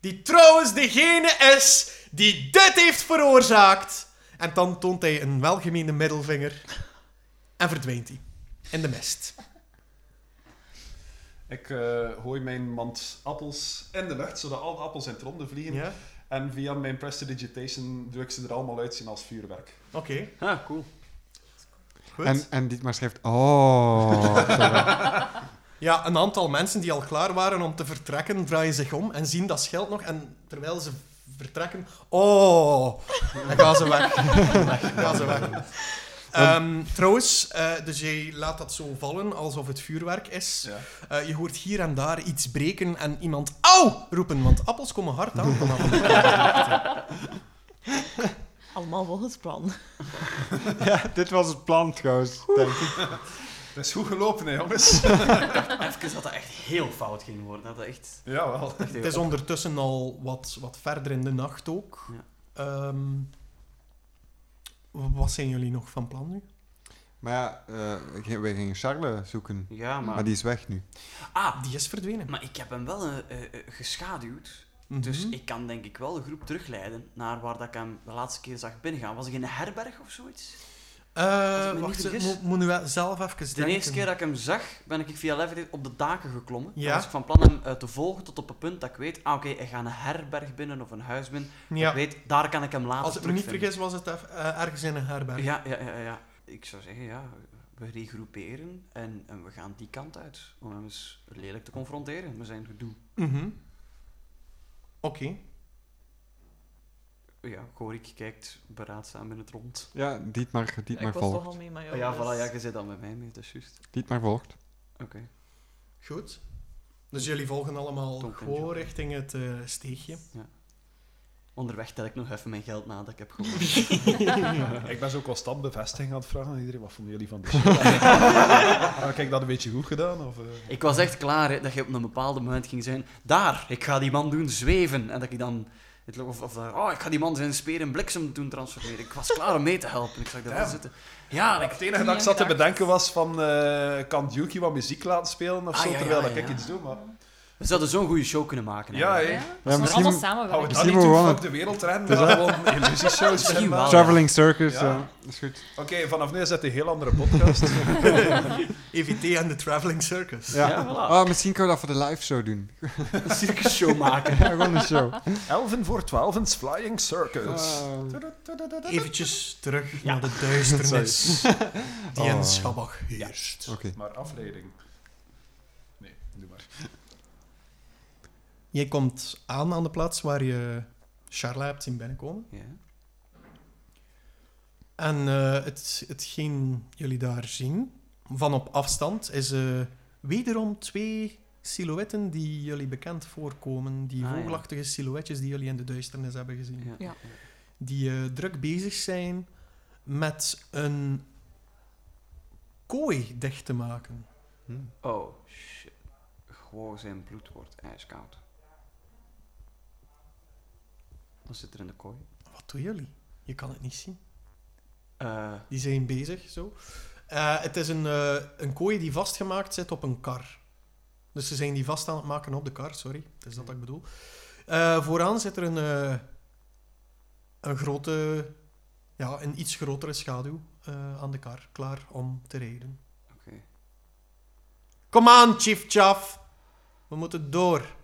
Speaker 2: die trouwens degene is die dit heeft veroorzaakt. En dan toont hij een welgemeende middelvinger en verdwijnt hij in de mist.
Speaker 4: Ik eh, gooi mijn mand appels in de lucht, zodat al de appels in het ronde vliegen.
Speaker 2: Ja?
Speaker 4: En via mijn prestidigitation doe ik ze er allemaal uitzien als vuurwerk.
Speaker 2: Oké,
Speaker 1: Ah, cool.
Speaker 2: goed.
Speaker 5: En, en Dietmar schrijft... Oh.
Speaker 2: Ja, een aantal mensen die al klaar waren om te vertrekken, draaien zich om en zien dat schild nog. En terwijl ze vertrekken, oh, dan gaan ze weg. Dan gaan ze weg. Ehm, trouwens, eh, dus jij laat dat zo vallen alsof het vuurwerk is.
Speaker 4: Ja.
Speaker 2: Eh, je hoort hier en daar iets breken en iemand auw roepen, want appels komen hard aan. vanaf een
Speaker 6: Allemaal volgens plan.
Speaker 5: ja, dit was het plan trouwens. denk ik.
Speaker 4: Het is goed gelopen, hè, jongens.
Speaker 1: Even dat dat echt heel fout ging worden. Dat dat echt...
Speaker 4: Jawel.
Speaker 1: echt
Speaker 2: Het is ondertussen al wat, wat verder in de nacht ook.
Speaker 1: Ja.
Speaker 2: Ehm, wat zijn jullie nog van plan nu?
Speaker 5: Maar ja, eh, we gingen- we gingen Charles zoeken.
Speaker 1: Ja, maar...
Speaker 5: Maar die is weg nu.
Speaker 1: Ah,
Speaker 2: Die is verdwenen.
Speaker 1: maar ik heb hem wel eh, eh, eh, geschaduwd. Dus
Speaker 2: Mhm.
Speaker 1: ik kan denk ik wel de groep terugleiden naar waar dat ik hem de laatste keer zag binnengaan. Was ik in een herberg of zoiets? Als ik
Speaker 2: Eh
Speaker 1: me
Speaker 2: wacht,
Speaker 1: niet
Speaker 2: ik
Speaker 1: vergis.
Speaker 2: moet, moet nu wel zelf even
Speaker 1: Dus De
Speaker 2: denken.
Speaker 1: eerste keer dat ik hem zag, ben ik via Leverage op de daken geklommen. Dan
Speaker 2: Ja.
Speaker 1: was ik van plan hem eh, te volgen tot op het punt dat ik weet, ah oké, hij gaat een herberg binnen of een huis binnen. Ik
Speaker 2: Ja.
Speaker 1: weet, daar kan ik hem later
Speaker 2: Als ik me niet
Speaker 1: terugvinden.
Speaker 2: vergis, was het eff- eh, ergens in een herberg.
Speaker 1: Ja, ja, ja, ja. Ik zou zeggen, ja, we regroeperen en, en we gaan die kant uit. Om hem eens lelijk te confronteren met zijn gedoe.
Speaker 2: Mhm. Oké.
Speaker 1: Ja, Gorik kijkt beraadzaam in het rond.
Speaker 5: Ja, Dietmar,
Speaker 6: ik was
Speaker 5: Dietmar
Speaker 6: toch
Speaker 5: volgt.
Speaker 6: al mee, maar
Speaker 1: Ja, voilà, ja, je zit dan met mij mee, dat is juist.
Speaker 5: Dietmar volgt.
Speaker 1: Oké.
Speaker 2: Goed. Dus jullie volgen allemaal
Speaker 1: Tonk en
Speaker 2: gewoon
Speaker 1: John.
Speaker 2: richting het eh, steegje.
Speaker 1: Onderweg tel ik nog even mijn geld na dat ik heb gewonnen.
Speaker 4: Ik ben zo constant bevestiging aan het vragen aan iedereen. Wat vonden jullie van de show? Heb ik dat een beetje goed gedaan? Of, eh?
Speaker 1: Ik was echt klaar hè, dat je op een bepaald moment ging zijn. Daar, ik ga die man doen zweven. En dat ik dan. het- Of, of daar, oh, ik ga die man zijn speer in bliksem doen transformeren. Ik was klaar om mee te helpen. Ik zag dat wel
Speaker 4: Damn.
Speaker 1: zitten. Ja, ik,
Speaker 4: Het enige dat ik zat te bedenken was van... eh, kan Duki wat muziek laten spelen of
Speaker 1: Ah,
Speaker 4: zo,
Speaker 1: ja, ja,
Speaker 4: terwijl
Speaker 1: ja,
Speaker 4: ik
Speaker 1: ja.
Speaker 4: iets doe? Maar...
Speaker 1: we zouden zo'n goede show kunnen maken.
Speaker 4: Ja,
Speaker 1: eigenlijk.
Speaker 4: hè.
Speaker 3: Als we
Speaker 5: misschien-
Speaker 4: Hou het
Speaker 3: allemaal samenwerken.
Speaker 4: dan
Speaker 5: Misschien
Speaker 4: niet toe,
Speaker 5: wel.
Speaker 4: fuck de wereld rennen. We gaan gewoon illusieshows
Speaker 1: Misschien
Speaker 4: hebben.
Speaker 1: wel.
Speaker 4: maar-
Speaker 1: ja.
Speaker 5: Traveling Circus,
Speaker 4: Ja.
Speaker 5: Ah, ja, is goed.
Speaker 4: Oké, vanaf nu is dat een heel andere podcast.
Speaker 2: EVT en de Traveling Circus.
Speaker 5: Ja.
Speaker 1: Ja, voilà.
Speaker 5: Oh, misschien kunnen we dat voor de live show doen.
Speaker 1: Een circus show maken.
Speaker 5: Ja, Gewoon een show.
Speaker 4: Elven voor Twaalfens Flying Circus.
Speaker 5: Ah.
Speaker 2: Eventjes terug naar de duisternis die in
Speaker 5: Oh.
Speaker 2: Schabach heerst.
Speaker 5: Oké.
Speaker 4: Maar afleiding. Nee, doe maar.
Speaker 2: Jij komt aan aan de plaats waar je Charla hebt zien binnenkomen.
Speaker 1: Ja.
Speaker 2: En eh, het, hetgeen jullie daar zien, van op afstand, is eh, wederom twee silhouetten die jullie bekend voorkomen. Die
Speaker 1: Ah, ja.
Speaker 2: vogelachtige silhouetjes die jullie in de duisternis hebben gezien.
Speaker 1: Ja.
Speaker 6: Ja.
Speaker 2: Die eh, druk bezig zijn met een kooi dicht te maken.
Speaker 1: Oh, shit. Gewoon zijn bloed wordt ijskoud. Wat zit er in de kooi?
Speaker 2: Wat doen jullie? Je kan het niet zien.
Speaker 1: Eh,
Speaker 2: Die zijn bezig, zo. Eh, het is een, eh, een kooi die vastgemaakt zit op een kar. Dus ze zijn die vast aan het maken op de kar, sorry. Het is dat dat ik bedoel. Eh, vooraan zit er een, eh, een grote... Ja, een iets grotere schaduw eh, aan de kar, klaar om te rijden.
Speaker 1: Oké.
Speaker 2: Kom aan, Chief Chaff. We moeten door.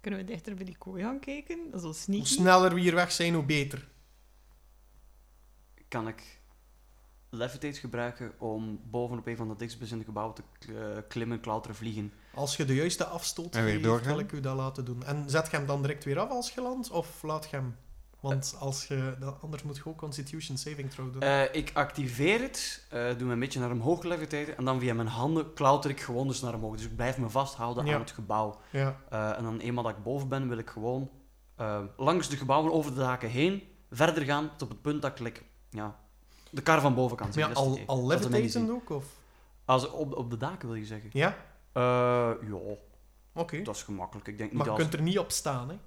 Speaker 6: Kunnen we dichter bij die kooi gaan kijken? Zo
Speaker 2: Hoe
Speaker 6: sneaky.
Speaker 2: sneller we hier weg zijn, hoe beter.
Speaker 1: Kan ik levitate gebruiken om bovenop een van de dichtstbijzijnde gebouwen te k- eh, klimmen, klauteren, vliegen?
Speaker 2: Als je de juiste afstoot
Speaker 5: En weer
Speaker 2: geeft,
Speaker 5: doorgaan.
Speaker 2: wil ik u dat laten doen. En zet je hem dan direct weer af als je landt, of laat je hem? Want als je, dat, anders moet je ook Constitution Saving Throw doen.
Speaker 1: Eh, ik activeer het, eh, doe me een beetje naar omhoog levitaten en dan via mijn handen klauter ik gewoon dus naar omhoog. Dus ik blijf me vasthouden
Speaker 2: Ja.
Speaker 1: aan het gebouw.
Speaker 2: ja.
Speaker 1: Eh, en dan eenmaal dat ik boven ben, wil ik gewoon eh, langs de gebouwen over de daken heen verder gaan tot op het punt dat ik like, ja, de kar van boven kan zien.
Speaker 2: ja,
Speaker 1: Dat is het
Speaker 2: al,
Speaker 1: idee.
Speaker 2: al
Speaker 1: Dat is mijn
Speaker 2: levitaten
Speaker 1: idee.
Speaker 2: ook? Of?
Speaker 1: Als op, op de daken wil je zeggen?
Speaker 2: Ja?
Speaker 1: Eh, ja,
Speaker 2: Oké.
Speaker 1: dat is gemakkelijk. Ik denk niet
Speaker 2: Maar je
Speaker 1: als...
Speaker 2: kunt er niet op staan, hè.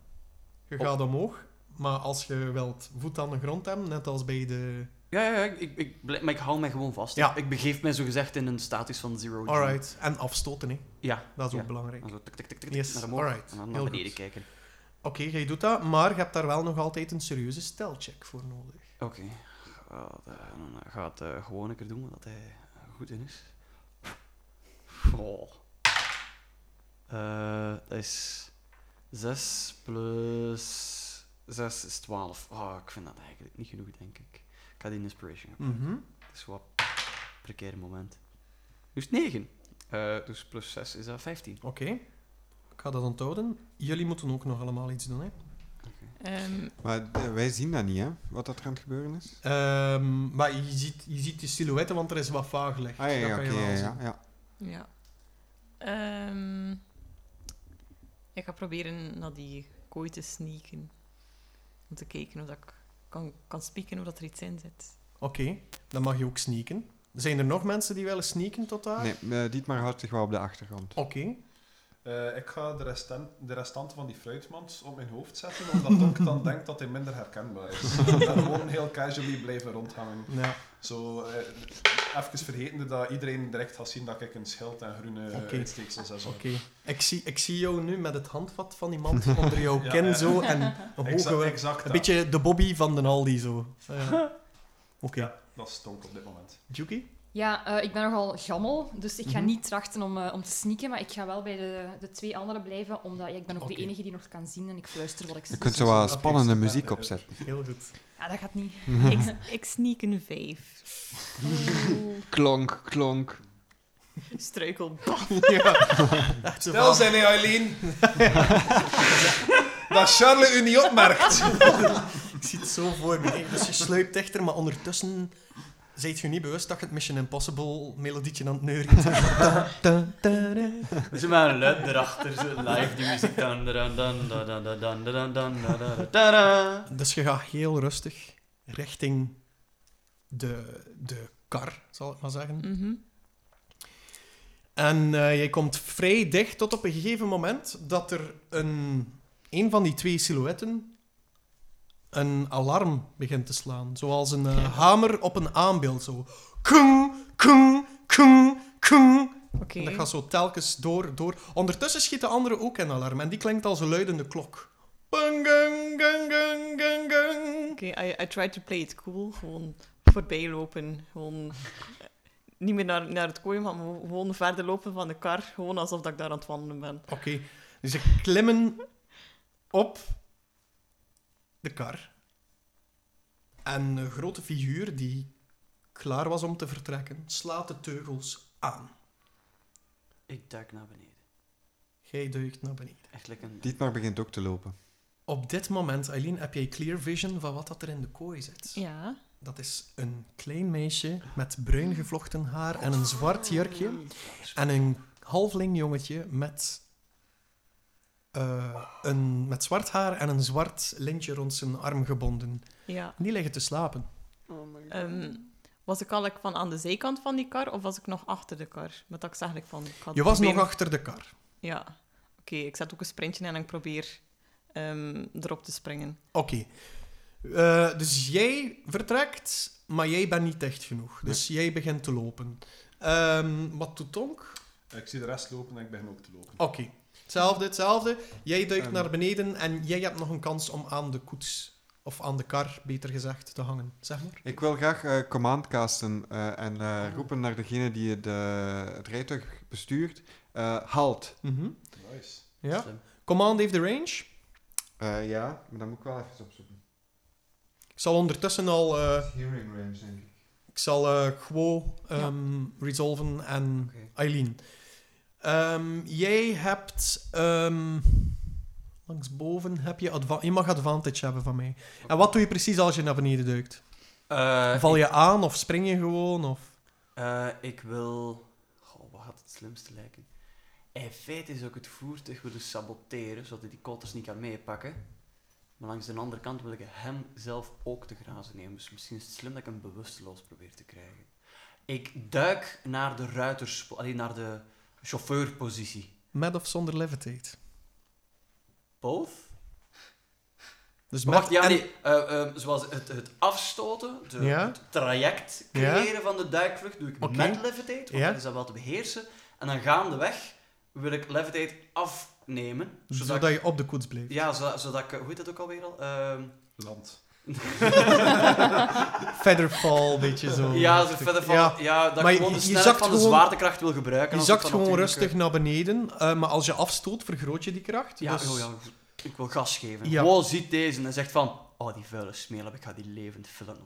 Speaker 2: Je
Speaker 1: Op-
Speaker 2: gaat omhoog, maar als je wilt voet aan de grond hebben, net als bij de...
Speaker 1: Ja, ja, ja ik, ik, ik blijf- maar ik hou mij gewoon vast.
Speaker 2: Ja.
Speaker 1: Ik begeef mij zogezegd in een status van zero G.
Speaker 2: Alright. En afstoten, hè.
Speaker 1: Ja,
Speaker 2: Dat is ook
Speaker 1: Ja.
Speaker 2: belangrijk.
Speaker 1: dan zo tik, tik, tik, tik,
Speaker 2: Yes,
Speaker 1: naar omhoog.
Speaker 2: alright.
Speaker 1: En dan naar
Speaker 2: Heel
Speaker 1: beneden
Speaker 2: goed.
Speaker 1: kijken.
Speaker 2: Oké, jij doet dat, maar je hebt daar wel nog altijd een serieuze stijlcheck voor nodig.
Speaker 1: Oké. Gaat, eh, dan gaat eh, gewoon een keer doen wat hij eh, goed in is. Oh. Eh, dat is 6 plus 6 is 12. Oh, ik vind dat eigenlijk niet genoeg, denk ik. Ik ga die inspiration gebruiken. Het is wat een precair moment. Dus 9. Eh, dus plus 6 is dat 15.
Speaker 2: Oké. Ik ga dat onthouden. Jullie moeten ook nog allemaal iets doen, hè.
Speaker 6: Ehm,
Speaker 5: Maar eh, wij zien dat niet, hè? Wat dat er aan het gebeuren is.
Speaker 2: Ehm, maar je ziet, je ziet de silhouetten, want er is wat vaag gelegd.
Speaker 5: Ah ja,
Speaker 2: dat
Speaker 5: ja,
Speaker 2: kan
Speaker 5: oké.
Speaker 2: je wel
Speaker 5: ja,
Speaker 2: zien.
Speaker 5: ja, ja.
Speaker 6: ja. Ehm, ik ga proberen naar die kooi te sneaken. Om te kijken of dat ik kan, kan spieken of dat er iets in zit.
Speaker 2: Oké, dan mag je ook sneaken. Zijn er nog mensen die willen sneaken tot daar?
Speaker 5: Nee, eh, Dietmar houdt zich wel op de achtergrond.
Speaker 2: Oké.
Speaker 4: Eh, ik ga de, restan- de restanten van die fruitmans op mijn hoofd zetten, omdat Donk dan denkt dat hij minder herkenbaar is. en gewoon heel casually blijven rondhangen.
Speaker 2: Ja.
Speaker 4: Zo, eh, even vergetende dat iedereen direct gaat zien dat ik een schild en groene
Speaker 2: Oké.
Speaker 4: okay. uitsteeksels en zo.
Speaker 2: Oké. Ik, zie, ik zie jou nu met het handvat van iemand onder jouw
Speaker 4: Ja,
Speaker 2: kin
Speaker 4: ja.
Speaker 2: zo en een
Speaker 4: Exact,
Speaker 2: hoge...
Speaker 4: exact
Speaker 2: Een
Speaker 4: dat.
Speaker 2: beetje de Bobby van den Aldi zo. Ja. Oké.
Speaker 4: Ja, dat stonk op dit moment.
Speaker 2: Juki?
Speaker 3: Ja, eh, ik ben nogal gammel, dus ik ga
Speaker 2: Mhm.
Speaker 3: niet trachten om, eh, om te sneaken, maar ik ga wel bij de, de twee anderen blijven, omdat ja, ik ben ook
Speaker 2: Oké.
Speaker 3: de enige die nog kan zien en ik fluister wat ik
Speaker 5: Je
Speaker 3: zie.
Speaker 4: Dus
Speaker 3: Dus
Speaker 5: kunt zo wat
Speaker 2: Oké,
Speaker 5: spannende
Speaker 4: super.
Speaker 5: muziek opzetten.
Speaker 2: Heel goed.
Speaker 3: Ja, dat gaat niet.
Speaker 6: ik, ik sneak een vijf.
Speaker 5: Klonk, klonk.
Speaker 6: Struikel.
Speaker 2: ja. Echt zo
Speaker 4: Stel
Speaker 2: van-
Speaker 4: zijn, Eileen! dat Charles u niet opmerkt!
Speaker 2: Ik zie het zo voor me. Dus je sluipt echter, maar ondertussen zijt je niet bewust dat je het Mission Impossible melodietje aan het neuren bent. Ta, ta, ta, da.
Speaker 1: Er zit maar een luid erachter, zo live die muziek. Dan, dan, dan, dan, dan, dan, dan, dan, dan, dan, dan, dan.
Speaker 2: Dus je gaat heel rustig richting de, de kar, zal ik maar zeggen.
Speaker 6: Mhm.
Speaker 2: En eh, jij komt vrij dicht tot op een gegeven moment dat er een, een van die twee silhouetten een alarm begint te slaan. Zoals een eh, hamer op een aanbeeld. Zo. Kung, kung, kung, kung.
Speaker 6: Oké.
Speaker 2: En dat gaat zo telkens door, door. Ondertussen schiet de andere ook een alarm. En die klinkt als een luidende klok. Bang, gang, gang, gang, gang, gang.
Speaker 6: Oké, I, I tried to play it cool. Gewoon voorbij lopen. Gewoon eh, niet meer naar, naar het kooi, maar gewoon verder lopen van de kar. Gewoon alsof dat ik daar aan het wandelen ben.
Speaker 2: Oké, dus ze klimmen op de kar. En een grote figuur die klaar was om te vertrekken, slaat de teugels aan.
Speaker 1: Ik duik naar beneden.
Speaker 2: Jij duikt naar beneden.
Speaker 1: Echt lekker een...
Speaker 5: Dietmar begint ook te lopen.
Speaker 2: Op dit moment, Eileen, heb jij clear vision van wat dat er in de kooi zit.
Speaker 6: Ja.
Speaker 2: Dat is een klein meisje met bruin gevlochten haar en een zwart jurkje. En een halfling jongetje met, eh, een, met zwart haar en een zwart lintje rond zijn arm gebonden.
Speaker 6: Ja.
Speaker 2: Die liggen te slapen.
Speaker 6: Ehm, was ik eigenlijk van aan de zijkant van die kar of was ik nog achter de kar? Met dat ik zeg eigenlijk van... ik ga het
Speaker 2: Je was nog
Speaker 6: proberen-
Speaker 2: achter de kar.
Speaker 6: Ja. Oké, ik zet ook een sprintje in en ik probeer ehm, erop te springen.
Speaker 2: Oké. Eh, dus jij vertrekt, maar jij bent niet dicht genoeg. Dus jij begint te lopen. Ehm, wat doet Tonk?
Speaker 4: Ik zie de rest lopen en ik begin ook te lopen.
Speaker 2: Oké. Hetzelfde, hetzelfde. Jij duikt
Speaker 5: Ehm.
Speaker 2: naar beneden en jij hebt nog een kans om aan de koets, of aan de kar, beter gezegd, te hangen. Zeg maar.
Speaker 5: Ik wil graag eh, command casten eh, en eh, roepen naar degene die de, het rijtuig bestuurt. eh, halt.
Speaker 2: Mhm.
Speaker 4: Nice.
Speaker 2: Ja.
Speaker 1: Slim.
Speaker 2: Command heeft de range.
Speaker 5: Eh, ja, maar dan moet ik wel even opzoeken.
Speaker 2: Ik zal ondertussen al... eh,
Speaker 5: Hearing range, denk ik.
Speaker 2: Ik zal eh Quo ehm, resolven en
Speaker 1: Oké.
Speaker 2: Eileen. Ehm, jij hebt... ehm langsboven heb je... adva- Je mag advantage hebben van mij. En wat doe je precies als je naar beneden duikt?
Speaker 1: Eh,
Speaker 2: Val je aan of spring je gewoon? Of...
Speaker 1: Eh, ik wil. Goh, wat gaat het slimste lijken? In feite is ook het voertuig willen saboteren, zodat hij die kotters niet kan meepakken. Maar langs de andere kant wil ik hem zelf ook te grazen nemen. Dus misschien is het slim dat ik hem bewusteloos probeer te krijgen. Ik duik naar de ruiters, alleen naar de chauffeurpositie.
Speaker 2: Met of zonder levitate?
Speaker 1: Both?
Speaker 2: Dus met
Speaker 1: Wacht, ja,
Speaker 2: en-
Speaker 1: nee. eh, ehm, zoals het, het afstoten, de-
Speaker 2: Ja.
Speaker 1: het traject
Speaker 2: Ja.
Speaker 1: creëren van de duikvlucht, doe ik
Speaker 2: Oké.
Speaker 1: met levitate, want
Speaker 2: Ja.
Speaker 1: dat is dat wel te beheersen. En dan gaandeweg wil ik levitate afnemen, zodat,
Speaker 2: Zodat
Speaker 1: ik,
Speaker 2: je op de koets blijft.
Speaker 1: ja, zodat, zodat ik... Hoe heet dat ook alweer al? Ehm,
Speaker 4: Land.
Speaker 2: Feather fall, een beetje zo.
Speaker 1: ja, zo verder van... Ja,
Speaker 2: Ja.
Speaker 1: dat
Speaker 2: Maar
Speaker 1: ik
Speaker 2: je-
Speaker 1: gewoon de
Speaker 2: je
Speaker 1: snelheid
Speaker 2: zakt
Speaker 1: van de
Speaker 2: gewoon-
Speaker 1: zwaartekracht wil gebruiken.
Speaker 2: Je
Speaker 1: als ik
Speaker 2: zakt
Speaker 1: dan
Speaker 2: gewoon
Speaker 1: natuurlijk,
Speaker 2: rustig
Speaker 1: eh,
Speaker 2: naar beneden, eh, maar als je afstoot, vergroot je die kracht.
Speaker 1: Ja,
Speaker 2: dus...
Speaker 1: oh ja, ik wil gas geven.
Speaker 2: Ja.
Speaker 1: Wow, ziet deze en zegt van... Oh, die vuile smeerlap, ik ga die levend vullen.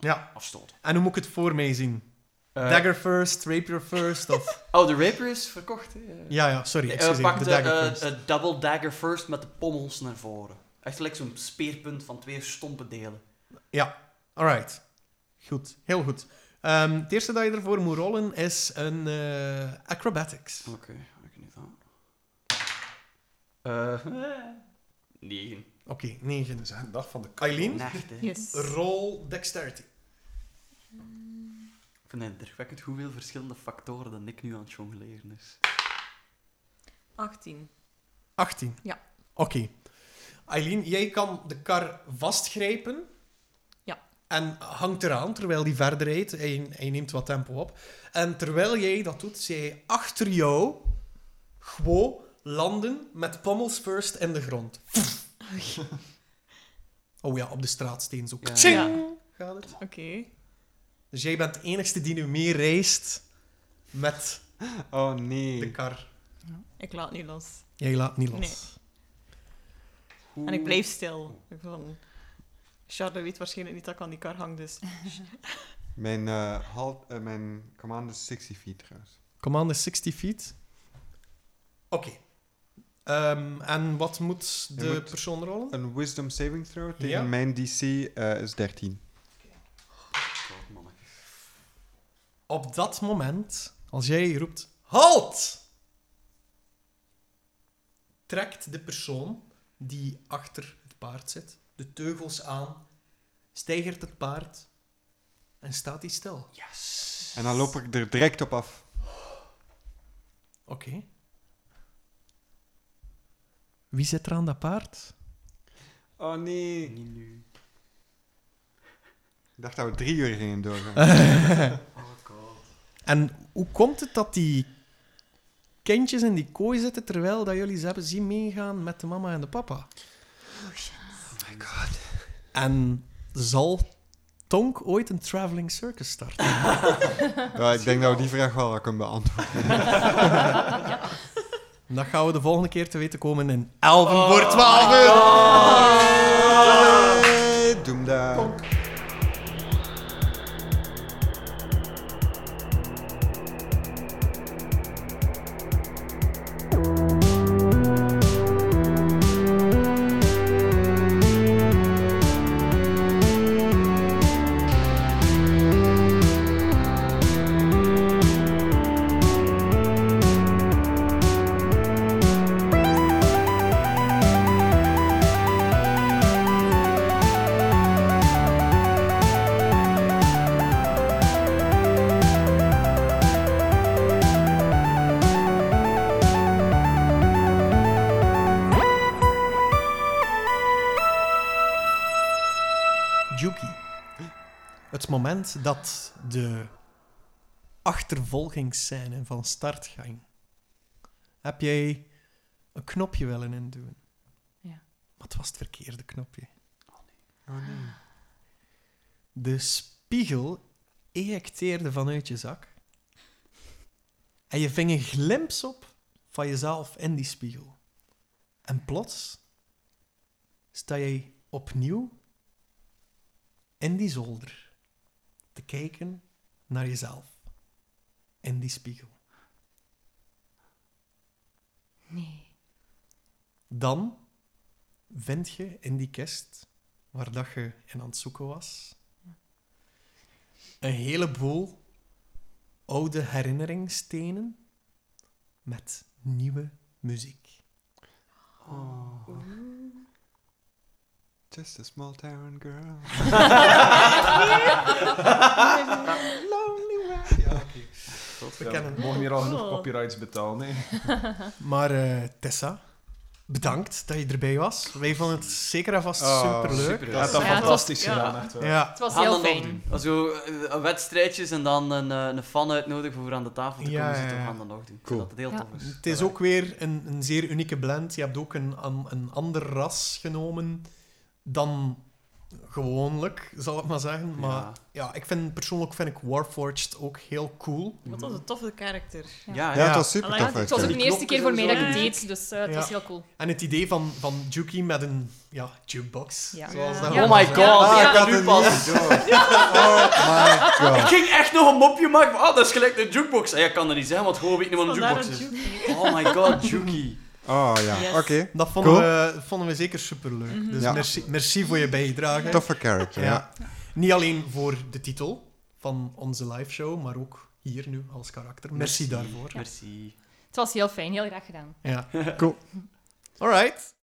Speaker 2: Ja.
Speaker 1: Afstoten.
Speaker 2: En hoe moet ik het voor mij zien?
Speaker 1: Eh,
Speaker 2: Dagger first, rapier first, of...
Speaker 1: Oh, de rapier is verkocht, hè? Eh.
Speaker 2: Ja, ja, sorry.
Speaker 1: Eh,
Speaker 2: excuseer,
Speaker 1: pak
Speaker 2: de
Speaker 1: de
Speaker 2: dagger
Speaker 1: eh,
Speaker 2: first.
Speaker 1: eh, double dagger first met de pommels naar voren. Echt like zo'n speerpunt van twee stompe delen.
Speaker 2: Alright. Goed, heel goed. Ehm, het eerste dat je ervoor moet rollen is een eh, acrobatics.
Speaker 1: Oké, ik niet aan. Eh, negen.
Speaker 2: Oké, 9.
Speaker 4: Het is echt een dag van de
Speaker 2: Eileen?
Speaker 1: Nacht, hè.
Speaker 6: Yes.
Speaker 2: Roll dexterity.
Speaker 1: Ik vind het indrukwekkend hoeveel verschillende factoren dat ik nu aan het jongleren is.
Speaker 6: 18.
Speaker 2: 18.
Speaker 6: Ja.
Speaker 2: Oké. Eileen, jij kan de kar vastgrijpen.
Speaker 6: Ja.
Speaker 2: En hangt eraan terwijl die verder rijdt. Hij, hij neemt wat tempo op. En terwijl jij dat doet, zie jij achter jou gewoon landen met pommels first in de grond. oh ja, op de straatsteen zo.
Speaker 1: Ja.
Speaker 2: Tjing!
Speaker 6: Ja.
Speaker 2: Gaat het?
Speaker 6: Oké.
Speaker 2: Dus jij bent de enigste die nu mee reist met
Speaker 5: Oh
Speaker 2: de
Speaker 5: nee.
Speaker 2: kar.
Speaker 6: Ik laat niet los.
Speaker 2: Jij laat niet los.
Speaker 6: Nee. En ik blijf stil. Ik van... Charlotte weet waarschijnlijk niet dat ik aan die kar hang, dus...
Speaker 5: Mijn, eh, halt, eh, mijn command is 60 feet trouwens.
Speaker 2: Command is 60 feet. Oké. Ehm, en wat moet de
Speaker 5: moet-
Speaker 2: persoon rollen?
Speaker 5: Een wisdom saving throw tegen
Speaker 2: Ja.
Speaker 5: mijn DC eh, is 13.
Speaker 1: God, mannen.
Speaker 2: Op dat moment, als jij roept: Halt! Trekt de persoon die achter het paard zit de teugels aan, stijgert het paard en staat hij stil.
Speaker 1: Yes.
Speaker 5: En dan loop ik er direct op af.
Speaker 2: Oké. Wie zit er aan dat paard?
Speaker 5: Oh nee.
Speaker 1: Niet nu.
Speaker 5: Ik dacht dat we drie uur gingen doorgaan.
Speaker 1: Oh god.
Speaker 2: En hoe komt het dat die kindjes in die kooi zitten terwijl dat jullie ze hebben zien meegaan met de mama en de papa?
Speaker 1: Oh my god.
Speaker 2: En zal Tonk ooit een traveling circus starten?
Speaker 5: Ja, ik denk dat we die vraag wel wel kunnen beantwoorden.
Speaker 2: Dat gaan we de volgende keer te weten komen in 11 voor 12
Speaker 5: Ah. Hey, Doem daar.
Speaker 2: moment dat de achtervolgingsscène van start ging, heb jij een knopje willen induwen.
Speaker 3: Ja.
Speaker 2: Maar het was het verkeerde knopje.
Speaker 5: Oh nee.
Speaker 2: De spiegel ejecteerde vanuit je zak. En je ving een glimp op van jezelf in die spiegel. En plots sta jij opnieuw in die zolder te kijken naar jezelf in die spiegel.
Speaker 3: Nee.
Speaker 2: Dan vind je in die kist waar dat je in aan het zoeken was een heleboel oude herinneringsstenen met nieuwe muziek.
Speaker 5: Just a small town girl.
Speaker 2: Lonely Way. Ja, oké. We kennen hem.
Speaker 4: Mogen hier al genoeg
Speaker 6: Cool.
Speaker 4: copyrights betalen, hè?
Speaker 2: Maar eh, Tessa, bedankt dat je erbij was. Wij vonden het zeker en vast
Speaker 4: Oh,
Speaker 2: superleuk.
Speaker 1: super.
Speaker 4: Je hebt dat
Speaker 6: Ja, het
Speaker 4: fantastisch
Speaker 6: was- ja.
Speaker 4: gedaan, echt wel.
Speaker 2: Ja.
Speaker 3: Het was
Speaker 1: Gaan dat
Speaker 3: heel
Speaker 1: nog
Speaker 3: fijn.
Speaker 1: Als we eh, eh, wedstrijdjes en dan een, eh, een fan uitnodigen voor aan de tafel te
Speaker 2: Ja,
Speaker 1: komen
Speaker 2: ja,
Speaker 1: zitten, we
Speaker 2: ja.
Speaker 1: gaan dat nog doen. Ik
Speaker 4: Cool.
Speaker 1: vind Dat het heel
Speaker 3: Ja.
Speaker 1: tof is.
Speaker 2: Het is ook weer een, een zeer unieke blend. Je hebt ook een, an- een ander ras genomen dan gewoonlijk, zal ik maar zeggen. Maar ja,
Speaker 1: Ja.
Speaker 2: ik vind, persoonlijk vind ik Warforged ook heel cool.
Speaker 6: Wat was een toffe karakter.
Speaker 3: Ja.
Speaker 1: Ja,
Speaker 5: Ja,
Speaker 1: ja.
Speaker 5: het was super
Speaker 6: Allee, ja,
Speaker 5: tof.
Speaker 6: het
Speaker 3: Het was ook
Speaker 5: eigenlijk.
Speaker 3: de eerste keer voor mij dat ik het
Speaker 6: Ja.
Speaker 3: deed, dus eh, het
Speaker 2: Ja.
Speaker 3: was heel cool.
Speaker 2: En het idee van, van Juki met een ja, jukebox.
Speaker 3: Ja.
Speaker 2: Zoals
Speaker 6: Ja.
Speaker 2: dat
Speaker 6: Oh
Speaker 2: gewoon
Speaker 1: my
Speaker 2: was,
Speaker 1: god,
Speaker 2: hè.
Speaker 1: Ah,
Speaker 5: ik
Speaker 1: ja,
Speaker 5: had
Speaker 1: nu
Speaker 5: het
Speaker 1: pas.
Speaker 5: niet door. Oh my
Speaker 1: Ik
Speaker 5: god.
Speaker 1: ging echt nog een mopje maken. van, Ah, dat is gelijk de jukebox. En jij kan dat niet zijn, want gewoon weet niet wat een
Speaker 6: Vandaar
Speaker 1: jukebox
Speaker 6: een
Speaker 1: is.
Speaker 6: juke.
Speaker 1: Oh my god, Juki.
Speaker 5: Oh ja,
Speaker 6: Yes.
Speaker 5: oké.
Speaker 2: Dat vonden,
Speaker 5: Cool.
Speaker 2: we, vonden we zeker superleuk. Dus
Speaker 5: Ja.
Speaker 2: merci, merci voor je bijdrage.
Speaker 5: Toffe character, ja.
Speaker 2: Ja. Niet alleen voor de titel van onze liveshow, maar ook hier nu als karakter. Merci, daarvoor.
Speaker 1: Merci.
Speaker 3: Het was heel fijn, heel graag gedaan.
Speaker 2: Ja.
Speaker 5: Cool.
Speaker 2: All right.